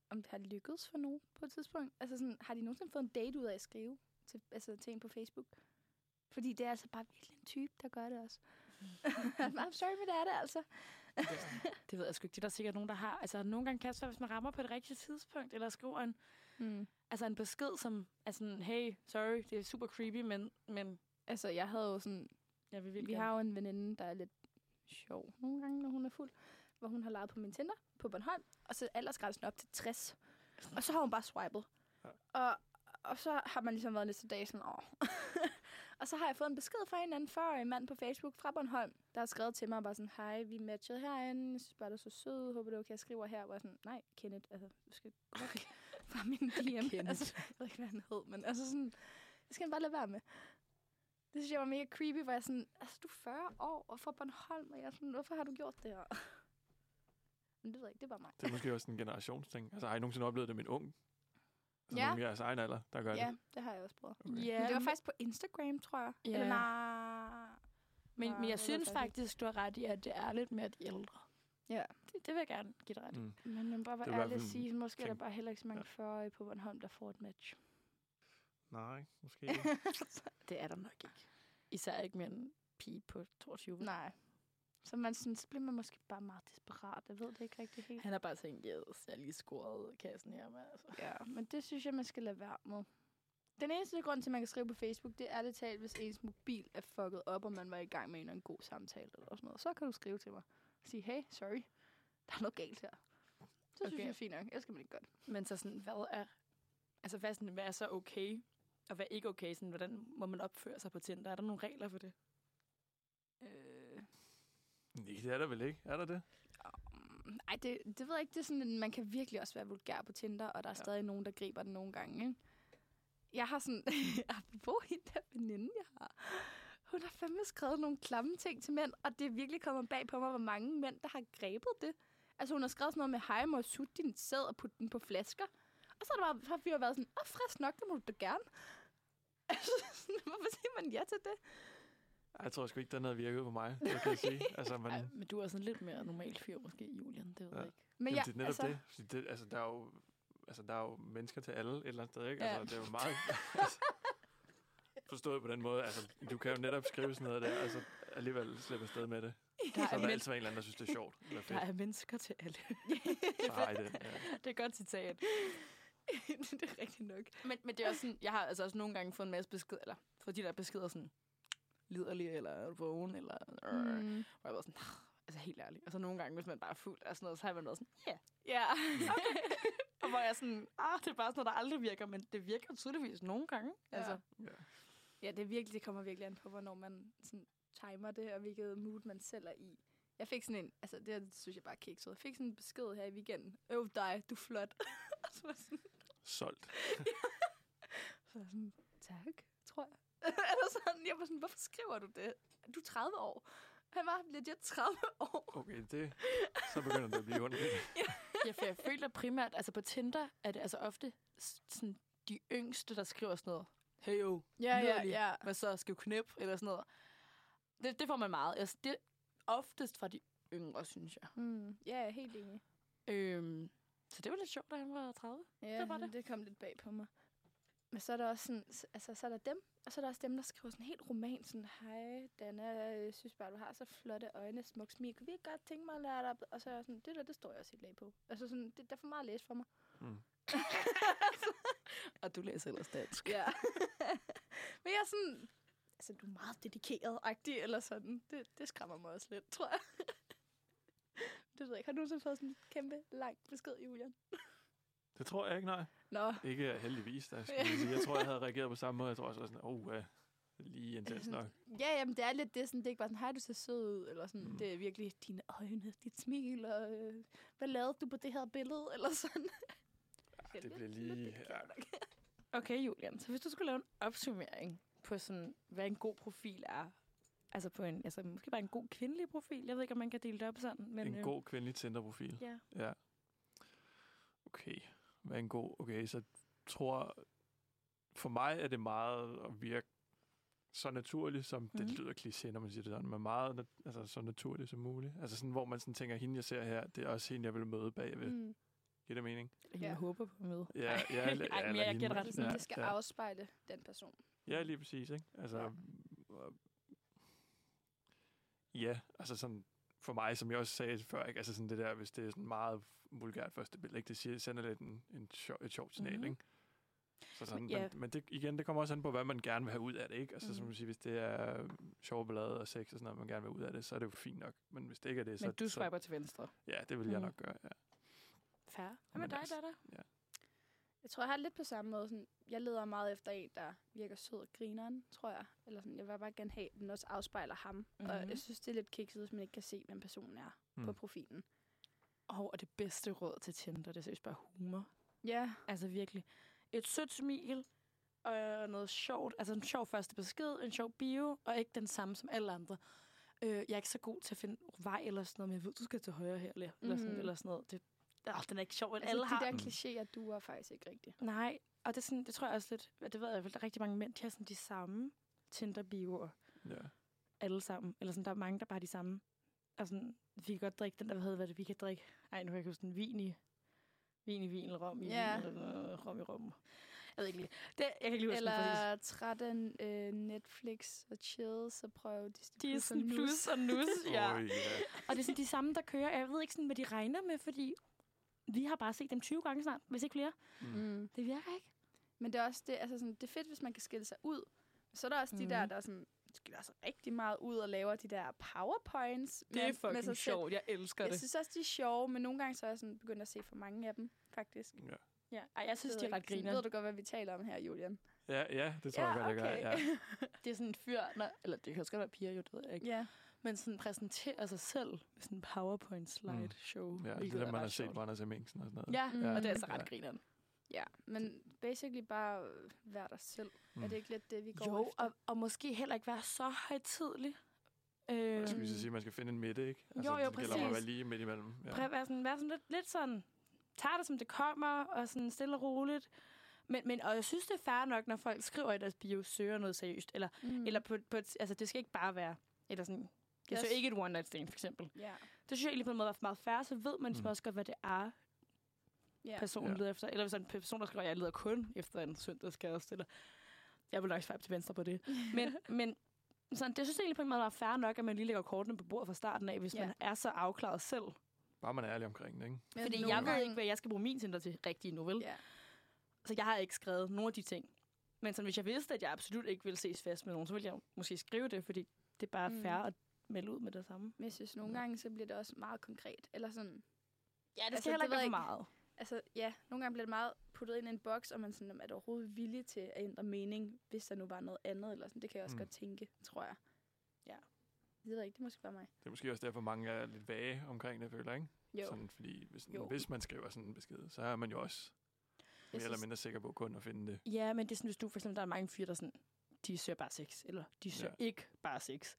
[SPEAKER 2] om det har lykkedes for nogen på et tidspunkt. Altså sådan, har de nogensinde fået en date ud af at skrive til, altså, til en på Facebook? Fordi det er altså bare virkelig en type, der gør det også. *laughs* I'm sorry, men det er det altså.
[SPEAKER 1] Det ved jeg sgu ikke. Det er der sikkert nogen, der har. Altså, nogle gange kan det være, hvis man rammer på det rigtige tidspunkt, eller skriver en,
[SPEAKER 2] Mm.
[SPEAKER 1] altså en besked, som er sådan, hey, sorry, det er super creepy, men, men
[SPEAKER 2] Altså, jeg havde jo sådan
[SPEAKER 1] jeg vil virkelig
[SPEAKER 2] Vi
[SPEAKER 1] gerne."
[SPEAKER 2] har jo en veninde, der er lidt sjov nogle gange, når hun er fuld. Hvor hun har lejet på min Tinder på Bornholm, og så er aldersgrænsen op til 60. Og så har hun bare swipet.
[SPEAKER 3] Ja.
[SPEAKER 2] Og, og så har man ligesom været lidt til dag sådan, åh. *laughs* og så har jeg fået en besked fra en eller anden 40 mand på Facebook fra Bornholm, der har skrevet til mig og bare sådan, hej, vi matchede herinde, jeg synes bare, du er så sød, håber det er okay, jeg skriver her. Hvor jeg sådan, nej, Kenneth, altså, du skal gå væk *laughs* fra min DM.
[SPEAKER 1] Kenneth.
[SPEAKER 2] altså, jeg ved ikke, hvad han hed, men altså sådan, det skal man bare lade være med. Det synes jeg var mega creepy, hvor jeg sådan, altså du er 40 år og fra Bornholm, og jeg er sådan, hvorfor har du gjort det her? *laughs* Men det ved jeg ikke, det var mig.
[SPEAKER 3] Det er måske også en generationsting. Altså, har I nogensinde oplevet det med en ung? Altså,
[SPEAKER 2] Ja.
[SPEAKER 3] ja. Nogen af jeres egen alder, der gør
[SPEAKER 2] Ja,
[SPEAKER 3] det.
[SPEAKER 2] det har jeg også prøvet.
[SPEAKER 3] Okay.
[SPEAKER 2] Men det var
[SPEAKER 1] men-
[SPEAKER 2] faktisk på Instagram, tror jeg.
[SPEAKER 1] Ja.
[SPEAKER 2] Eller nej.
[SPEAKER 1] Men, men
[SPEAKER 2] Nej, det ved
[SPEAKER 1] jeg synes
[SPEAKER 2] jeg faktisk
[SPEAKER 1] faktisk, du har ret i, at det er lidt mere de ældre.
[SPEAKER 2] Ja.
[SPEAKER 1] Det, det vil jeg gerne give dig ret i.
[SPEAKER 3] Mm.
[SPEAKER 2] Men man bare var
[SPEAKER 3] Det var i
[SPEAKER 2] ærlig at
[SPEAKER 3] hvert fald
[SPEAKER 2] sige, måske er der
[SPEAKER 3] tænk-
[SPEAKER 2] bare heller ikke så mange 40 på Bornholm, der får et match.
[SPEAKER 3] Nej, måske ikke.
[SPEAKER 1] Det er der nok ikke. Især ikke med en pige på 22.
[SPEAKER 2] nej. Så man sådan, så bliver man måske bare meget desperat. Jeg ved det ikke rigtig helt.
[SPEAKER 1] Han har bare tænkt, yes, jeg har lige scoret kassen her med. Altså.
[SPEAKER 2] Ja, men det synes jeg, man skal lade være med. Den eneste grund til, at man kan skrive på Facebook, det er det talt, hvis ens mobil er fucket op, og man var i gang med en eller anden god samtale eller sådan noget. Så kan du skrive til mig og sige, hey, sorry, der er noget galt her. Så okay. synes
[SPEAKER 1] Okay.
[SPEAKER 2] jeg, det er fint nok. Ellers kan man ikke gøre det.
[SPEAKER 1] Men så sådan, hvad er, altså hvad, er sådan, hvad er så okay, og hvad er ikke okay? Sådan, hvordan må man opføre sig på Tinder? Er der nogle regler for det?
[SPEAKER 2] Øh,
[SPEAKER 3] Nej, det er der vel ikke. Er der det?
[SPEAKER 2] um, ej, det, det ved jeg ikke. Det er sådan, at man kan virkelig også være vulgær på Tinder, og der er ja.
[SPEAKER 3] Ja.
[SPEAKER 2] stadig nogen, der griber den nogle gange. Ikke? Jeg har sådan, *laughs* apropos hende der veninde, jeg har. Hun har fandme skrevet nogle klamme ting til mænd, og det er virkelig kommet bag på mig, hvor mange mænd, der har grebet det. Altså hun har skrevet sådan noget med, hej, må jeg sutte din sæd og putte den på flasker? Og så har der bare, har fyre været sådan, åh, frisk nok, det må du da gerne. *laughs* Altså, sådan, hvorfor siger man ja til det?
[SPEAKER 3] Ej, Jeg tror sgu ikke, den havde virket på mig. Det kan jeg sige. Altså, man,
[SPEAKER 1] Ej, men du er sådan lidt mere normal fyr, måske, Julian. Det ved
[SPEAKER 3] Ja.
[SPEAKER 1] jeg ikke.
[SPEAKER 2] Men
[SPEAKER 3] Jamen,
[SPEAKER 2] jeg,
[SPEAKER 3] det er netop altså... det. Fordi det altså, der er jo, altså, der er jo mennesker til alle et eller andet sted, ikke?
[SPEAKER 2] Ja.
[SPEAKER 3] Altså, det er jo meget... altså, forstået på den måde. Altså, du kan jo netop skrive sådan noget der, og så alligevel slippe afsted med det.
[SPEAKER 1] *laughs* Der
[SPEAKER 3] Så
[SPEAKER 1] er,
[SPEAKER 3] er der
[SPEAKER 1] men,
[SPEAKER 3] altid en eller anden, der synes, det er sjovt. Eller
[SPEAKER 1] der
[SPEAKER 3] fedt.
[SPEAKER 1] er mennesker til *laughs* alle.
[SPEAKER 3] Så har I den. Ja.
[SPEAKER 1] det er et godt citat.
[SPEAKER 2] *laughs* det er rigtigt nok.
[SPEAKER 1] Men, men det er også sådan, jeg har altså også nogle gange fået en masse beskeder, eller fået de der beskeder sådan, liderlig, eller vågen, eller... Mm.
[SPEAKER 2] Mm.
[SPEAKER 1] Og jeg var sådan, "Ah," altså helt ærligt. Og så nogle gange, hvis man bare er fuld og sådan noget, så har man været sådan, ja. Yeah.
[SPEAKER 2] Ja.
[SPEAKER 1] *laughs* Og hvor jeg er sådan, ah, det er bare sådan noget, der aldrig virker, men det virker tydeligvis nogle gange.
[SPEAKER 2] Ja.
[SPEAKER 1] Ja. Altså,
[SPEAKER 2] Ja, det, er virkelig, det kommer virkelig an på, hvornår man sådan, timer det, og hvilket mood man selv er i. Jeg fik sådan en, altså det her, det synes jeg bare er kikset. Jeg fik sådan en besked her i weekenden. Øv dig, du er flot. *laughs* og så var jeg sådan,
[SPEAKER 3] Solgt.
[SPEAKER 2] så var jeg sådan, tak, tror jeg. *laughs* Eller sådan, jeg var sådan, hvorfor skriver du det? Du er 30 år. Han var legit 30 år.
[SPEAKER 3] Okay, det... Så begynder det at blive ondt.
[SPEAKER 1] ja, for jeg føler primært, altså på Tinder er det altså ofte s- sådan, de yngste, der skriver sådan noget. Hey jo, liderlig. Hvad så? Skal du knip? Eller sådan noget. Det, det får man meget. Altså, det er oftest fra de yngre, synes jeg.
[SPEAKER 2] Mm, ja, jeg er helt enig.
[SPEAKER 1] Øhm, Så det var lidt sjovt, da han var 30.
[SPEAKER 2] Ja,
[SPEAKER 1] var
[SPEAKER 2] men
[SPEAKER 1] det.
[SPEAKER 2] det kom lidt bag på mig. Men så er der også sådan, s- altså, så er der dem, og så er der også dem, der skriver sådan en helt roman, sådan, hej, Dana, jeg synes bare, du har så flotte øjne, smuk smil, kunne vi ikke godt tænke mig at lære dig? op?" Og så er jeg sådan, det der, det står jeg også helt lag på. Altså sådan, det, der er for meget at læse for mig.
[SPEAKER 3] Mm.
[SPEAKER 1] Og du læser ellers dansk.
[SPEAKER 2] Ja. *laughs* men jeg er sådan, altså du er meget dedikeret-agtig, eller sådan. Det, det skræmmer mig også lidt, tror jeg. *laughs* det ved jeg ikke. Har du nogensinde fået sådan en kæmpe, lang besked, Julian?
[SPEAKER 3] Det tror jeg ikke, nej.
[SPEAKER 2] Nå,
[SPEAKER 3] Ikke heldigvis, der skulle jeg sige. Jeg tror, jeg havde reageret på samme måde. Jeg tror også, jeg var sådan, oh, uh,
[SPEAKER 1] *laughs*
[SPEAKER 3] lige intens
[SPEAKER 2] sådan-
[SPEAKER 3] nok.
[SPEAKER 2] Ja, jamen, det er lidt det, sådan, det er ikke bare sådan, hej, du ser sød ud, eller sådan,
[SPEAKER 3] Mm.
[SPEAKER 2] mm. det er virkelig dine øjne, dit smil, og øh, hvad lavede du på det her billede, *laughs* eller sådan.
[SPEAKER 3] Ja, det blev lige... Ja,
[SPEAKER 1] Okay, Julian. Så hvis du skulle lave en opsummering på, sådan, hvad en god profil er, altså på en, altså måske bare en god kvindelig profil. Jeg ved ikke, om man kan dele det op sådan. Men, øhm, øh,
[SPEAKER 3] en god kvindelig Tinder-profil.
[SPEAKER 1] Ja.
[SPEAKER 3] Ja. Okay. Hvad er en god... Okay, så tror... For mig er det meget at virke så naturligt, som mm.
[SPEAKER 1] Mhm.
[SPEAKER 3] det lyder kliché, når man siger det sådan, men meget nat- altså, så naturligt som muligt. Altså sådan, hvor man sådan tænker, hende jeg ser her, det er også hende, jeg vil møde bagved. Mm.
[SPEAKER 2] Mm.
[SPEAKER 3] Giver det mening?
[SPEAKER 1] Jeg
[SPEAKER 2] Ja.
[SPEAKER 1] håber på at møde.
[SPEAKER 3] Ja, ja, ja,
[SPEAKER 1] Ej, men
[SPEAKER 3] eller
[SPEAKER 1] jeg
[SPEAKER 3] hende.
[SPEAKER 1] gætter ret sådan,
[SPEAKER 2] Det, sådan, det skal
[SPEAKER 3] ja.
[SPEAKER 2] afspejle den person.
[SPEAKER 3] Ja, lige præcis, ikke? Altså,
[SPEAKER 2] Ja.
[SPEAKER 3] ja. ja, altså sådan, for mig, som jeg også sagde før, ikke? Altså sådan det der, hvis det er sådan meget vulgært første billede, ikke? Det siger, sender lidt en, en sjov, et sjovt signal,
[SPEAKER 1] Mhm.
[SPEAKER 3] mm-hmm. ikke? Så sådan, men,
[SPEAKER 1] ja.
[SPEAKER 3] ja. men, det, igen, det kommer også an på, hvad man gerne vil have ud af det, ikke? Altså mm. som
[SPEAKER 1] Mhm.
[SPEAKER 3] du siger, hvis det er sjov ballade og sex og sådan noget, man gerne vil have ud af det, så er det jo fint nok. Men hvis det ikke er det, så...
[SPEAKER 1] Men du
[SPEAKER 3] så,
[SPEAKER 1] swiper til venstre.
[SPEAKER 3] Ja, det vil jeg
[SPEAKER 1] Mhm.
[SPEAKER 3] nok gøre, ja.
[SPEAKER 1] Færre. Hvad med
[SPEAKER 3] Men
[SPEAKER 1] dig,
[SPEAKER 3] altså-
[SPEAKER 1] Dada?
[SPEAKER 2] Jeg tror, jeg har det lidt på samme måde. Sådan, jeg leder meget efter en, der virker sød og grineren, tror jeg. Eller sådan, jeg vil bare gerne have, at den også afspejler ham. Mm-hmm. Og
[SPEAKER 1] Mhm.
[SPEAKER 2] jeg synes, det er lidt kikset, hvis man ikke kan se, hvem personen er mm. på
[SPEAKER 3] Mm.
[SPEAKER 2] profilen.
[SPEAKER 1] Oh, og det bedste råd til Tinder, det er seriøst bare humor.
[SPEAKER 2] Ja,
[SPEAKER 1] Altså virkelig. Et sødt smil og noget sjovt. Altså en sjov første besked, en sjov bio, og ikke den samme som alle andre. Øh, jeg er ikke så god til at finde vej eller sådan noget, men jeg ved, du skal til højre her, eller, mm. eller, sådan,
[SPEAKER 2] Mhm.
[SPEAKER 1] eller sådan noget. Det, oh, den er ikke sjov, at
[SPEAKER 2] altså,
[SPEAKER 1] alle
[SPEAKER 2] de
[SPEAKER 1] har
[SPEAKER 3] Mm.
[SPEAKER 2] der
[SPEAKER 1] den.
[SPEAKER 2] klichéer duer faktisk ikke rigtigt.
[SPEAKER 1] Nej, og det, er sådan, det tror jeg også lidt, og det ved jeg i hvert fald, der er rigtig mange mænd, de har sådan de samme Tinder-bioer,
[SPEAKER 3] ja.
[SPEAKER 1] alle sammen. Eller sådan, der er mange, der bare har de samme. Og sådan, vi kan godt drikke den der, hvad hedder det, vi kan drikke, ej, nu kan jeg ikke huske den, vin i, vin i vin, eller rom i
[SPEAKER 2] Ja.
[SPEAKER 1] vin, eller øh, rom i rom. Jeg ved ikke lige. Det, jeg kan ikke lige huske den præcis.
[SPEAKER 2] Eller træt af øh, Netflix og chill, så prøv Disney,
[SPEAKER 1] Disney
[SPEAKER 2] Plus. og Nus.
[SPEAKER 1] Plus og Nus, *laughs* ja.
[SPEAKER 3] Oj, ja.
[SPEAKER 1] Og det er sådan de samme, der kører. Jeg ved ikke, sådan, hvad de regner med, fordi vi har bare set dem 20 gange snart, hvis ikke flere.
[SPEAKER 3] Mm.
[SPEAKER 2] Mm.
[SPEAKER 1] Det virker ikke.
[SPEAKER 2] Men det er også det, altså sådan, det er fedt, hvis man kan skille sig ud. Men så er der også mm. de der,
[SPEAKER 1] Mhm.
[SPEAKER 2] der sådan, skiller sig rigtig meget ud og laver de der powerpoints. med- med sig selv.
[SPEAKER 1] Jeg elsker
[SPEAKER 2] Jeg synes også, de er sjove, men nogle gange så er jeg sådan begyndt at se for mange af dem, faktisk.
[SPEAKER 3] Ja.
[SPEAKER 1] Ja, ej, jeg synes,
[SPEAKER 2] ved
[SPEAKER 1] de er
[SPEAKER 2] ikke,
[SPEAKER 1] ret
[SPEAKER 2] sådan,
[SPEAKER 1] griner.
[SPEAKER 2] Ved du godt, hvad vi taler om her, Julian?
[SPEAKER 3] ja, ja, det tror jeg godt, jeg gør. Ja.
[SPEAKER 1] *laughs* Det er sådan en fyr, når, eller det kan også godt være piger, jo, det ved jeg ikke.
[SPEAKER 2] ja.
[SPEAKER 1] Men sådan præsenterer sig selv med sådan en powerpoint slide show.
[SPEAKER 3] Mm. Ja, det er
[SPEAKER 1] hvilket
[SPEAKER 3] det,
[SPEAKER 1] er
[SPEAKER 3] man
[SPEAKER 1] ret
[SPEAKER 3] har set
[SPEAKER 1] sjovt.
[SPEAKER 3] på Anders Hemmingsen og sådan noget.
[SPEAKER 1] Ja, og
[SPEAKER 2] Mm.
[SPEAKER 1] det er altså
[SPEAKER 3] Ja.
[SPEAKER 1] ret grineren.
[SPEAKER 2] ja, men basically bare øh, være dig selv. Mm. Er
[SPEAKER 3] Mm.
[SPEAKER 2] det ikke lidt det, vi går
[SPEAKER 1] Jo,
[SPEAKER 2] efter?
[SPEAKER 1] og, og måske heller ikke være så højtidlig.
[SPEAKER 3] Jeg
[SPEAKER 2] Øhm.
[SPEAKER 1] Øh,
[SPEAKER 3] skulle lige så sige, at man skal finde en midte, ikke? Altså,
[SPEAKER 1] Jo, jo,
[SPEAKER 3] det gælder om at være
[SPEAKER 1] præcis.
[SPEAKER 3] lige midt imellem. Ja.
[SPEAKER 1] Prøv at være sådan, være sådan lidt, lidt sådan, tager det som det kommer, og sådan stille og roligt. Men, men, og jeg synes, det er fair nok, når folk skriver i deres bio, søger noget seriøst. Eller, mm. eller på, på et, altså, det skal ikke bare være, eller sådan, jeg
[SPEAKER 2] Yes.
[SPEAKER 1] søger ikke et one night stand, for eksempel.
[SPEAKER 2] Ja.
[SPEAKER 1] Det synes jeg egentlig på en måde er meget fair, så ved man mm.
[SPEAKER 3] Mm.
[SPEAKER 1] også godt, hvad det er,
[SPEAKER 2] ja.
[SPEAKER 1] personen
[SPEAKER 3] Ja.
[SPEAKER 1] leder efter. Eller hvis der er en person, der skriver, at jeg leder kun efter en søndagskæreste, eller jeg vil nok swipe til venstre på det. *laughs* Men, men sådan, det synes jeg egentlig på en måde var fair nok, at man lige lægger kortene på bordet fra starten af, hvis
[SPEAKER 2] Ja.
[SPEAKER 1] ja. man er så afklaret selv.
[SPEAKER 3] Bare man er ærlig omkring det, ikke?
[SPEAKER 2] Men
[SPEAKER 1] Fordi
[SPEAKER 2] nogle
[SPEAKER 1] jeg ved
[SPEAKER 2] gange-
[SPEAKER 1] ikke, hvad jeg skal bruge min Tinder til rigtigt nu, vel?
[SPEAKER 2] Ja.
[SPEAKER 1] Så jeg har ikke skrevet nogen af de ting. Men sådan, hvis jeg vidste, at jeg absolut ikke ville ses fast med nogen, så ville jeg måske skrive det, fordi det er bare
[SPEAKER 2] Mm.
[SPEAKER 1] mm. fair at melde ud med det samme.
[SPEAKER 2] Men jeg synes, nogle gange, så bliver det også meget konkret. Eller sådan,
[SPEAKER 1] Ja, det
[SPEAKER 2] Altså,
[SPEAKER 1] skal heller
[SPEAKER 2] det
[SPEAKER 1] ikke
[SPEAKER 2] ved
[SPEAKER 1] være for
[SPEAKER 2] jeg
[SPEAKER 1] meget.
[SPEAKER 2] altså ja, nogle gange bliver det meget puttet ind i en boks, og man sådan, "Jamen, er du overhovedet villig til at ændre mening, hvis der nu var noget andet, eller sådan. Det kan jeg også mm.
[SPEAKER 3] Mm.
[SPEAKER 2] godt tænke, tror jeg.
[SPEAKER 1] Ja.
[SPEAKER 2] Jeg ved ikke, det er måske bare mig.
[SPEAKER 3] Det er måske også derfor, mange er lidt vage omkring det, føler jeg, ikke?
[SPEAKER 2] Jo,
[SPEAKER 3] Sådan, fordi hvis,
[SPEAKER 2] Jo.
[SPEAKER 3] hvis man skriver sådan en besked, så er man jo også
[SPEAKER 2] jeg
[SPEAKER 3] mere eller
[SPEAKER 2] synes-
[SPEAKER 3] mindre sikker på kun at finde det.
[SPEAKER 1] Ja, men det er sådan, hvis du for eksempel, der er mange fyre, der er sådan, de søger bare sex, eller de søger ja. ikke bare sex.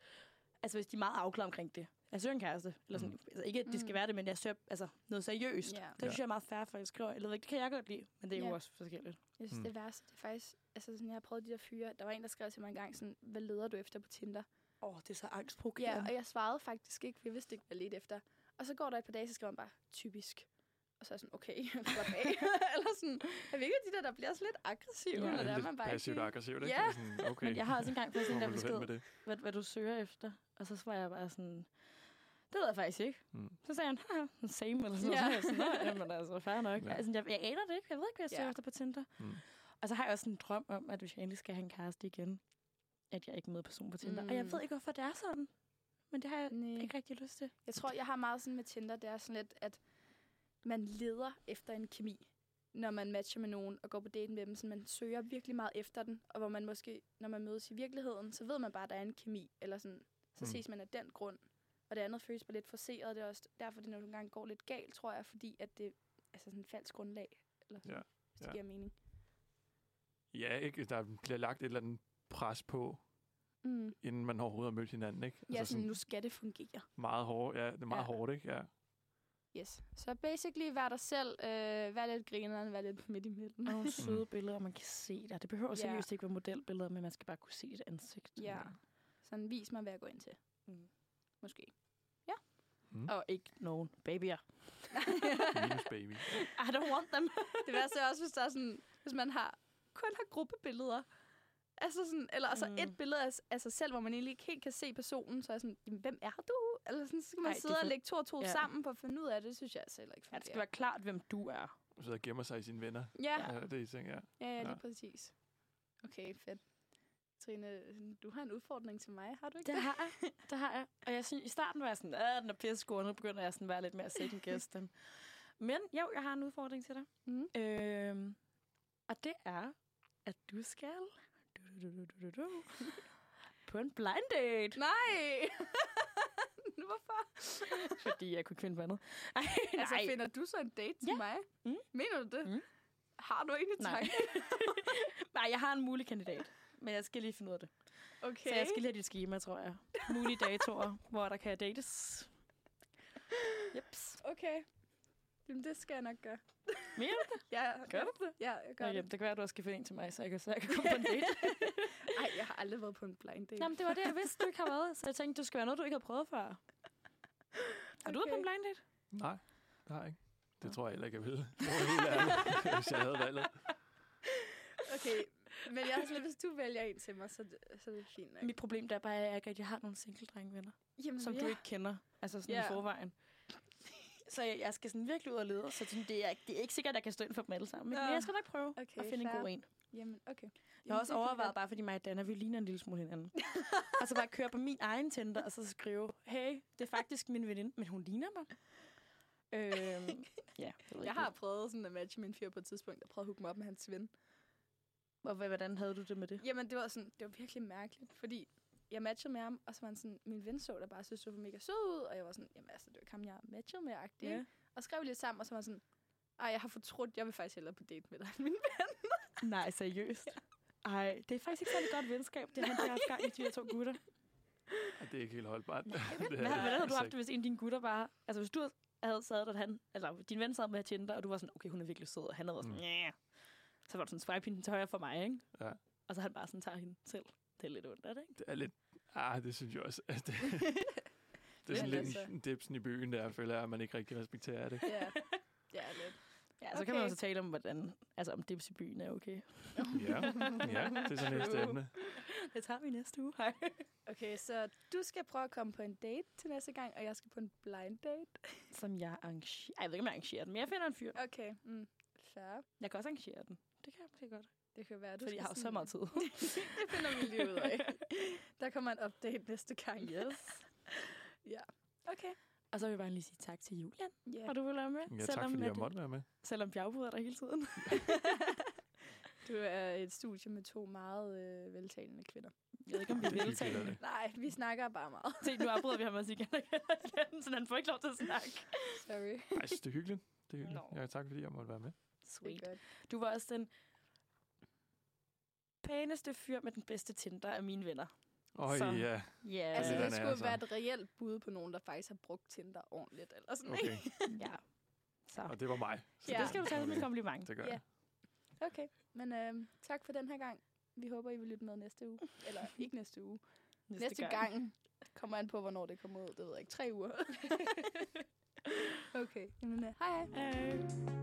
[SPEAKER 1] Altså, hvis de er meget afklaret omkring det. Jeg søger en kæreste, eller sådan, mm.
[SPEAKER 3] Mm.
[SPEAKER 1] altså ikke, at det skal
[SPEAKER 2] Mm.
[SPEAKER 1] være det, men jeg søger altså, noget seriøst.
[SPEAKER 2] Ja.
[SPEAKER 1] Det synes jeg er meget færre, for jeg skriver, eller det kan jeg godt lide, men det er
[SPEAKER 2] Ja.
[SPEAKER 1] jo også forskelligt.
[SPEAKER 2] Jeg synes, mm.
[SPEAKER 3] Mm.
[SPEAKER 2] det værste, det er faktisk... Altså, sådan, jeg har prøvet de der fyre. Der var en, der skrev til mig engang sådan, hvad leder du efter på Tinder?
[SPEAKER 1] Åh, oh, det er så
[SPEAKER 2] Ja,
[SPEAKER 1] angstprogram.
[SPEAKER 2] og jeg svarede faktisk ikke, for jeg vidste ikke, hvad jeg ledte efter. Og så går der et par dage, så skriver han bare, typisk. Og så er jeg sådan, okay, *laughs* slap af. eller sådan, jeg ved ikke, de der, der bliver sådan lidt aggressive,
[SPEAKER 1] Ja,
[SPEAKER 2] ja, når det er,
[SPEAKER 3] lidt
[SPEAKER 2] man bare
[SPEAKER 3] passivt
[SPEAKER 2] ikke...
[SPEAKER 3] og aggressivt, ikke?
[SPEAKER 2] Ja.
[SPEAKER 3] Det er Sådan, okay,
[SPEAKER 1] Men jeg har også engang fået
[SPEAKER 3] *laughs* hvor
[SPEAKER 1] sådan der
[SPEAKER 3] vil du hen med
[SPEAKER 1] besked,
[SPEAKER 3] det?
[SPEAKER 1] hvad, hvad du søger efter. Og så var jeg bare sådan, det ved jeg faktisk ikke.
[SPEAKER 3] Mm.
[SPEAKER 1] Så sagde han, haha, same eller sådan noget.
[SPEAKER 2] Ja.
[SPEAKER 1] Så var jeg sådan, "Nå, jamen altså, fair nok.
[SPEAKER 3] Ja.
[SPEAKER 1] Ja. Altså, jeg, jeg aner det ikke. Jeg ved ikke, hvad jeg søger
[SPEAKER 2] Ja.
[SPEAKER 1] efter på Tinder.
[SPEAKER 3] Mm.
[SPEAKER 1] Og så har jeg også en drøm om, at hvis jeg endelig skal have en kæreste igen, at jeg ikke møder personen på Tinder. Mm. Og jeg ved
[SPEAKER 2] Mm.
[SPEAKER 1] ikke, hvorfor det er sådan. Men det har jeg
[SPEAKER 2] Nej.
[SPEAKER 1] ikke rigtig lyst til.
[SPEAKER 2] Jeg tror, jeg har meget sådan med Tinder, det er sådan lidt, at man leder efter en kemi, når man matcher med nogen og går på date med dem, så man søger virkelig meget efter den, og hvor man måske, når man mødes i virkeligheden, så ved man bare, at der er en kemi, eller sådan, så
[SPEAKER 3] Mm.
[SPEAKER 2] mm. ses man af den grund. Og det andet føles bare lidt forceret, det er også derfor, det nogle gange går lidt galt, tror jeg, fordi at det altså sådan et falsk grundlag, eller sådan,
[SPEAKER 3] Ja,
[SPEAKER 2] ja. hvis det
[SPEAKER 3] ja.
[SPEAKER 2] giver mening.
[SPEAKER 3] Ja, ikke? Der bliver lagt et eller andet pres på,
[SPEAKER 2] Mm.
[SPEAKER 3] inden man overhovedet har mødt hinanden, ikke? Altså,
[SPEAKER 2] Ja, sådan, nu skal det fungere.
[SPEAKER 3] meget hårdt, ja, det er meget
[SPEAKER 2] Ja.
[SPEAKER 3] hårdt, ikke? Ja.
[SPEAKER 2] Yes. Så basically, vær dig selv, øh, vær lidt grineren, vær lidt midt
[SPEAKER 1] *laughs*
[SPEAKER 2] imellem.
[SPEAKER 1] Og nogle
[SPEAKER 3] *laughs*
[SPEAKER 1] søde billeder, og man kan se dig. Det behøver
[SPEAKER 2] Mm. Ja.
[SPEAKER 1] seriøst ikke være modelbilleder, men man skal bare kunne se et ansigt.
[SPEAKER 2] Ja. Sådan, vis mig, hvad jeg går ind til.
[SPEAKER 1] Mm.
[SPEAKER 2] Måske.
[SPEAKER 3] Mm.
[SPEAKER 1] Og ikke nogen babyer.
[SPEAKER 3] Minus
[SPEAKER 2] *laughs*
[SPEAKER 3] baby.
[SPEAKER 1] I don't want *laughs* them.
[SPEAKER 2] det værste er også, hvis, der er sådan, hvis man har, kun har gruppebilleder. Altså sådan, eller altså mm.
[SPEAKER 1] Mm.
[SPEAKER 2] et billede af, s- af sig selv, hvor man egentlig ikke helt kan se personen. Så er jeg sådan, "Jamen, hvem er du? Eller sådan, så skal man
[SPEAKER 1] Ej,
[SPEAKER 2] Ej,
[SPEAKER 1] det
[SPEAKER 2] sidde
[SPEAKER 1] for-
[SPEAKER 2] og lægge to og to
[SPEAKER 1] Ja.
[SPEAKER 2] ja. sammen for at finde ud af det. Det synes jeg altså heller ikke
[SPEAKER 1] Ja, det skal
[SPEAKER 2] fungerer.
[SPEAKER 1] være klart, hvem du er.
[SPEAKER 3] Så der gemmer sig i sine venner.
[SPEAKER 2] Ja,
[SPEAKER 3] Ja, det er ting, ja.
[SPEAKER 2] ja, ja, lige
[SPEAKER 3] Ja.
[SPEAKER 2] præcis. Okay, fedt. Trine, du har en udfordring til mig, har du ikke
[SPEAKER 1] Det har jeg. Det har jeg. Og jeg synes, i starten var jeg sådan, at den er pissegod, nu begynder jeg sådan at være lidt mere second guess dem. Men jo, jeg har en udfordring til dig.
[SPEAKER 2] Mhm.
[SPEAKER 1] Øhm, og det er, at du skal du, du, du, du, du, du, på en blind date.
[SPEAKER 2] Nej! *laughs* Nu, Hvorfor?
[SPEAKER 1] Fordi jeg kunne kvinde vandet. Ej, nej.
[SPEAKER 2] Altså, finder du så en date til
[SPEAKER 1] Ja.
[SPEAKER 2] mig?
[SPEAKER 1] Mm.
[SPEAKER 2] Mener du det?
[SPEAKER 1] Mm.
[SPEAKER 2] Har du egentlig
[SPEAKER 1] Nej.
[SPEAKER 2] tanke?
[SPEAKER 1] *laughs* nej, jeg har en mulig kandidat. Men jeg skal lige finde ud af det.
[SPEAKER 2] Okay.
[SPEAKER 1] Okay. Så jeg skal lige have dit schema, tror jeg. Mulige datoer, hvor der kan dates. Jeps.
[SPEAKER 2] Okay. Jamen, det skal jeg nok gøre.
[SPEAKER 1] Mener
[SPEAKER 2] du det? *laughs* ja,
[SPEAKER 1] Gør
[SPEAKER 2] ja.
[SPEAKER 1] du det?
[SPEAKER 2] Ja, jeg gør
[SPEAKER 1] Nå, jamen,
[SPEAKER 2] det.
[SPEAKER 1] det kan være, at du også skal finde en til mig, så jeg kan, så jeg kan komme på en *laughs* date.
[SPEAKER 2] Ej, jeg har aldrig været på en blind date.
[SPEAKER 1] Jamen, det var det, jeg vidste, du ikke har været. Så jeg tænkte, det skulle være noget, du ikke havde prøvet før. Har du været på en
[SPEAKER 2] Okay.
[SPEAKER 1] blind date?
[SPEAKER 3] Nej, det har jeg ikke. Det
[SPEAKER 1] Nå.
[SPEAKER 3] tror jeg heller ikke, jeg ville. Det var helt ærligt, *laughs* hvis jeg havde valget.
[SPEAKER 2] Okay, men jeg er sådan lidt, hvis du vælger en til mig, så, så er det fint nok.
[SPEAKER 1] Mit problem der er bare, at jeg ikke rigtig har nogle single-drengvenner,
[SPEAKER 2] Jamen,
[SPEAKER 1] som du ikke kender. Altså sådan
[SPEAKER 2] Ja.
[SPEAKER 1] i forvejen. Så jeg, jeg skal sådan virkelig ud og lede, så sådan, det, er, det er ikke sikkert, at jeg kan stå ind for dem alle sammen. Okay.
[SPEAKER 2] Nå.
[SPEAKER 1] Men jeg skal nok prøve okay,
[SPEAKER 2] Okay,
[SPEAKER 1] at finde fair. en
[SPEAKER 2] fair.
[SPEAKER 1] god en.
[SPEAKER 2] Jamen, okay.
[SPEAKER 1] Jeg har også overvejet, bare fordi mig og Dana, vi ligner en lille smule *laughs* hinanden. og så bare køre på min egen Tinder, og så skrive, hey, det er faktisk min veninde, men hun ligner mig. øhm, ja, det ved
[SPEAKER 2] Jeg har prøvet sådan at matche min fyr på et tidspunkt, og prøvet at hooke mig op med hans ven.
[SPEAKER 1] Og hvad- hvordan havde du det med det?
[SPEAKER 2] Jamen, det var, sådan, det var virkelig mærkeligt, fordi jeg matchede med ham, og så var han sådan, min ven så der bare synes, du var mega sød ud, og jeg var sådan, jamen altså, det var ikke ham, jeg matchede med, agtig,
[SPEAKER 1] Ja.
[SPEAKER 2] ja. Og skrev lidt sammen, og så var han sådan, ej, jeg har fortrudt, jeg vil faktisk hellere på date med dig, end min
[SPEAKER 1] Nej, *laughs* seriøst. Ej, det er faktisk ikke særlig godt venskab, det han der har haft gang i de her to gutter.
[SPEAKER 3] Ej, *laughs* Det er altså ikke helt holdbart. Nej,
[SPEAKER 1] Hvad, hvad havde du haft det, hvis en af dine gutter bare... Altså, hvis du havde sad at han... Altså, din ven sad med at Tinder, og du var sådan, okay, hun er virkelig sød, og han havde været sådan,
[SPEAKER 3] Mm.
[SPEAKER 1] ja. Så var du sådan, swipe hende til højre for mig, ikke?
[SPEAKER 3] Ja.
[SPEAKER 1] Og så han bare sådan tager hende selv. Det er lidt ondt, er det ikke?
[SPEAKER 3] Det er lidt... Ah, det synes jeg også. *laughs* at det, det er
[SPEAKER 2] Men
[SPEAKER 3] sådan lidt
[SPEAKER 2] altså-
[SPEAKER 3] en dipsen i byen, der føler jeg, at man ikke rigtig respekterer det.
[SPEAKER 2] Ja, ja lidt.
[SPEAKER 1] Ja, så okay. kan man
[SPEAKER 2] Okay.
[SPEAKER 1] også tale om, hvordan... Altså, om dips i byen er okay.
[SPEAKER 3] *laughs* Ja, ja det er
[SPEAKER 1] *laughs*
[SPEAKER 3] sådan næste
[SPEAKER 1] True.
[SPEAKER 3] emne.
[SPEAKER 1] Det tager vi næste uge. Hej.
[SPEAKER 2] Okay, så du skal prøve at komme på en date til næste gang, og jeg skal på en blind date.
[SPEAKER 1] Som jeg arrangerer... Ej, jeg ved ikke, om jeg arrangerer den, men jeg finder en fyr.
[SPEAKER 2] Okay, mm, fair.
[SPEAKER 1] Jeg kan også arrangere den. Det kan jeg måske godt.
[SPEAKER 2] Det kan være, du
[SPEAKER 1] Fordi
[SPEAKER 2] skal
[SPEAKER 1] jeg har jo så
[SPEAKER 2] sådan-
[SPEAKER 1] meget tid.
[SPEAKER 2] *laughs* det finder vi lige ud af. *laughs* Der kommer en update næste gang.
[SPEAKER 1] *laughs* yes.
[SPEAKER 2] Okay.
[SPEAKER 1] Og så vil jeg bare lige sige tak til Julian,
[SPEAKER 2] Ja.
[SPEAKER 1] og du vil være med.
[SPEAKER 3] Ja, tak fordi
[SPEAKER 1] at-
[SPEAKER 3] jeg måtte være med.
[SPEAKER 1] Selvom jeg afbryder dig hele tiden.
[SPEAKER 2] *laughs* Du er et studie med to meget øh, veltalende kvinder.
[SPEAKER 1] Jeg ved ikke, om vi
[SPEAKER 3] *laughs* Det er
[SPEAKER 1] vil tage
[SPEAKER 3] hyggeligt,
[SPEAKER 1] det.
[SPEAKER 2] Nej, vi snakker bare meget.
[SPEAKER 1] Se, nu afbryder vi ham også igen og igen, så han får ikke lov til at snakke.
[SPEAKER 2] Sorry.
[SPEAKER 3] Ej, det er hyggeligt. Det er hyggeligt.
[SPEAKER 1] Nå.
[SPEAKER 3] Ja, tak fordi jeg måtte være med.
[SPEAKER 2] Det er
[SPEAKER 1] Sweet.
[SPEAKER 2] godt.
[SPEAKER 1] Du var også den pæneste fyr med den bedste Tinder af mine venner.
[SPEAKER 3] Øj,
[SPEAKER 1] Så-
[SPEAKER 3] ja.
[SPEAKER 1] Ja.
[SPEAKER 2] Altså,
[SPEAKER 3] Lidt af
[SPEAKER 2] det
[SPEAKER 3] en
[SPEAKER 2] skulle
[SPEAKER 3] altså.
[SPEAKER 2] være et reelt bud på nogen, der faktisk har brugt Tinder ordentligt. Eller sådan.
[SPEAKER 3] Okay,
[SPEAKER 1] ja. Så.
[SPEAKER 3] og det var mig.
[SPEAKER 2] Ja.
[SPEAKER 1] Det skal du tage som et kompliment.
[SPEAKER 3] Det gør
[SPEAKER 2] Ja.
[SPEAKER 3] jeg.
[SPEAKER 2] *laughs* okay. Men øh, tak for den her gang. Vi håber, I vil lytte med næste uge.
[SPEAKER 3] *laughs*
[SPEAKER 2] Eller ikke næste uge.
[SPEAKER 3] *laughs*
[SPEAKER 2] Næste, gang. gang. Kommer an på, hvornår det kommer ud. Det ved jeg ikke. Tre uger. *laughs* Okay. Jamen, øh, hej hej.
[SPEAKER 1] Øh.